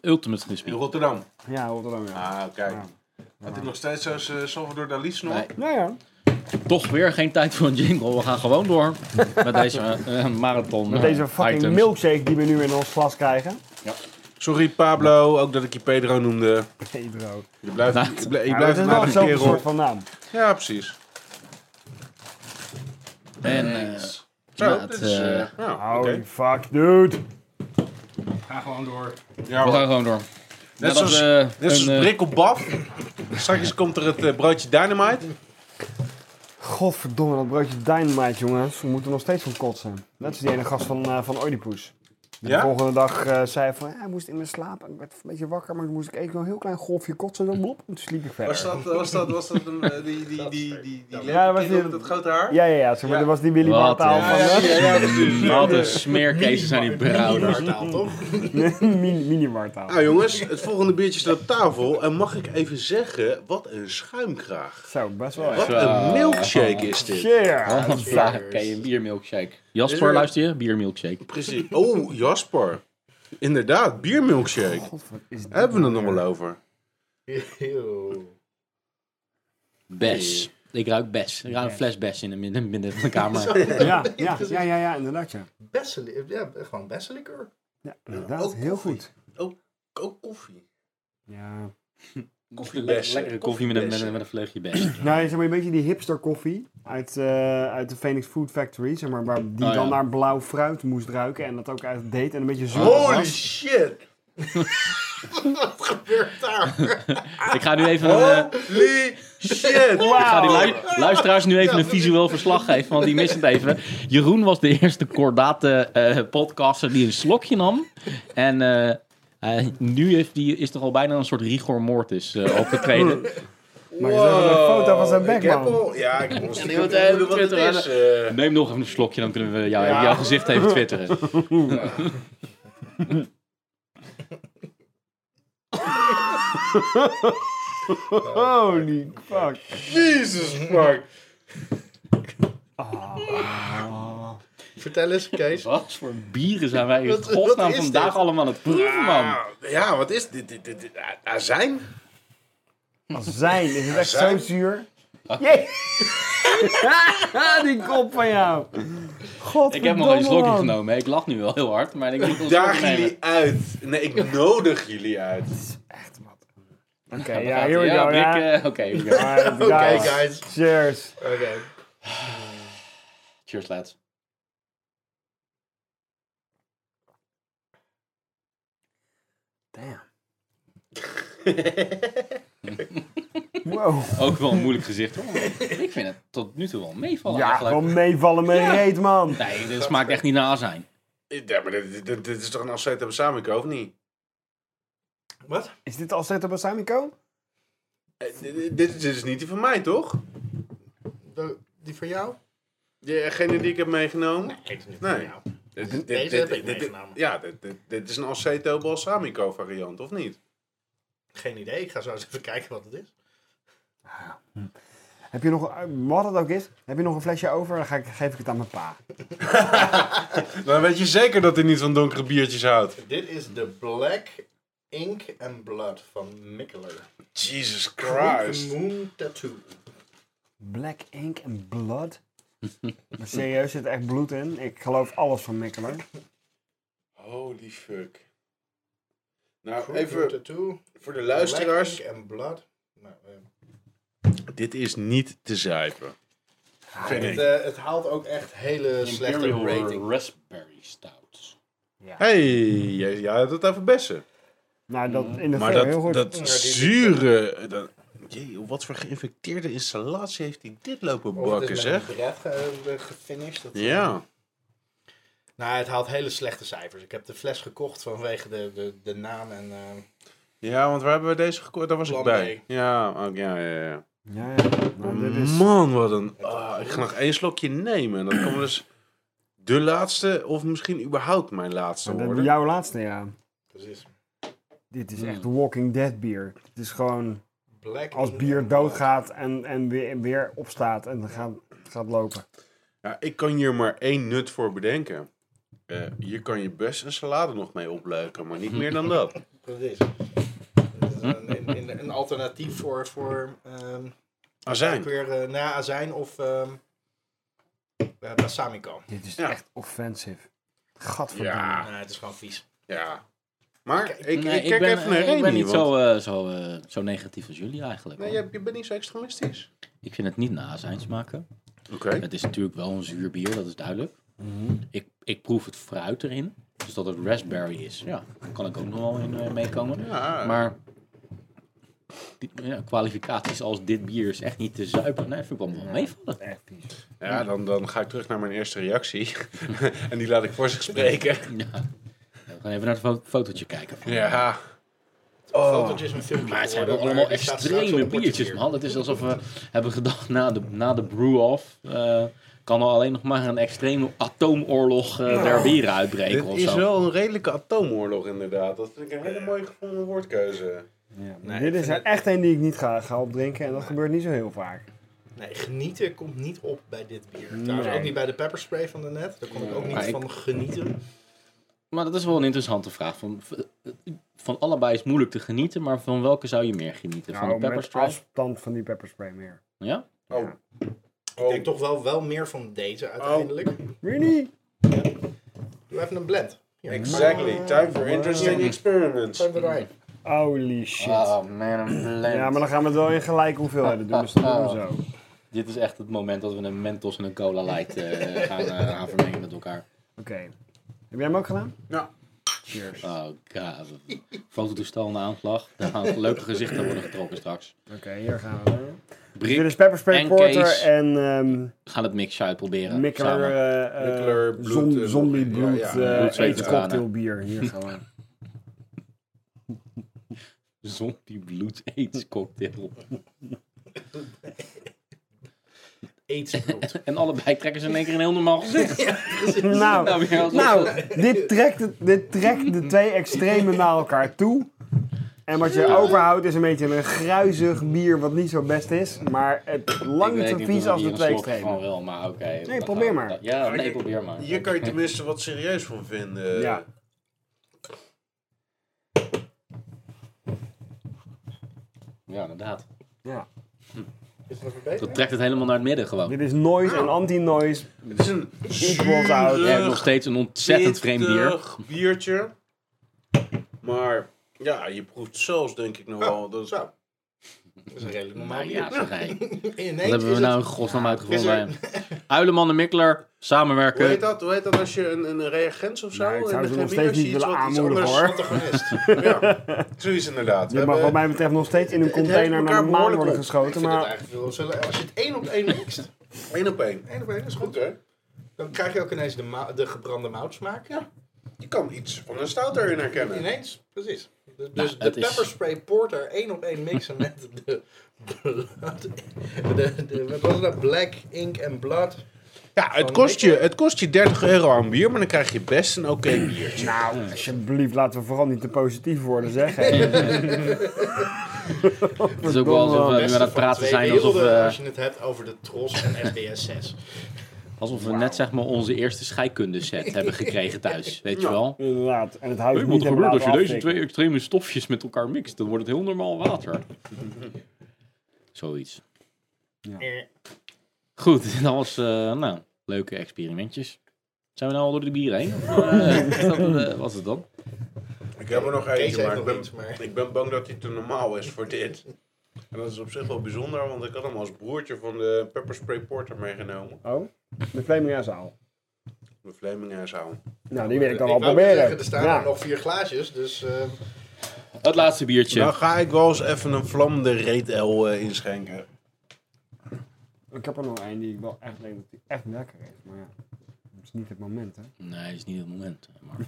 Speaker 1: Ultimate
Speaker 2: In
Speaker 1: Frisbee.
Speaker 2: Rotterdam.
Speaker 3: ja, Rotterdam, ja.
Speaker 2: Ah, kijk.
Speaker 3: Ja.
Speaker 2: Had hij nog steeds zo'n eh, Salvador Dalí snor?
Speaker 1: Nee.
Speaker 3: Nou ja.
Speaker 1: Toch weer geen tijd voor een jingle. We gaan gewoon door met deze eh, marathon.
Speaker 3: Met
Speaker 1: eh,
Speaker 3: deze fucking
Speaker 1: items.
Speaker 3: milkshake die we nu in ons glas krijgen.
Speaker 2: Sorry Pablo, ook dat ik je Pedro noemde.
Speaker 3: Pedro.
Speaker 2: Je blijft,
Speaker 1: Nou,
Speaker 2: je blijft, je
Speaker 3: Ja, dat is
Speaker 2: blijft maar
Speaker 3: wel
Speaker 2: een
Speaker 3: hetzelfde
Speaker 2: kerel.
Speaker 3: soort van naam.
Speaker 2: Ja, precies.
Speaker 1: En eh,
Speaker 2: Zo,
Speaker 1: Ja,
Speaker 2: dit
Speaker 1: het,
Speaker 2: is... eh,
Speaker 1: eh,
Speaker 2: ja,
Speaker 3: Holy
Speaker 2: oké.
Speaker 3: fuck, dude.
Speaker 5: Ga gewoon door.
Speaker 2: Ja,
Speaker 1: we
Speaker 2: hoor.
Speaker 1: gaan gewoon door.
Speaker 2: Net
Speaker 1: Nadat
Speaker 2: zoals,
Speaker 1: we
Speaker 2: net zoals
Speaker 1: een, eh,
Speaker 2: Brik op Baf. Straks komt er het eh, broodje Dynamite.
Speaker 3: Godverdomme, dat broodje dynamite, jongens. We moeten nog steeds van kotsen. Net als die ene gast van, eh van Oedipus. En
Speaker 2: Ja?
Speaker 3: De volgende dag eh, zei hij van, ja, hij moest in mijn slaap. Ik werd een beetje wakker, maar toen moest ik even een heel klein golfje kotsen. Zo, blop, en toen sliep ik verder.
Speaker 2: Was dat, eh, was dat, was dat een, eh, die, die, die, die, die, die
Speaker 3: Ja, dat was
Speaker 2: leeuwenkinderen
Speaker 3: die-
Speaker 2: met dat grote haar?
Speaker 3: Ja, ja, ja. Zeg maar,
Speaker 2: Ja.
Speaker 3: Dat was die Willy
Speaker 1: Wat
Speaker 3: Bartaal
Speaker 1: een-
Speaker 3: van...
Speaker 2: ja,
Speaker 3: eh,
Speaker 2: ja, precies.
Speaker 1: Wat een smeerkezen zijn die brouwers.
Speaker 5: Bartaal, toch?
Speaker 3: mini- Mini Bartaal.
Speaker 2: Nou jongens, het volgende biertje staat op tafel. En mag ik even zeggen, wat een schuimkraag.
Speaker 3: Zo, best wel.
Speaker 2: Wat een milkshake is dit.
Speaker 3: Cheers.
Speaker 1: Wat een vraag. Oké, een biermilkshake. Jasper, luister je? Biermilkshake.
Speaker 2: Precies. Oh, Jasper. Inderdaad, biermilkshake.
Speaker 3: God, wat is dit?
Speaker 2: Hebben we het nog wel over?
Speaker 5: Eeuw.
Speaker 1: Bes. Ik ruik bes. Ik ruik een fles bes in de midden, midden van de kamer.
Speaker 3: Ja, ja, ja, ja, ja, inderdaad, ja.
Speaker 5: Bessenli- eh, ja, gewoon bessenlikeur.
Speaker 3: Ja, inderdaad.
Speaker 2: Ook
Speaker 3: Heel
Speaker 2: koffie.
Speaker 3: goed.
Speaker 2: Ook, ook koffie.
Speaker 3: Ja.
Speaker 1: Koffie, lekkere koffie met een, met een, met een vleugje bes.
Speaker 3: Nou, zeg maar een beetje die hipster koffie uit, eh, uit de Phoenix Food Factory, zeg maar, waar die
Speaker 1: Oh, ja.
Speaker 3: dan naar blauw fruit moest ruiken en dat ook uit deed en een beetje zuur
Speaker 1: Oh,
Speaker 2: Holy
Speaker 3: was.
Speaker 2: shit! Wat gebeurt daar?
Speaker 1: Ik ga nu even
Speaker 2: Oh!
Speaker 1: een... eh,
Speaker 2: Holy shit!
Speaker 1: Ik ga die lui- luisteraars nu even een visueel verslag geven, want die missen het even. Jeroen was de eerste kordate eh, podcaster die een slokje nam. En eh, hij- nu heeft die, is toch al bijna een soort rigor mortis eh, opgetreden.
Speaker 3: Maar je zag ook een foto van zijn bek,
Speaker 2: Ik heb
Speaker 3: man.
Speaker 2: al, ja, ik heb al
Speaker 1: die wordt
Speaker 2: stiekem wat het
Speaker 1: Twitter,
Speaker 2: is. eh.
Speaker 1: Neem nog even een slokje, dan kunnen we jou, jouw gezicht even twitteren.
Speaker 3: Holy fuck.
Speaker 2: Jesus, Mark.
Speaker 5: Vertel eens, Kees.
Speaker 1: Wat voor bieren zijn wij in
Speaker 5: Wat- wat
Speaker 1: godsnaam
Speaker 5: is dit?
Speaker 1: vandaag allemaal aan het proeven, man?
Speaker 2: Ah, ja, wat is dit? dit, dit, dit ah, azijn?
Speaker 3: Azijn, is het echt zo
Speaker 2: Azijn?
Speaker 3: zuur?
Speaker 1: Ah.
Speaker 3: Jee! die kop van jou. God,
Speaker 1: Ik heb nog geen slokje genomen. hè. Ik lach nu wel heel hard, maar ik wil een slokje
Speaker 2: Daag
Speaker 1: nemen.
Speaker 2: jullie uit. Nee, ik nodig jullie uit.
Speaker 3: Oké,
Speaker 1: Dan
Speaker 3: ja,
Speaker 1: gaat-
Speaker 3: here we
Speaker 1: ja,
Speaker 3: go.
Speaker 1: Rick,
Speaker 3: ja.
Speaker 1: eh, Oké, here we go.
Speaker 3: Alright,
Speaker 5: Oké,
Speaker 3: guys.
Speaker 5: guys.
Speaker 3: Cheers.
Speaker 5: Oké.
Speaker 1: Cheers, lads.
Speaker 3: Damn. Wow.
Speaker 1: Ook wel een moeilijk gezicht hoor. Ik vind het tot nu toe wel meevallen
Speaker 3: Ja,
Speaker 1: eigenlijk.
Speaker 3: gewoon meevallen met reet, man.
Speaker 1: Nee, dit smaakt echt niet naar azijn.
Speaker 2: Ja, maar dit, dit, dit is toch een afzet hebben samen, of niet?
Speaker 5: Wat?
Speaker 3: Is dit al Zeto Balsamico?
Speaker 2: Eh, Dit, dit- dit is niet die van mij, toch?
Speaker 5: De- Die van jou?
Speaker 2: Degene die ik heb meegenomen? Nee. Dit- dit-
Speaker 5: Deze
Speaker 2: dit-
Speaker 5: heb ik
Speaker 2: dit- dit-
Speaker 5: meegenomen.
Speaker 2: Ja, dit, dit, dit is een Alceto Balsamico variant, of niet?
Speaker 5: Geen idee. Ik ga zo eens even kijken wat het is.
Speaker 3: Heb je nog, eh, wat het ook is, heb je nog een flesje over? Dan ga ik, geef ik het aan mijn pa.
Speaker 2: Dan weet je zeker dat hij niet van donkere biertjes houdt.
Speaker 5: Dit is de Black Ink and Blood van Mikkeler.
Speaker 2: Jesus
Speaker 5: Blue
Speaker 2: Christ.
Speaker 5: Moon Tattoo.
Speaker 3: Black ink en blood. maar serieus, zit er echt bloed in. Ik geloof alles van Mikkelen.
Speaker 2: Holy fuck. Nou,
Speaker 5: Blue Moon
Speaker 2: even
Speaker 5: Tattoo.
Speaker 2: voor de
Speaker 5: Black
Speaker 2: luisteraars.
Speaker 5: Ink and Blood. Nou, eh,
Speaker 2: Dit is niet te zuipen. Vind
Speaker 5: het,
Speaker 2: ik.
Speaker 5: eh, het haalt ook echt hele slechte rating.
Speaker 1: Raspberry Stout.
Speaker 2: Hey, jij, jij had het over bessen.
Speaker 3: Nou, dat in de
Speaker 2: Maar
Speaker 3: film heel
Speaker 2: dat,
Speaker 3: goed.
Speaker 2: dat zure... Dat, jee, op wat voor geïnfecteerde installatie heeft hij dit lopen
Speaker 5: Of het
Speaker 2: bakken,
Speaker 5: is met
Speaker 2: zeg?
Speaker 5: een bret ge- eh, gefinished. Dat-
Speaker 2: Ja.
Speaker 5: Nou, het haalt hele slechte cijfers. Ik heb de fles gekocht vanwege de, de, de naam en... eh,
Speaker 2: Ja, want waar hebben we deze gekocht? Daar was
Speaker 5: Plan
Speaker 2: ik bij. Ja, ook, ja, ja, ja.
Speaker 3: Ja, ja. Nou,
Speaker 2: Mm.
Speaker 3: dit is...
Speaker 2: Man, wat een... ah, ik ga nog één slokje nemen. En dan kan dus de laatste, of misschien überhaupt mijn laatste
Speaker 3: Dat
Speaker 2: worden.
Speaker 3: jouw laatste, ja.
Speaker 5: precies.
Speaker 3: Dit is echt Walking Dead bier. Het is gewoon
Speaker 5: Black
Speaker 3: als
Speaker 5: Ink
Speaker 3: bier
Speaker 5: and Blood.
Speaker 3: doodgaat en, en weer, weer opstaat en gaat, gaat lopen.
Speaker 2: Ja, ik kan hier maar één nut voor bedenken. Eh, hier kan je best een salade nog mee opleuken, maar niet meer dan dat.
Speaker 5: Precies. Dat is Een, een, een, een alternatief voor, voor ehm,
Speaker 2: Azijn.
Speaker 5: ook weer eh, na azijn of ehm eh, balsamico.
Speaker 3: Dit is
Speaker 2: Ja.
Speaker 3: echt offensive. Gadverdamme.
Speaker 1: Ah.
Speaker 2: Ja,
Speaker 5: Nee, het is gewoon vies.
Speaker 2: ja. Maar ik, ik
Speaker 1: Nee,
Speaker 2: kijk even naar Remy.
Speaker 1: ik ben niet
Speaker 2: want-
Speaker 1: zo, eh, zo, eh, zo negatief als jullie eigenlijk.
Speaker 2: Nee,
Speaker 1: hoor.
Speaker 2: je, je bent niet zo extremistisch.
Speaker 1: Ik vind het niet naar azijn smaken.
Speaker 2: Oké.
Speaker 1: Het is natuurlijk wel een zuur bier, dat is duidelijk. Ik, ik proef het fruit erin. Dus dat het raspberry is. Ja, daar kan ik ook nog wel in eh, meekomen.
Speaker 2: Ja.
Speaker 1: Maar die- ja, kwalificaties als dit bier is echt niet te zuipen. Nee, vind ik wel wel meevallen.
Speaker 3: Echt vies.
Speaker 2: Ja, dan, dan ga ik terug naar mijn eerste reactie. en die laat ik voor zich spreken.
Speaker 1: Ja. We gaan even naar het fo- fotootje kijken.
Speaker 2: Ja.
Speaker 5: Fotootjes en filmpjes.
Speaker 1: Oh. Maar het zijn wel
Speaker 5: worden,
Speaker 1: allemaal
Speaker 5: maar die staat
Speaker 1: extreme
Speaker 5: straks op het
Speaker 1: biertjes,
Speaker 5: portefeuille.
Speaker 1: man. Het is alsof we hebben gedacht, na de, na de brew-off... eh, kan er alleen nog maar een extreme atoomoorlog eh, der bieren uitbreken
Speaker 2: Dit
Speaker 1: of
Speaker 2: is
Speaker 1: zo.
Speaker 2: wel een redelijke atoomoorlog inderdaad. Dat vind ik een hele mooie gevonden woordkeuze.
Speaker 5: Nee,
Speaker 3: Dit
Speaker 5: ik
Speaker 3: is
Speaker 5: vind
Speaker 3: er echt een die ik niet ga, ga opdrinken en dat gebeurt niet zo heel vaak.
Speaker 5: het- Nee, genieten komt niet op bij dit bier. Trouwens ook niet bij de pepperspray van de net. Daar kon ik ook niet
Speaker 1: Maar ik- Oh.
Speaker 5: van genieten.
Speaker 1: Maar dat is wel een interessante vraag. Van, van allebei is moeilijk te genieten, maar van welke zou je meer genieten? Van
Speaker 3: Nou,
Speaker 1: de
Speaker 3: met
Speaker 1: pepperspray?
Speaker 3: afstand van die pepperspray meer.
Speaker 1: Ja?
Speaker 2: Oh.
Speaker 5: Ik denk toch wel, wel meer van deze uiteindelijk.
Speaker 1: Oh.
Speaker 3: Really?
Speaker 5: Doe even een blend. Hier,
Speaker 2: Exactly. Time for interesting experiments.
Speaker 5: Zijn we erin.
Speaker 3: Holy shit.
Speaker 1: Ah, man, een
Speaker 3: ja, maar dan gaan we het wel in gelijke hoeveelheden doen, dus dat doen
Speaker 1: Ah.
Speaker 3: we zo.
Speaker 1: Dit is echt het moment dat we een Mentos en een Cola Light eh, gaan, eh, gaan vermengen met elkaar.
Speaker 3: Oké. Heb jij hem ook gedaan?
Speaker 2: Ja.
Speaker 3: Cheers.
Speaker 1: Oh god. Fototoestel in de aanslag. Daar gaan leuke gezichten worden getrokken straks.
Speaker 3: Oké, hier gaan we. Dit
Speaker 1: Brik,
Speaker 3: is pepperspray
Speaker 1: en
Speaker 3: porter
Speaker 1: Kees.
Speaker 3: en ehm
Speaker 1: gaan het mixje uitproberen.
Speaker 3: Mikkler,
Speaker 1: samen.
Speaker 3: eh, eh,
Speaker 2: Mikkler bloed,
Speaker 3: zom-
Speaker 2: eh,
Speaker 3: zombie
Speaker 2: ja,
Speaker 3: bloed,
Speaker 2: ja,
Speaker 3: eh
Speaker 2: ja.
Speaker 1: Bloed, zweet en
Speaker 3: eten
Speaker 1: tranen.
Speaker 3: cocktail bier. Hier gaan we. eh,
Speaker 1: Zombie bloed aids cocktail.
Speaker 5: Aidsbloed.
Speaker 1: En allebei trekken ze in één keer een heel normaal gezicht.
Speaker 3: nou,
Speaker 1: Nou, weer alsof
Speaker 3: nou
Speaker 1: ze-
Speaker 3: dit, trekt, het- dit trekt de twee extremen naar elkaar toe. En wat je overhoudt is een beetje een gruizig bier wat niet zo best is. Maar het
Speaker 1: Ik
Speaker 3: lang niet
Speaker 1: weet
Speaker 3: zo
Speaker 1: niet
Speaker 3: vies
Speaker 1: of
Speaker 3: als
Speaker 1: hier
Speaker 3: de
Speaker 1: een
Speaker 3: twee
Speaker 1: slok
Speaker 3: extremen.
Speaker 1: Van wel, maar oké. dan gaan
Speaker 3: probeer
Speaker 1: we-
Speaker 3: maar.
Speaker 1: Ja, nee, probeer maar.
Speaker 2: Hier kan je tenminste wat serieus van vinden.
Speaker 3: Ja.
Speaker 1: Ja, inderdaad.
Speaker 3: ja.
Speaker 5: Is het nog verbeterd?
Speaker 1: Dat trekt het helemaal naar het midden gewoon.
Speaker 3: Dit is noise en anti-noise.
Speaker 2: Het is een
Speaker 3: Equals out.
Speaker 1: Je hebt nog
Speaker 2: zuurig,
Speaker 1: steeds een ontzettend vreemd bier.
Speaker 2: pittig biertje. Maar ja, je proeft zelfs denk ik nog wel. Dat is,
Speaker 5: Zo. Dat is een redelijk normaal
Speaker 1: Nou
Speaker 5: bier.
Speaker 1: ja, zeg hey.
Speaker 5: Ineens
Speaker 1: Wat hebben
Speaker 5: is
Speaker 1: we
Speaker 5: het-
Speaker 1: nou in godsnaam
Speaker 5: Is
Speaker 1: uitgevonden?
Speaker 5: er-
Speaker 1: hè? Uileman en Mikkler
Speaker 2: hoe, heet
Speaker 1: samenwerken.
Speaker 2: dat? hoe heet dat als je een, een reagent of zo?
Speaker 3: Nou, ik zou
Speaker 2: in de
Speaker 3: ze nog
Speaker 2: chemie,
Speaker 3: steeds
Speaker 2: als je
Speaker 3: niet
Speaker 2: iets
Speaker 3: willen
Speaker 2: wat iets
Speaker 3: aanmoedigen,
Speaker 2: anders-
Speaker 3: hoor.
Speaker 2: Ja, zoiets inderdaad. We
Speaker 3: Je mag wat
Speaker 2: hebben-
Speaker 3: mij betreft nog steeds in een
Speaker 2: het heeft
Speaker 3: container naar
Speaker 2: elkaar
Speaker 3: de maan
Speaker 2: behoorlijk
Speaker 3: worden
Speaker 2: op.
Speaker 5: Ik
Speaker 3: geschoten.
Speaker 5: vind het
Speaker 3: Maar
Speaker 5: eigenlijk wel zullen- Als je het één op één mixt,
Speaker 2: één op één.
Speaker 5: één op één is
Speaker 2: Goed
Speaker 5: goed.
Speaker 2: hè?
Speaker 5: Dan krijg je ook ineens de, ma- de gebrande moutsmaak. Ja,
Speaker 2: Je kan iets van een stout erin herkennen.
Speaker 5: ineens. Precies. Dus, dus
Speaker 1: Nou, het
Speaker 5: de
Speaker 1: is-
Speaker 5: pepperspray porter één op één mixen met de, blood, de, de- Wat was dat? Black ink en blood.
Speaker 2: Ja, het
Speaker 5: Van
Speaker 2: kost, je,
Speaker 5: Mikkelen.
Speaker 2: het kost je 30 euro aan bier, maar dan krijg je best een oké biertje.
Speaker 3: nou, alsjeblieft, laten we vooral niet te positief worden, zeg. hè.
Speaker 1: Het is ook wel alsof we nu
Speaker 5: Beste
Speaker 1: aan het
Speaker 5: van
Speaker 1: praten
Speaker 5: twee
Speaker 1: zijn. Alsof,
Speaker 5: werelden,
Speaker 1: eh,
Speaker 5: Als je het hebt over de Tros en FBS 6.
Speaker 1: alsof we net zeg maar onze eerste scheikunde set hebben gekregen thuis. Weet je wel?
Speaker 3: Inderdaad. En het houdt
Speaker 1: Hey,
Speaker 3: niet
Speaker 1: wat
Speaker 3: en
Speaker 1: gebeurt als je
Speaker 3: laten we
Speaker 1: deze
Speaker 3: aftikken.
Speaker 1: twee extreme stofjes met elkaar mixt? Dan wordt het heel normaal water. Zoiets. Goed, dat was eh, nou, leuke experimentjes. Zijn we nou al door de bieren heen? Of, eh, is dat, eh, was het dan?
Speaker 2: Ik heb er nog
Speaker 5: Kees
Speaker 2: eentje,
Speaker 5: heeft
Speaker 2: maar
Speaker 5: nog
Speaker 2: ik, ben,
Speaker 5: iets, maar-
Speaker 2: ik ben bang dat hij te normaal is voor dit. En dat is op zich wel bijzonder, want ik had hem als broertje van de Pepperspray Porter meegenomen.
Speaker 3: Oh, de Flaming Azaal.
Speaker 2: De Vleminghuishoud.
Speaker 3: Nou, die wil ik dan
Speaker 5: Ik wou
Speaker 3: wel proberen.
Speaker 5: zeggen, er staan
Speaker 3: Ja.
Speaker 5: er nog vier glaasjes, dus... eh,
Speaker 1: Het laatste biertje.
Speaker 2: Dan ga ik wel eens even een vlammende reetel eh, inschenken.
Speaker 3: Ik heb er nog één die ik wel echt denk dat die echt lekker is. Maar ja, dat is niet het moment, hè.
Speaker 1: Nee, is niet het moment. eh, Maar...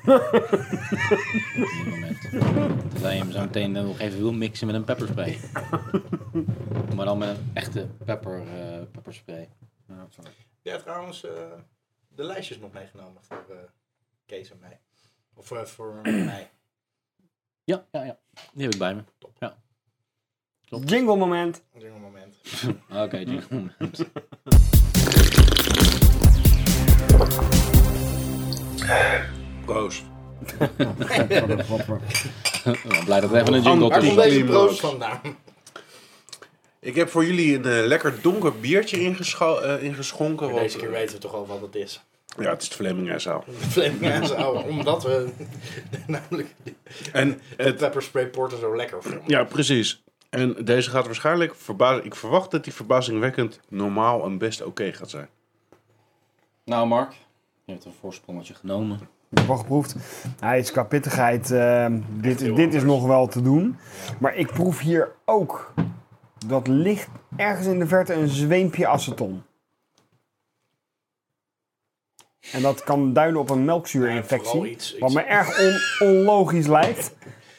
Speaker 1: Niet het moment. Tenzij je hem zo meteen eh, nog even wil mixen met een pepperspray. maar dan met een echte pepper, eh, pepperspray.
Speaker 3: Ja, sorry.
Speaker 5: Ja, trouwens, eh, de lijstjes nog meegenomen voor eh, Kees en mij. Of eh, voor mij.
Speaker 1: Ja, ja, ja. Die heb ik bij me. Ja.
Speaker 3: Jingle moment.
Speaker 5: Op dit moment.
Speaker 1: Oké, jingle moment.
Speaker 2: Proost.
Speaker 1: Nou, blij dat we even een jingle
Speaker 2: Waar
Speaker 1: tussen
Speaker 5: Waar komt
Speaker 2: komt
Speaker 5: deze
Speaker 2: die
Speaker 5: brood
Speaker 2: brood
Speaker 5: vandaan?
Speaker 2: Ik heb voor jullie een eh, lekker donker biertje ingescho- eh, ingeschonken. want- eh,
Speaker 5: Deze keer weten we toch al wat het is.
Speaker 2: Ja, het is de Vleminghuishoud.
Speaker 5: De Vleminghuizen houden, omdat we namelijk
Speaker 2: En
Speaker 5: de
Speaker 2: het,
Speaker 5: pepperspray porter zo lekker vonden.
Speaker 2: Ja, precies. En deze gaat waarschijnlijk verbazen. Ik verwacht dat die verbazingwekkend normaal en best oké gaat zijn.
Speaker 1: Nou, Mark. Je hebt een voorsprongetje genomen.
Speaker 3: Ik heb al geproefd. Hij is qua pittigheid, ehm, dit, is- dit is nog wel te doen. Maar ik proef hier ook, dat ligt ergens in de verte, een zweempje aceton. En dat kan duiden op een
Speaker 5: Vooral
Speaker 3: melkzuurinfectie.
Speaker 5: iets.
Speaker 3: Wat
Speaker 5: iets
Speaker 3: me erg on- onlogisch lijkt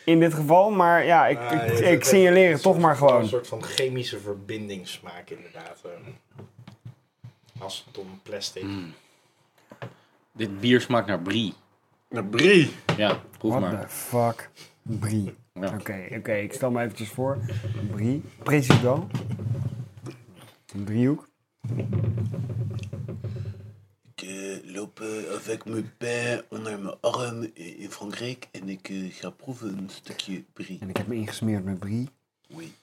Speaker 3: in dit geval. Maar ja, ik,
Speaker 5: Ah,
Speaker 3: ik,
Speaker 5: ja,
Speaker 3: ik
Speaker 5: dat-
Speaker 3: signaleer het
Speaker 5: dat-
Speaker 3: toch maar
Speaker 5: Een
Speaker 3: gewoon.
Speaker 5: soort van chemische verbindingssmaak, inderdaad. eh. Aceton, plastic.
Speaker 1: Dit bier smaakt naar brie.
Speaker 2: Naar Nou, Brie.
Speaker 1: Ja, proef
Speaker 3: What
Speaker 1: maar.
Speaker 3: the fuck? Brie.
Speaker 1: Ja.
Speaker 3: Oké, oké, ik stel me eventjes voor. Brie. President. Een driehoek.
Speaker 7: Ik eh, loop eh, avec mijn pijn onder mijn arm eh, in Frankrijk en ik eh, ga proeven een stukje brie.
Speaker 3: En ik heb me ingesmeerd met brie.
Speaker 7: Oui,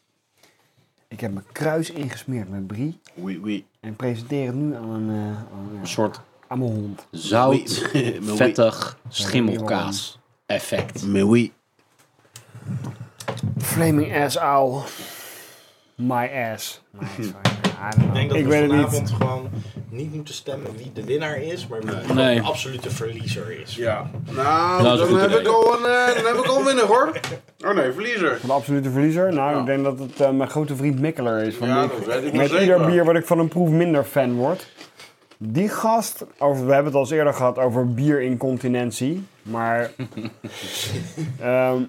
Speaker 3: Ik heb mijn kruis ingesmeerd met brie.
Speaker 7: oui, oui.
Speaker 3: En presenteer het nu aan, een, eh, aan, eh,
Speaker 1: Een soort
Speaker 3: aan mijn hond.
Speaker 1: zout,
Speaker 7: Oui. Maar oui.
Speaker 1: vettig schimmelkaas effect.
Speaker 7: Mais oui.
Speaker 3: Flaming ass owl. My ass. My ass. I don't know.
Speaker 5: Ik denk dat
Speaker 3: ik
Speaker 5: we
Speaker 3: weet het
Speaker 5: vanavond
Speaker 3: niet.
Speaker 5: gewoon niet moeten stemmen wie de winnaar is, maar wie gewoon
Speaker 1: Nee.
Speaker 5: de absolute verliezer is.
Speaker 2: Ja. Nou,
Speaker 1: is een
Speaker 2: dan,
Speaker 1: goed
Speaker 2: heb
Speaker 1: idee.
Speaker 2: ik al een, eh, dan heb ik al een winnaar hoor. Oh nee, verliezer.
Speaker 3: Van de absolute verliezer? Nou, ik denk dat het eh, mijn grote vriend Mikkeler is. Van wie
Speaker 2: Ja, dat
Speaker 3: ik-
Speaker 2: weet ik wel
Speaker 3: met
Speaker 2: zeker.
Speaker 3: ieder bier wat ik van een proef minder fan word. Die gast, over, we hebben het al eens eerder gehad over bierincontinentie. Maar ehm,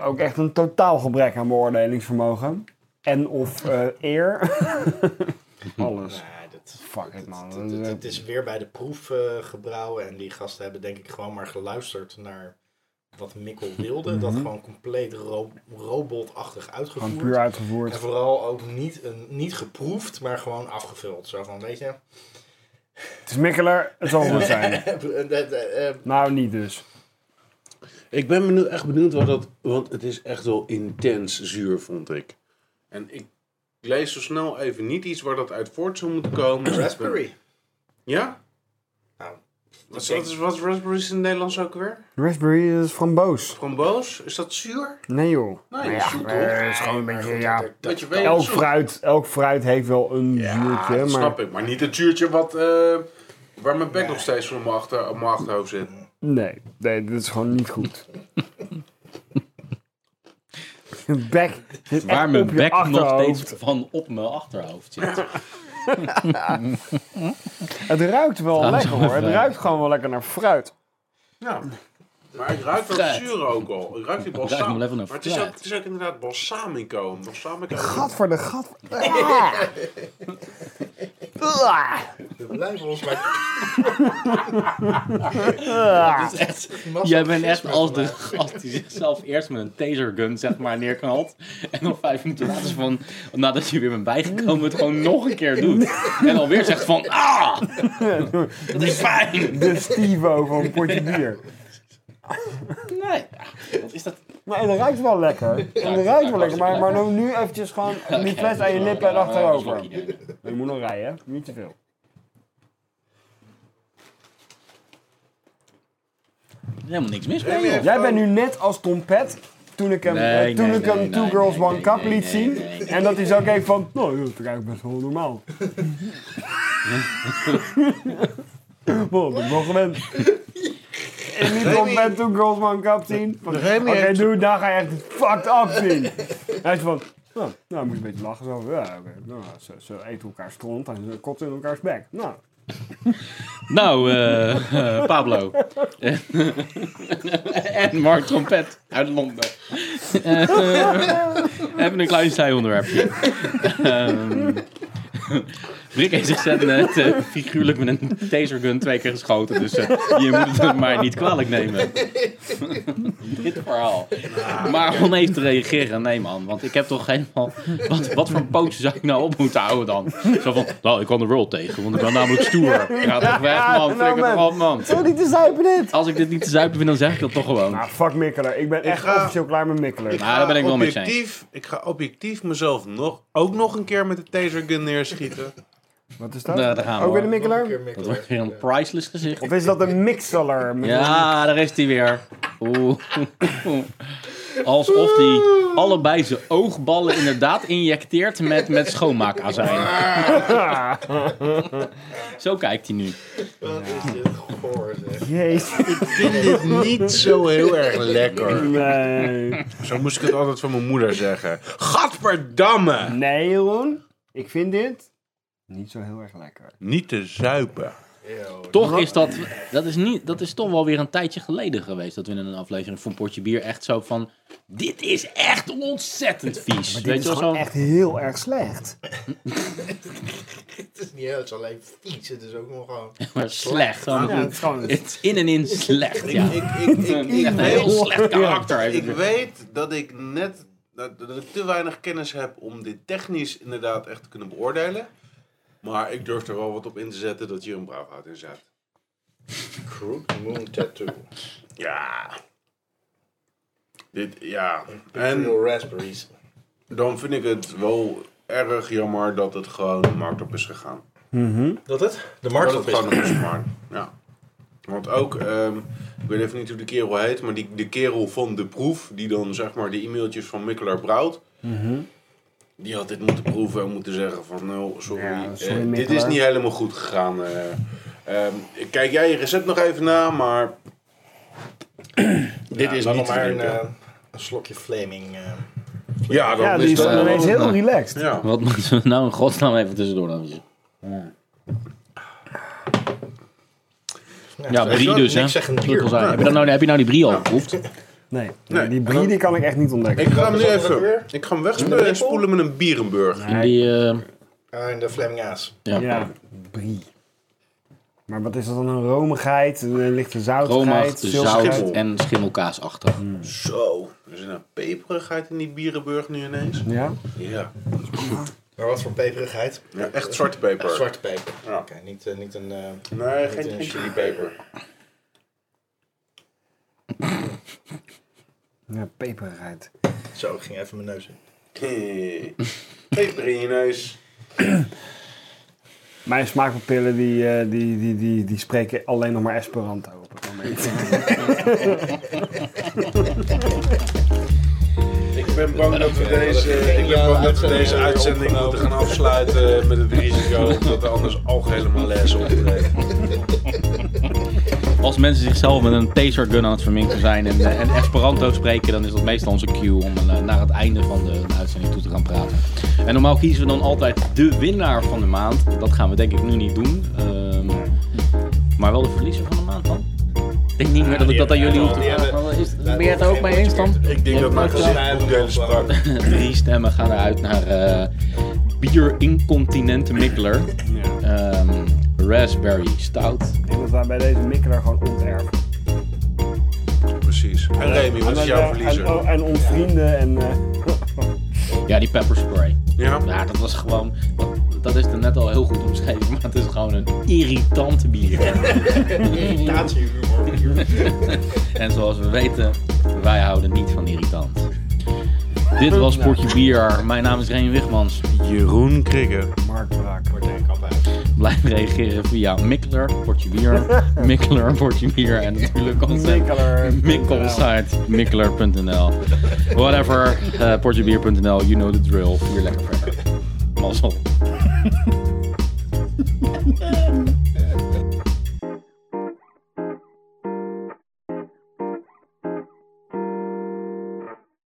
Speaker 3: ook echt een totaal gebrek aan beoordelingsvermogen. En of eh, eer. Alles.
Speaker 5: Nou, dat,
Speaker 3: Fuck it man.
Speaker 5: dat- dat- het is weer bij de proef eh, gebrouwen en die gasten hebben denk ik gewoon maar geluisterd naar wat Mikkel wilde. Dat gewoon compleet ro- robotachtig
Speaker 3: Mhm. Gewoon
Speaker 5: uitgevoerd.
Speaker 3: puur uitgevoerd.
Speaker 5: En vooral ook niet, een, niet geproefd, maar gewoon afgevuld. Zo van, weet je...
Speaker 3: Het is Mikkeler, het zal goed zijn.
Speaker 5: eh, eh,
Speaker 3: Nou, niet dus.
Speaker 2: Ik ben benieuwd, echt benieuwd wat dat... Want het is echt wel intens zuur, vond ik. En ik lees zo snel even niet iets waar dat uit voort zou moeten komen.
Speaker 5: raspberry.
Speaker 2: Ja?
Speaker 5: Nou,
Speaker 2: Wat,
Speaker 5: denk-
Speaker 2: wat is, wat is raspberries in het Nederlands ook weer?
Speaker 3: Raspberry is framboos.
Speaker 2: Framboos? Is dat zuur?
Speaker 3: Nee joh.
Speaker 2: Nee,
Speaker 3: ja,
Speaker 2: zoet,
Speaker 3: eh,
Speaker 2: hoor.
Speaker 3: is gewoon een beetje,
Speaker 5: goed,
Speaker 3: ja.
Speaker 5: dat-
Speaker 2: Dat je weet
Speaker 3: Elk
Speaker 2: zoet.
Speaker 3: fruit, elk fruit heeft wel een
Speaker 2: Ja,
Speaker 3: zuurtje,
Speaker 2: dat
Speaker 3: maar...
Speaker 2: snap ik. Maar niet het zuurtje wat, eh, waar mijn bek nog steeds van op mijn, achter, op mijn achterhoofd zit.
Speaker 3: Nee, nee, dit is gewoon niet goed. Je bek zit
Speaker 1: Waar
Speaker 3: echt
Speaker 1: mijn
Speaker 3: op
Speaker 1: bek
Speaker 3: je
Speaker 1: nog
Speaker 3: achterhoofd.
Speaker 1: steeds van op mijn achterhoofd zit.
Speaker 3: Het ruikt wel
Speaker 1: Trouwens,
Speaker 3: lekker hoor. Het
Speaker 1: eh,
Speaker 3: ruikt gewoon wel lekker naar fruit.
Speaker 2: Ja. Maar ik ruik dat
Speaker 1: Fruit.
Speaker 2: zuur ook al. Ik ruik
Speaker 1: ruik hem
Speaker 2: die balsam.
Speaker 1: wel even naar
Speaker 2: maar het is, ook,
Speaker 1: fruit.
Speaker 2: het is ook inderdaad balsamico. Een Balsamico.
Speaker 3: Gat voor de gat. Ah. Ah.
Speaker 5: We blijven ons maar...
Speaker 1: Dat is echt- Jij bent echt als de gast die zichzelf eerst met een tasergun zeg maar neerknalt. En dan vijf minuten later is van, nadat je weer bent bijgekomen, het gewoon nog een keer doet. En alweer zegt van, ah, dat is fijn.
Speaker 3: De Stivo van een potje bier.
Speaker 1: Nee, ja, wat is dat?
Speaker 3: Maar het ruikt wel lekker. Het ruikt wel lekker, maar, maar doe nu eventjes gewoon die fles aan je lippen en achterover. Je moet nog rijden, hè? niet te veel.
Speaker 1: Helemaal niks mis mee, joh.
Speaker 3: Jij bent nu net als Tom Pet toen ik hem,
Speaker 1: Nee,
Speaker 3: eh, toen
Speaker 1: nee,
Speaker 3: ik hem
Speaker 1: nee,
Speaker 3: Two
Speaker 1: nee,
Speaker 3: Girls
Speaker 1: nee,
Speaker 3: One
Speaker 1: nee,
Speaker 3: Cup
Speaker 1: nee,
Speaker 3: liet
Speaker 1: nee,
Speaker 3: zien.
Speaker 1: nee, nee.
Speaker 3: En dat hij zo keek van, nou, dat is eigenlijk best wel normaal. Wow, ben ik wel gewend. En niet Tom Pet Two Girls One Cup zien. van, Oké, doe, daar ga je echt fucked up zien. Hij is van, nou, nou, moet je een beetje lachen zo. Ja, oké. Nou, ze, ze eten elkaar stront en ze kotsen in elkaars bek. Nou,
Speaker 1: Nou, eh, eh, Pablo. en Mark Trompet uit Londen. Eh, we hebben een klein zijonderwerpje. Ehm Rick heeft zichzelf net eh, figuurlijk met een tasergun twee keer geschoten. Dus eh, je moet het maar niet kwalijk nemen. Dit verhaal. Maar om even te reageren, nee man. Want ik heb toch helemaal... Wat, wat voor pootje zou ik nou op moeten houden dan? Zo van, nou, ik kan de world tegen. Want ik ben namelijk stoer. Ga toch weg man, flikker
Speaker 3: nou,
Speaker 1: toch op man.
Speaker 3: zo niet te zuipen dit.
Speaker 1: Als ik dit niet te zuipen vind, dan zeg ik dat toch gewoon.
Speaker 3: Nou, fuck Mikkeler. Ik ben echt
Speaker 2: ga-
Speaker 3: officieel klaar met Mikkeler.
Speaker 1: Nou, daar ben ik wel mee eens.
Speaker 2: objectief, Ik ga objectief mezelf nog, ook nog een keer met de tasergun neerschieten.
Speaker 3: Wat is dat?
Speaker 1: Nou, daar gaan we,
Speaker 3: Ook weer de
Speaker 1: hoor.
Speaker 3: Mikkeler?
Speaker 1: Dat wordt weer een priceless gezicht.
Speaker 3: Of is dat een Mixeler?
Speaker 1: Ja, daar is hij weer. Oeh. Alsof hij allebei zijn oogballen inderdaad injecteert met, met schoonmaakazijn. Zo kijkt hij nu.
Speaker 5: Wat is dit goor, zeg.
Speaker 3: Jezus.
Speaker 2: Niet zo heel erg lekker.
Speaker 3: Nee.
Speaker 2: Zo moest ik het altijd van mijn moeder zeggen. Gadverdamme!
Speaker 3: Nee, Jeroen. Ik vind dit niet zo heel erg lekker.
Speaker 2: Niet te zuipen.
Speaker 1: Toch is dat, dat is, niet, dat is toch wel weer een tijdje geleden geweest dat we in een aflevering van Potje Bier echt zo van, dit is echt ontzettend vies.
Speaker 3: Maar dit
Speaker 1: Weet
Speaker 3: is
Speaker 1: je wel,
Speaker 3: gewoon
Speaker 1: zo,
Speaker 3: echt heel erg slecht.
Speaker 5: Het is niet eens alleen vies, het is ook nog gewoon...
Speaker 1: maar slecht. Gewoon,
Speaker 3: Ja, het is gewoon...
Speaker 1: Het is in en in slecht, ja.
Speaker 7: Ik, ik, ik, ik,
Speaker 1: Echt een heel
Speaker 7: weet,
Speaker 1: slecht karakter. heeft
Speaker 7: ik
Speaker 1: het.
Speaker 7: weet dat ik net dat, dat ik te weinig kennis heb om dit technisch inderdaad echt te kunnen beoordelen. Maar ik durf er wel wat op in te zetten dat hier een braafhout in zat.
Speaker 5: Crook Moon Tattoo.
Speaker 7: Ja. Dit, ja.
Speaker 5: En
Speaker 7: En
Speaker 5: raspberries.
Speaker 7: dan vind ik het wel erg jammer dat het gewoon de markt op is gegaan.
Speaker 5: Dat het? De
Speaker 7: Maar
Speaker 5: markt
Speaker 7: dat
Speaker 5: op
Speaker 7: het
Speaker 5: is.
Speaker 7: gewoon een smaak. Ja. Want ook, ehm, ik weet even niet hoe de kerel heet, maar die, de kerel van de proef, die dan zeg maar de e-mailtjes van Mikkelaar brouwt,
Speaker 3: Mhm.
Speaker 7: die had dit moeten proeven en moeten zeggen van, nou, sorry,
Speaker 3: Ja, sorry,
Speaker 7: eh, dit is
Speaker 3: Mikkelaar.
Speaker 7: niet helemaal goed gegaan. eh. Ehm, kijk jij je recept nog even na, maar dit is
Speaker 5: dan nog
Speaker 7: niet
Speaker 5: maar
Speaker 7: te
Speaker 5: een,
Speaker 7: drinken.
Speaker 5: eh, een slokje flaming. eh.
Speaker 7: Ja, dan
Speaker 3: Ja,
Speaker 7: is
Speaker 3: die is
Speaker 7: dat
Speaker 3: dus dan
Speaker 7: wel-
Speaker 3: ineens heel relaxed.
Speaker 7: Ja.
Speaker 1: Wat moeten we nou in godsnaam even tussendoor dan? Ja,
Speaker 5: weet je
Speaker 1: brie
Speaker 5: wat?
Speaker 1: dus, hè?
Speaker 5: Niks zeggen
Speaker 1: Druk ons
Speaker 5: hier.
Speaker 1: uit. Heb je, dan nou, heb je nou die brie al geproefd?
Speaker 3: Nee,
Speaker 7: Nee.
Speaker 3: die brie die kan ik echt niet ontdekken.
Speaker 7: Ik ga hem nu
Speaker 5: Wat is dat ook
Speaker 7: even,
Speaker 5: weer?
Speaker 7: ik ga hem wegspoelen en spoelen met een Bierenburg.
Speaker 1: In die, eh,
Speaker 5: Ah, en de flaming aas.
Speaker 1: ja.
Speaker 3: Ja, brie. Maar wat is dat dan? Een romigheid, een lichte zoutigheid,
Speaker 1: Romig,
Speaker 3: ziltigheid?
Speaker 1: zout en schimmelkaas achter.
Speaker 7: Zo, er zit een peperigheid in die Bierenburg nu ineens.
Speaker 3: Ja?
Speaker 7: Ja.
Speaker 5: Maar wat voor peperigheid?
Speaker 7: Ja, echt zwarte peper.
Speaker 5: Eh, zwarte peper.
Speaker 7: Ja.
Speaker 5: Oké, niet, eh, niet een... eh,
Speaker 7: Nee,
Speaker 5: Niet
Speaker 7: geen,
Speaker 5: een
Speaker 7: geen chilipeper.
Speaker 3: Ja, peperigheid.
Speaker 5: Zo, ik ging even mijn neus in.
Speaker 7: Hey. Peper in je neus.
Speaker 3: Mijn smaakpapillen die, eh, die, die, die, die spreken alleen nog maar Esperanto op het moment.
Speaker 7: Ik ben bang dat we deze, ik ben bang dat we deze uitzending moeten gaan afsluiten met het risico dat er anders algehele malaise optreedt.
Speaker 1: Als mensen zichzelf met een tasergun aan het verminken zijn en, eh, en Esperanto spreken, dan is dat meestal onze cue om eh, naar het einde van de, de uitzending toe te gaan praten. En normaal kiezen we dan altijd de winnaar van de maand. Dat gaan we denk ik nu niet doen. Ehm, maar wel de verliezer van de maand dan. Ik denk niet meer dat ik dat aan jullie hoef te
Speaker 5: die
Speaker 1: vragen.
Speaker 5: hebben-
Speaker 1: maar is- Ben
Speaker 5: hebben
Speaker 1: je het er ook
Speaker 5: geen
Speaker 1: mee eens dan?
Speaker 7: Ik denk dat mijn gezicht boekdelen sprak.
Speaker 1: Drie stemmen gaan eruit naar eh bier-incontinente Mikkeler. Ehm, raspberry stout.
Speaker 3: Ik denk dat wij bij deze mikkelaar gewoon onterven.
Speaker 7: Precies. En Remy, wat is jouw
Speaker 3: En, eh,
Speaker 7: verliezer?
Speaker 3: en ontvrienden en... eh,
Speaker 1: Ja, die pepper spray.
Speaker 7: Ja?
Speaker 1: Ja, dat was gewoon. dat- Dat is er net al heel goed omschreven, maar het is gewoon een irritante bier.
Speaker 5: Irritatiehumor.
Speaker 1: En zoals we weten, wij houden niet van irritant. Dit was Portje Bier. Mijn naam is Reen Wigmans.
Speaker 7: Jeroen Krikke.
Speaker 3: Mark Braak.
Speaker 1: Blijf reageren via Mikkler, Portje Bier, Mikkler, Portje Bier en natuurlijk onze
Speaker 3: Mikkeler.
Speaker 1: Mikkel site, mikkeler.nl. Whatever, eh portjebier.nl, you know the drill. Vier lekker verder. Mazzel.